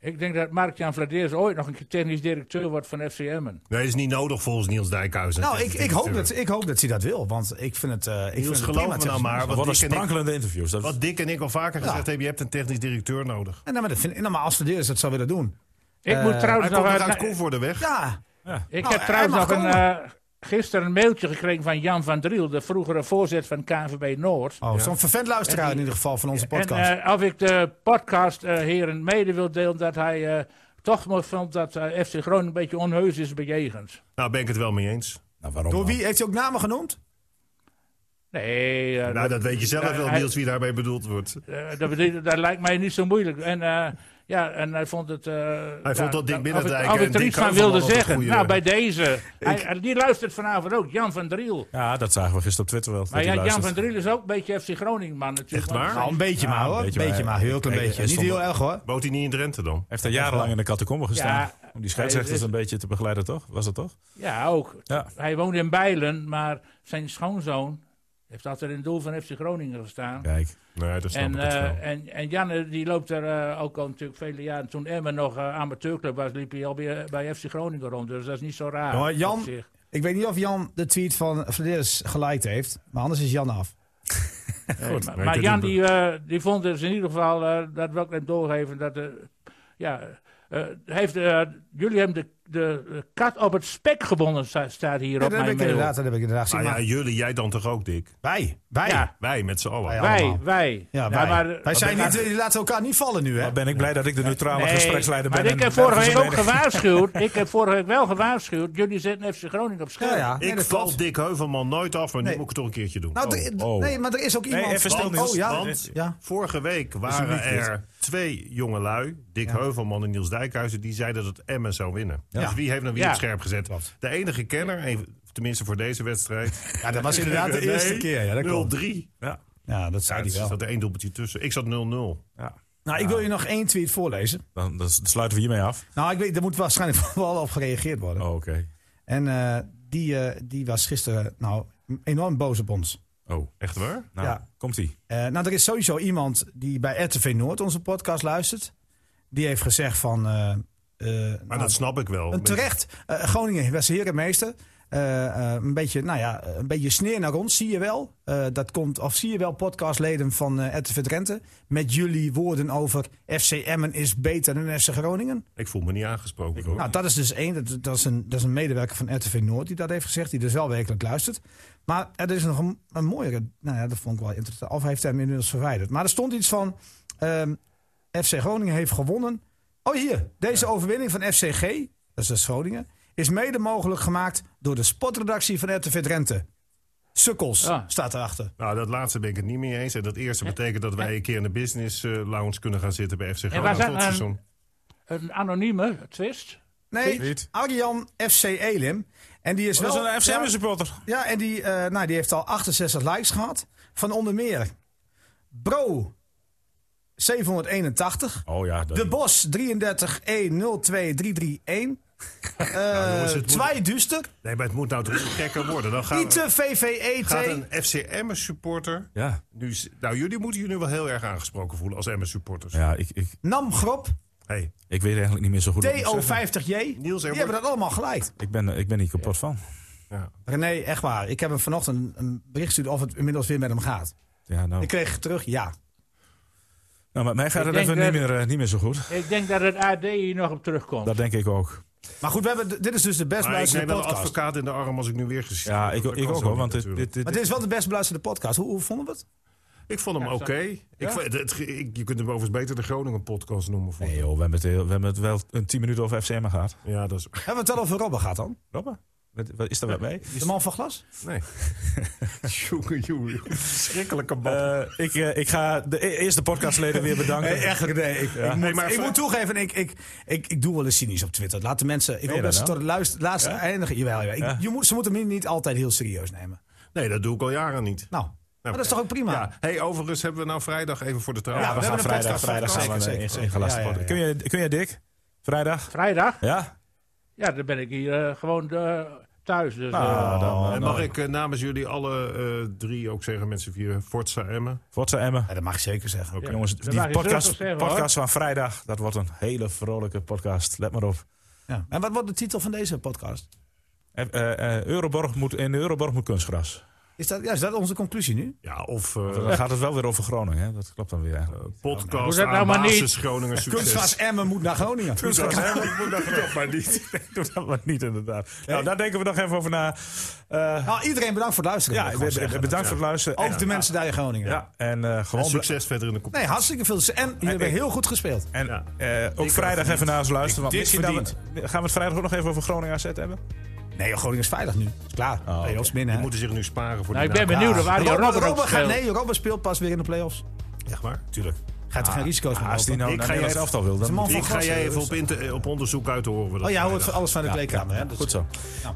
[SPEAKER 5] Ik denk dat Mark-Jan Vladeers ooit nog een keer technisch directeur wordt van FC Emmen.
[SPEAKER 3] Nee, is niet nodig volgens Niels Dijkhuizen.
[SPEAKER 2] Nou, ik, ik, hoop dat, ik hoop dat hij dat wil. Want ik vind het. eh ik vind
[SPEAKER 3] Niels,
[SPEAKER 2] het
[SPEAKER 3] geloof
[SPEAKER 2] prima
[SPEAKER 3] me
[SPEAKER 2] te
[SPEAKER 3] nou
[SPEAKER 2] doen.
[SPEAKER 3] maar.
[SPEAKER 4] er worden
[SPEAKER 3] Wat Dick, en ik,
[SPEAKER 4] sprankelende interviews. Dat,
[SPEAKER 3] wat Dick en ik al vaker gezegd
[SPEAKER 2] Ja.
[SPEAKER 3] hebben, je hebt een technisch directeur nodig.
[SPEAKER 2] En, nou, maar, dat vind, nou, maar als Verdeer dat zou willen doen.
[SPEAKER 5] Ik
[SPEAKER 2] Eh,
[SPEAKER 5] moet trouwens
[SPEAKER 3] Hij komt
[SPEAKER 5] nog
[SPEAKER 3] nog
[SPEAKER 5] uit-
[SPEAKER 3] uit Koevoorde weg.
[SPEAKER 2] Ja,
[SPEAKER 5] Ik
[SPEAKER 2] Nou,
[SPEAKER 5] heb
[SPEAKER 2] hij
[SPEAKER 5] trouwens
[SPEAKER 2] mag
[SPEAKER 5] nog een,
[SPEAKER 2] komen.
[SPEAKER 5] eh, gisteren een mailtje gekregen van Jan van Driel, de vroegere voorzitter van KNVB Noord.
[SPEAKER 2] oh, zo'n vervent luisteraar in ieder geval van onze
[SPEAKER 5] En
[SPEAKER 2] podcast.
[SPEAKER 5] eh, of ik de podcast eh, heren mede wil delen dat hij eh, toch nog vond dat eh, FC Groningen een beetje onheus is bejegend.
[SPEAKER 3] Nou, ben ik het wel mee eens.
[SPEAKER 4] nou, waarom
[SPEAKER 2] Door
[SPEAKER 4] nou?
[SPEAKER 2] wie heeft hij ook namen genoemd?
[SPEAKER 5] Nee, eh,
[SPEAKER 3] Nou, dat weet je zelf
[SPEAKER 5] eh,
[SPEAKER 3] wel,
[SPEAKER 5] hij-
[SPEAKER 3] Niels, wie daarbij bedoeld wordt.
[SPEAKER 5] eh, dat, bedoel- dat lijkt mij niet zo moeilijk. En eh, ja, en hij vond het... eh, ja,
[SPEAKER 3] vond dat Dick
[SPEAKER 5] of
[SPEAKER 3] Binnendijk
[SPEAKER 5] ik- Of
[SPEAKER 3] en
[SPEAKER 5] ik er
[SPEAKER 3] Dick
[SPEAKER 5] iets van
[SPEAKER 3] Heuvelman
[SPEAKER 5] wilde
[SPEAKER 3] was een
[SPEAKER 5] zeggen.
[SPEAKER 3] goeie.
[SPEAKER 5] Nou, bij deze. Hij, eh, die luistert vanavond ook, Jan van Driel.
[SPEAKER 4] Ja, dat zagen we gisteren op Twitter wel.
[SPEAKER 5] Maar
[SPEAKER 4] dat
[SPEAKER 5] ja,
[SPEAKER 4] hij
[SPEAKER 5] Jan
[SPEAKER 4] luistert.
[SPEAKER 5] van Driel is ook een beetje FC Groningen man natuurlijk.
[SPEAKER 3] Echt waar?
[SPEAKER 5] Want-
[SPEAKER 2] Nou, een beetje maar hoor. Een beetje, maar, heel klein
[SPEAKER 4] Kijk,
[SPEAKER 2] beetje.
[SPEAKER 4] hij
[SPEAKER 2] Niet
[SPEAKER 4] stond-
[SPEAKER 2] heel erg hoor.
[SPEAKER 3] Woont hij niet in Drenthe dan?
[SPEAKER 4] Hij heeft daar jarenlang in de catacombe gestaan.
[SPEAKER 5] Ja.
[SPEAKER 4] om die scheidsrechters
[SPEAKER 5] Hij
[SPEAKER 4] een beetje te begeleiden, toch? Was dat toch?
[SPEAKER 5] Ja, ook.
[SPEAKER 4] Ja.
[SPEAKER 5] Hij woont in Bijlen, maar zijn schoonzoon heeft altijd in het doel van FC Groningen gestaan.
[SPEAKER 4] Kijk.
[SPEAKER 3] Nee, dat snap
[SPEAKER 5] En,
[SPEAKER 3] ik het wel.
[SPEAKER 5] eh, en, en Janne die loopt er eh, ook al natuurlijk vele jaren. Toen Emmen nog eh, amateurclub was, liep hij alweer bij FC Groningen rond. Dus dat is niet zo raar.
[SPEAKER 2] Jongen, Jan-
[SPEAKER 5] op zich.
[SPEAKER 2] Ik weet niet of Jan de tweet van Verdeers geliked heeft. Maar anders is Jan af.
[SPEAKER 5] Nee, maar-
[SPEAKER 3] maar
[SPEAKER 5] maar
[SPEAKER 3] je kunt
[SPEAKER 5] Jan
[SPEAKER 3] het be-
[SPEAKER 5] die, eh, die vond dus in ieder geval, eh, dat wil ik net doorgeven, dat eh, ja, eh, heeft, eh, jullie hebben de, de kat op het spek gebonden, sta- staat hier
[SPEAKER 2] Ja,
[SPEAKER 5] op
[SPEAKER 2] dat, heb
[SPEAKER 5] mijn
[SPEAKER 2] ik
[SPEAKER 5] mail.
[SPEAKER 2] inderdaad, dat heb ik inderdaad
[SPEAKER 3] Nou
[SPEAKER 2] gezien.
[SPEAKER 3] ja,
[SPEAKER 2] Maar
[SPEAKER 3] jullie, jij dan toch ook, Dick?
[SPEAKER 2] wij, wij.
[SPEAKER 5] Ja.
[SPEAKER 3] Wij met z'n allen.
[SPEAKER 2] Ja,
[SPEAKER 5] Wij,
[SPEAKER 2] allemaal.
[SPEAKER 5] wij.
[SPEAKER 2] Ja,
[SPEAKER 5] Ja,
[SPEAKER 2] wij.
[SPEAKER 5] maar,
[SPEAKER 2] wij zijn
[SPEAKER 5] maar-
[SPEAKER 2] niet, jullie laten elkaar niet vallen nu, hè?
[SPEAKER 4] Maar ben ik blij dat ik de neutrale
[SPEAKER 5] Nee,
[SPEAKER 4] gespreksleider ben.
[SPEAKER 5] Maar ik
[SPEAKER 4] en
[SPEAKER 5] heb vorige week
[SPEAKER 4] ergens
[SPEAKER 5] ook
[SPEAKER 4] een mening-
[SPEAKER 5] gewaarschuwd. ik heb vorige week wel gewaarschuwd. Jullie zetten FC Groningen op scherp.
[SPEAKER 2] Ja, ja. Nee,
[SPEAKER 3] Ik
[SPEAKER 2] dat
[SPEAKER 3] val
[SPEAKER 2] klopt.
[SPEAKER 3] Dick Heuvelman nooit af, maar nu
[SPEAKER 2] Nee.
[SPEAKER 3] moet ik het toch een keertje doen.
[SPEAKER 2] Nou,
[SPEAKER 3] Oh.
[SPEAKER 2] d- d-
[SPEAKER 4] oh.
[SPEAKER 2] nee, maar er is ook
[SPEAKER 4] Nee,
[SPEAKER 2] iemand...
[SPEAKER 4] even stil,
[SPEAKER 2] Oh,
[SPEAKER 4] Niels.
[SPEAKER 2] ja.
[SPEAKER 3] Want
[SPEAKER 2] ja.
[SPEAKER 3] vorige week waren er twee jonge lui, Dick Heuvelman en Niels Dijkhuizen, die zeiden dat Emmen zou winnen. Dus wie heeft nou wie
[SPEAKER 5] Ja.
[SPEAKER 3] op scherp gezet? De enige kenner, even- tenminste voor deze wedstrijd.
[SPEAKER 2] Ja, dat was inderdaad de
[SPEAKER 3] Nee,
[SPEAKER 2] eerste keer. Ja, dat klopt.
[SPEAKER 3] 0-3.
[SPEAKER 4] Ja,
[SPEAKER 2] Ja, dat zei
[SPEAKER 3] Ja, dus
[SPEAKER 2] hij
[SPEAKER 3] er
[SPEAKER 2] wel.
[SPEAKER 3] zat er één doelpuntje tussen. Ik zat 0-0.
[SPEAKER 4] ja.
[SPEAKER 2] Nou, ik wil je nog één tweet voorlezen.
[SPEAKER 4] Dan, dan sluiten we hiermee af.
[SPEAKER 2] Nou, ik weet, er moet waarschijnlijk wel op gereageerd worden.
[SPEAKER 4] Oh, oké.
[SPEAKER 2] En eh, die, eh, die was gisteren nou enorm boos op ons.
[SPEAKER 4] Oh,
[SPEAKER 3] Echt waar?
[SPEAKER 4] nou,
[SPEAKER 2] Ja.
[SPEAKER 4] komt-ie.
[SPEAKER 2] Eh, nou, er is sowieso iemand die bij RTV Noord onze podcast luistert. Die heeft gezegd van... eh, eh,
[SPEAKER 3] Maar
[SPEAKER 2] nou,
[SPEAKER 3] dat snap ik wel.
[SPEAKER 2] een terecht, eh, Groningen was herenmeester. Eh, eh, een beetje, nou ja, een beetje sneer naar ons, zie je wel. Eh, dat komt, of zie je wel, podcastleden van eh RTV Drenthe. Met jullie woorden over FC Emmen is beter dan FC Groningen.
[SPEAKER 3] Ik voel me niet aangesproken. hoor.
[SPEAKER 2] Nou, dat is dus één. Dat, dat, is een, dat is een medewerker van RTV Noord die dat heeft gezegd. Die dus wel werkelijk luistert. Maar er is nog een, een mooiere. Nou ja, dat vond ik wel interessant. Of hij heeft hem inmiddels verwijderd. Maar er stond iets van. ehm, FC Groningen heeft gewonnen. Oh, hier. Deze overwinning van FCG. Dat is dus Groningen. Is mede mogelijk gemaakt door de spotredactie van RTV Drenthe. Sukkels
[SPEAKER 5] Ja.
[SPEAKER 2] staat erachter.
[SPEAKER 3] Nou, dat laatste ben ik het niet mee eens. En dat eerste betekent dat wij een keer in de business eh, lounge kunnen gaan zitten bij FC Groningen.
[SPEAKER 5] waar zijn- ehm,
[SPEAKER 3] tot het seizoen.
[SPEAKER 5] Een anonieme twist.
[SPEAKER 2] Nee,
[SPEAKER 4] Niet.
[SPEAKER 2] Arjan FC Elim. En die is
[SPEAKER 4] Dat is
[SPEAKER 2] wel.
[SPEAKER 4] een
[SPEAKER 2] Ja.
[SPEAKER 4] FCM-supporter.
[SPEAKER 2] Ja, en die, eh, nou, die heeft al 68 likes gehad. Van onder meer Bro 781.
[SPEAKER 4] Oh ja. dat-
[SPEAKER 2] De Bos 33 1 02 331. Eh,
[SPEAKER 3] Nou, jongens, het moet-
[SPEAKER 2] Twee Duister.
[SPEAKER 3] Nee, maar het moet nou toch gekker worden. Dan gaan,
[SPEAKER 2] Niet de VVET.
[SPEAKER 3] gaat een FC Emmen supporter...
[SPEAKER 4] Ja.
[SPEAKER 3] Nu, is- nou, jullie moeten je nu wel heel erg aangesproken voelen als Emmen supporters.
[SPEAKER 4] Ja, ik, ik,
[SPEAKER 2] Nam Grop.
[SPEAKER 3] Hey,
[SPEAKER 4] ik weet eigenlijk niet meer zo goed wat ik moet zeggen.
[SPEAKER 2] DO50J.
[SPEAKER 3] Niels
[SPEAKER 2] Die
[SPEAKER 3] Herbert.
[SPEAKER 2] hebben dat allemaal gelijk.
[SPEAKER 4] Ik ben, ik ben hier kapot van.
[SPEAKER 3] ja.
[SPEAKER 2] René, echt waar. Ik heb hem vanochtend een- een bericht gestuurd of het inmiddels weer met hem gaat.
[SPEAKER 4] Ja, nou.
[SPEAKER 2] Ik kreeg terug ja.
[SPEAKER 4] Nou, met mij
[SPEAKER 5] Ik
[SPEAKER 4] gaat het
[SPEAKER 5] denk
[SPEAKER 4] even niet
[SPEAKER 5] dat-
[SPEAKER 4] meer, eh, niet meer zo goed.
[SPEAKER 5] Ik denk dat het AD hier nog op terugkomt.
[SPEAKER 4] Dat denk ik ook.
[SPEAKER 2] Maar goed, we hebben, d- dit is dus de best
[SPEAKER 3] Maar ik
[SPEAKER 2] beluisterde
[SPEAKER 3] neem wel een
[SPEAKER 2] podcast.
[SPEAKER 3] advocaat in de arm als ik nu weer gezien
[SPEAKER 4] Ja,
[SPEAKER 3] word.
[SPEAKER 4] ik,
[SPEAKER 3] Dat
[SPEAKER 4] ik
[SPEAKER 3] kan
[SPEAKER 4] ook
[SPEAKER 3] zo
[SPEAKER 4] hoor.
[SPEAKER 3] niet
[SPEAKER 4] Want dit,
[SPEAKER 3] natuurlijk.
[SPEAKER 4] dit, dit-
[SPEAKER 2] Maar dit is wel de best beluisterde podcast. Hoe, hoe vonden we het?
[SPEAKER 3] Ik vond hem
[SPEAKER 5] Ja,
[SPEAKER 3] oké.
[SPEAKER 5] zo-
[SPEAKER 3] Ik vond- het- het- ik- Je kunt hem overigens beter de Groningen podcast noemen. Voor
[SPEAKER 4] nee
[SPEAKER 3] me.
[SPEAKER 4] joh, we hebben, het heel- we hebben het wel een 10 minuten over FCM gehad.
[SPEAKER 3] Ja, dat is...
[SPEAKER 2] Hebben we het wel over Robben gehad dan?
[SPEAKER 4] Robben? Wat, wat is daar wat mee?
[SPEAKER 2] De man van glas?
[SPEAKER 3] Nee. jongen, jongen. Schrikkelijke man.
[SPEAKER 4] Eh, ik, eh, ik ga de e- eerste podcastleden weer bedanken.
[SPEAKER 2] Eh, nee. Ik,
[SPEAKER 4] Ja.
[SPEAKER 2] ik,
[SPEAKER 3] Nee,
[SPEAKER 2] moet,
[SPEAKER 3] maar
[SPEAKER 2] ik
[SPEAKER 3] voor-
[SPEAKER 2] moet toegeven, ik, ik, ik, ik doe wel eens cynisch op Twitter. Laat de mensen, ik
[SPEAKER 4] je
[SPEAKER 2] hoop
[SPEAKER 4] dat
[SPEAKER 2] dat ze
[SPEAKER 4] nou?
[SPEAKER 2] tot het luister- laatste eindigen. Jawel, jawel. Ik-
[SPEAKER 4] Ja.
[SPEAKER 2] je moet, ze moeten me niet altijd heel serieus nemen.
[SPEAKER 3] Nee, dat doe ik al jaren niet.
[SPEAKER 2] Nou, maar dat is toch ook prima?
[SPEAKER 3] Ja. Hey, overigens hebben we nou vrijdag even voor de trouw.
[SPEAKER 2] Ja,
[SPEAKER 4] Ja, we,
[SPEAKER 2] we
[SPEAKER 4] gaan
[SPEAKER 2] hebben een
[SPEAKER 4] vrijdag,
[SPEAKER 2] podcast-
[SPEAKER 4] vrijdag
[SPEAKER 2] zeker,
[SPEAKER 4] samen eh,
[SPEAKER 2] zeker.
[SPEAKER 4] in in gelasten
[SPEAKER 2] Ja, ja,
[SPEAKER 4] worden.
[SPEAKER 2] ja.
[SPEAKER 4] Kun, je, kun je Dick? Vrijdag?
[SPEAKER 5] Vrijdag?
[SPEAKER 4] Ja?
[SPEAKER 5] Ja, dan ben ik hier eh, gewoon eh, thuis. Dus, eh,
[SPEAKER 4] Ah, dan, eh,
[SPEAKER 3] en
[SPEAKER 4] nou,
[SPEAKER 3] mag ik eh, namens jullie alle eh, drie ook zeggen, mensen vier, Forza Emmen.
[SPEAKER 4] Forza Emmen.
[SPEAKER 2] Ja, eh, dat mag ik zeker zeggen.
[SPEAKER 3] Oké.
[SPEAKER 4] Jongens,
[SPEAKER 5] dat
[SPEAKER 4] die
[SPEAKER 5] mag je
[SPEAKER 4] podcast,
[SPEAKER 5] rustig zeggen, hoor.
[SPEAKER 4] podcast van vrijdag, dat wordt een hele vrolijke podcast. Let maar op.
[SPEAKER 2] Ja. En wat wordt de titel van deze podcast?
[SPEAKER 4] Eh, eh, eh, Euroborg moet, in Euroborg moet kunstgras.
[SPEAKER 2] Is dat, ja, is dat onze conclusie nu?
[SPEAKER 3] Ja, of eh,
[SPEAKER 4] Dan gaat het wel weer over Groningen. Hè? Dat klopt dan weer eigenlijk.
[SPEAKER 5] Doe
[SPEAKER 3] podcast
[SPEAKER 5] dat nou
[SPEAKER 3] aan
[SPEAKER 5] maar niet.
[SPEAKER 3] basis Groningen succes.
[SPEAKER 2] Kunstgras Emmen moet naar Groningen.
[SPEAKER 4] Kunstgras Emmen.
[SPEAKER 3] Ik moet dat toch maar niet.
[SPEAKER 4] Doe dat maar niet inderdaad. Nou, daar denken we nog even over na. Eh,
[SPEAKER 2] Nou, iedereen bedankt voor het luisteren.
[SPEAKER 4] ja,
[SPEAKER 2] wil ik
[SPEAKER 4] be-
[SPEAKER 2] gewoon zeggen.
[SPEAKER 4] bedankt voor het luisteren.
[SPEAKER 2] Ook de mensen daar in Groningen.
[SPEAKER 4] Ja, en eh,
[SPEAKER 3] En
[SPEAKER 4] gewoon...
[SPEAKER 3] succes verder in de competitie.
[SPEAKER 2] Nee, hartstikke veel. En jullie hebben
[SPEAKER 4] ik-
[SPEAKER 2] heel goed gespeeld.
[SPEAKER 4] En
[SPEAKER 3] Ja.
[SPEAKER 4] eh, ook
[SPEAKER 3] Dik
[SPEAKER 4] vrijdag even naar ons luisteren. Want
[SPEAKER 3] Dik
[SPEAKER 4] misschien dat we- gaan we het vrijdag ook nog even over Groningen AZ hebben.
[SPEAKER 2] Nee, Groningen is veilig nu. Is klaar.
[SPEAKER 4] Oh, oké.
[SPEAKER 2] Playoffs binnen.
[SPEAKER 3] Die
[SPEAKER 2] hè.
[SPEAKER 3] moeten zich nu sparen voor
[SPEAKER 5] nou, ik
[SPEAKER 3] die
[SPEAKER 5] ben
[SPEAKER 3] na-
[SPEAKER 5] benieuwd waar die
[SPEAKER 2] Robben-
[SPEAKER 5] Robben ook
[SPEAKER 2] Robben gaat-
[SPEAKER 5] speelt.
[SPEAKER 2] nee, Robben speelt pas weer in de play-offs.
[SPEAKER 3] Echt waar?
[SPEAKER 2] Tuurlijk. Ah, Gaat er geen risico's meer
[SPEAKER 4] Als die
[SPEAKER 2] lopen.
[SPEAKER 4] nou
[SPEAKER 3] Ik
[SPEAKER 4] naar
[SPEAKER 3] ga je
[SPEAKER 4] Nederland
[SPEAKER 3] even-
[SPEAKER 4] elftal wil,
[SPEAKER 2] is
[SPEAKER 4] dan
[SPEAKER 2] een man
[SPEAKER 4] moet
[SPEAKER 2] van
[SPEAKER 3] Ik ga
[SPEAKER 2] Gras,
[SPEAKER 3] jij
[SPEAKER 2] eh,
[SPEAKER 3] even op, inter- op onderzoek uit te horen. we dat
[SPEAKER 2] Oh, jij hoort
[SPEAKER 3] vrijdag.
[SPEAKER 2] alles van de kleedkamer, hè?
[SPEAKER 4] die-
[SPEAKER 2] Dus-
[SPEAKER 4] Goed zo.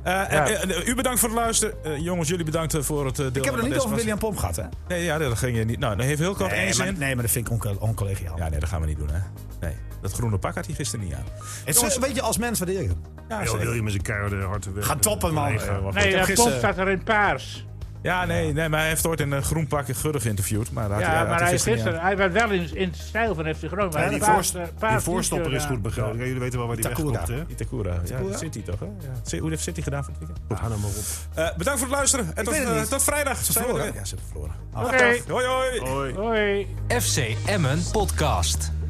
[SPEAKER 4] Eh, en- en, eh, u bedankt voor het luisteren. Eh, jongens, jullie bedankt eh, voor het eh, deel.
[SPEAKER 2] Ik heb het
[SPEAKER 4] aan
[SPEAKER 2] nog niet
[SPEAKER 4] deze
[SPEAKER 2] over William Pomp gehad, hè?
[SPEAKER 4] was- Nee, ja, dat ging je niet. Nou, dat heeft heel kort één
[SPEAKER 2] Nee,
[SPEAKER 4] zin.
[SPEAKER 2] maar, nee, maar dat vind ik onco- oncollegiaal.
[SPEAKER 4] Ja, nee, dat gaan we niet doen, hè. Nee, dat groene pak had hij gisteren niet aan.
[SPEAKER 2] Het is een beetje als mens waardeer ik hem.
[SPEAKER 4] Ja,
[SPEAKER 3] Yo,
[SPEAKER 4] zeker.
[SPEAKER 3] William is een keiharde harte werker.
[SPEAKER 2] Ga toppen, man.
[SPEAKER 3] Collega.
[SPEAKER 2] Eh,
[SPEAKER 5] Nee,
[SPEAKER 2] Ik heb
[SPEAKER 5] eh, Pomp
[SPEAKER 2] gisteren-
[SPEAKER 5] staat er in paars.
[SPEAKER 4] ja nee, nee, maar hij heeft ooit in een groen pak Gudde geïnterviewd. Maar daar had
[SPEAKER 5] Ja,
[SPEAKER 4] hij, had
[SPEAKER 5] maar hij,
[SPEAKER 4] gisteren niet
[SPEAKER 5] gisteren, hij werd wel in, in het stijl van FC Groningen.
[SPEAKER 3] Ja,
[SPEAKER 5] Hij
[SPEAKER 3] die,
[SPEAKER 5] had een
[SPEAKER 3] voorst-
[SPEAKER 5] paars, eh,
[SPEAKER 3] die
[SPEAKER 5] paars
[SPEAKER 3] voorstopper
[SPEAKER 5] t-shirt
[SPEAKER 3] is
[SPEAKER 5] aan.
[SPEAKER 3] goed begaan. Ja, jullie weten wel waar die
[SPEAKER 2] Takura.
[SPEAKER 3] wegkomt, hè?
[SPEAKER 4] aan. Itakura, ja, dat zit hij toch, hè? Ja. Zit- Hoe heeft City gedaan van het weekend?
[SPEAKER 3] Ja, nou maar op.
[SPEAKER 4] Eh, bedankt voor het luisteren en tot,
[SPEAKER 2] weet het
[SPEAKER 4] eh,
[SPEAKER 2] niet.
[SPEAKER 4] tot vrijdag. Zijn we er
[SPEAKER 2] verloren,
[SPEAKER 4] weer?
[SPEAKER 2] hè?
[SPEAKER 4] Ja, ze hebben verloren.
[SPEAKER 5] Oké,
[SPEAKER 4] Hoi, hoi.
[SPEAKER 3] Hoi.
[SPEAKER 5] hoi.
[SPEAKER 1] FC Emmen Podcast.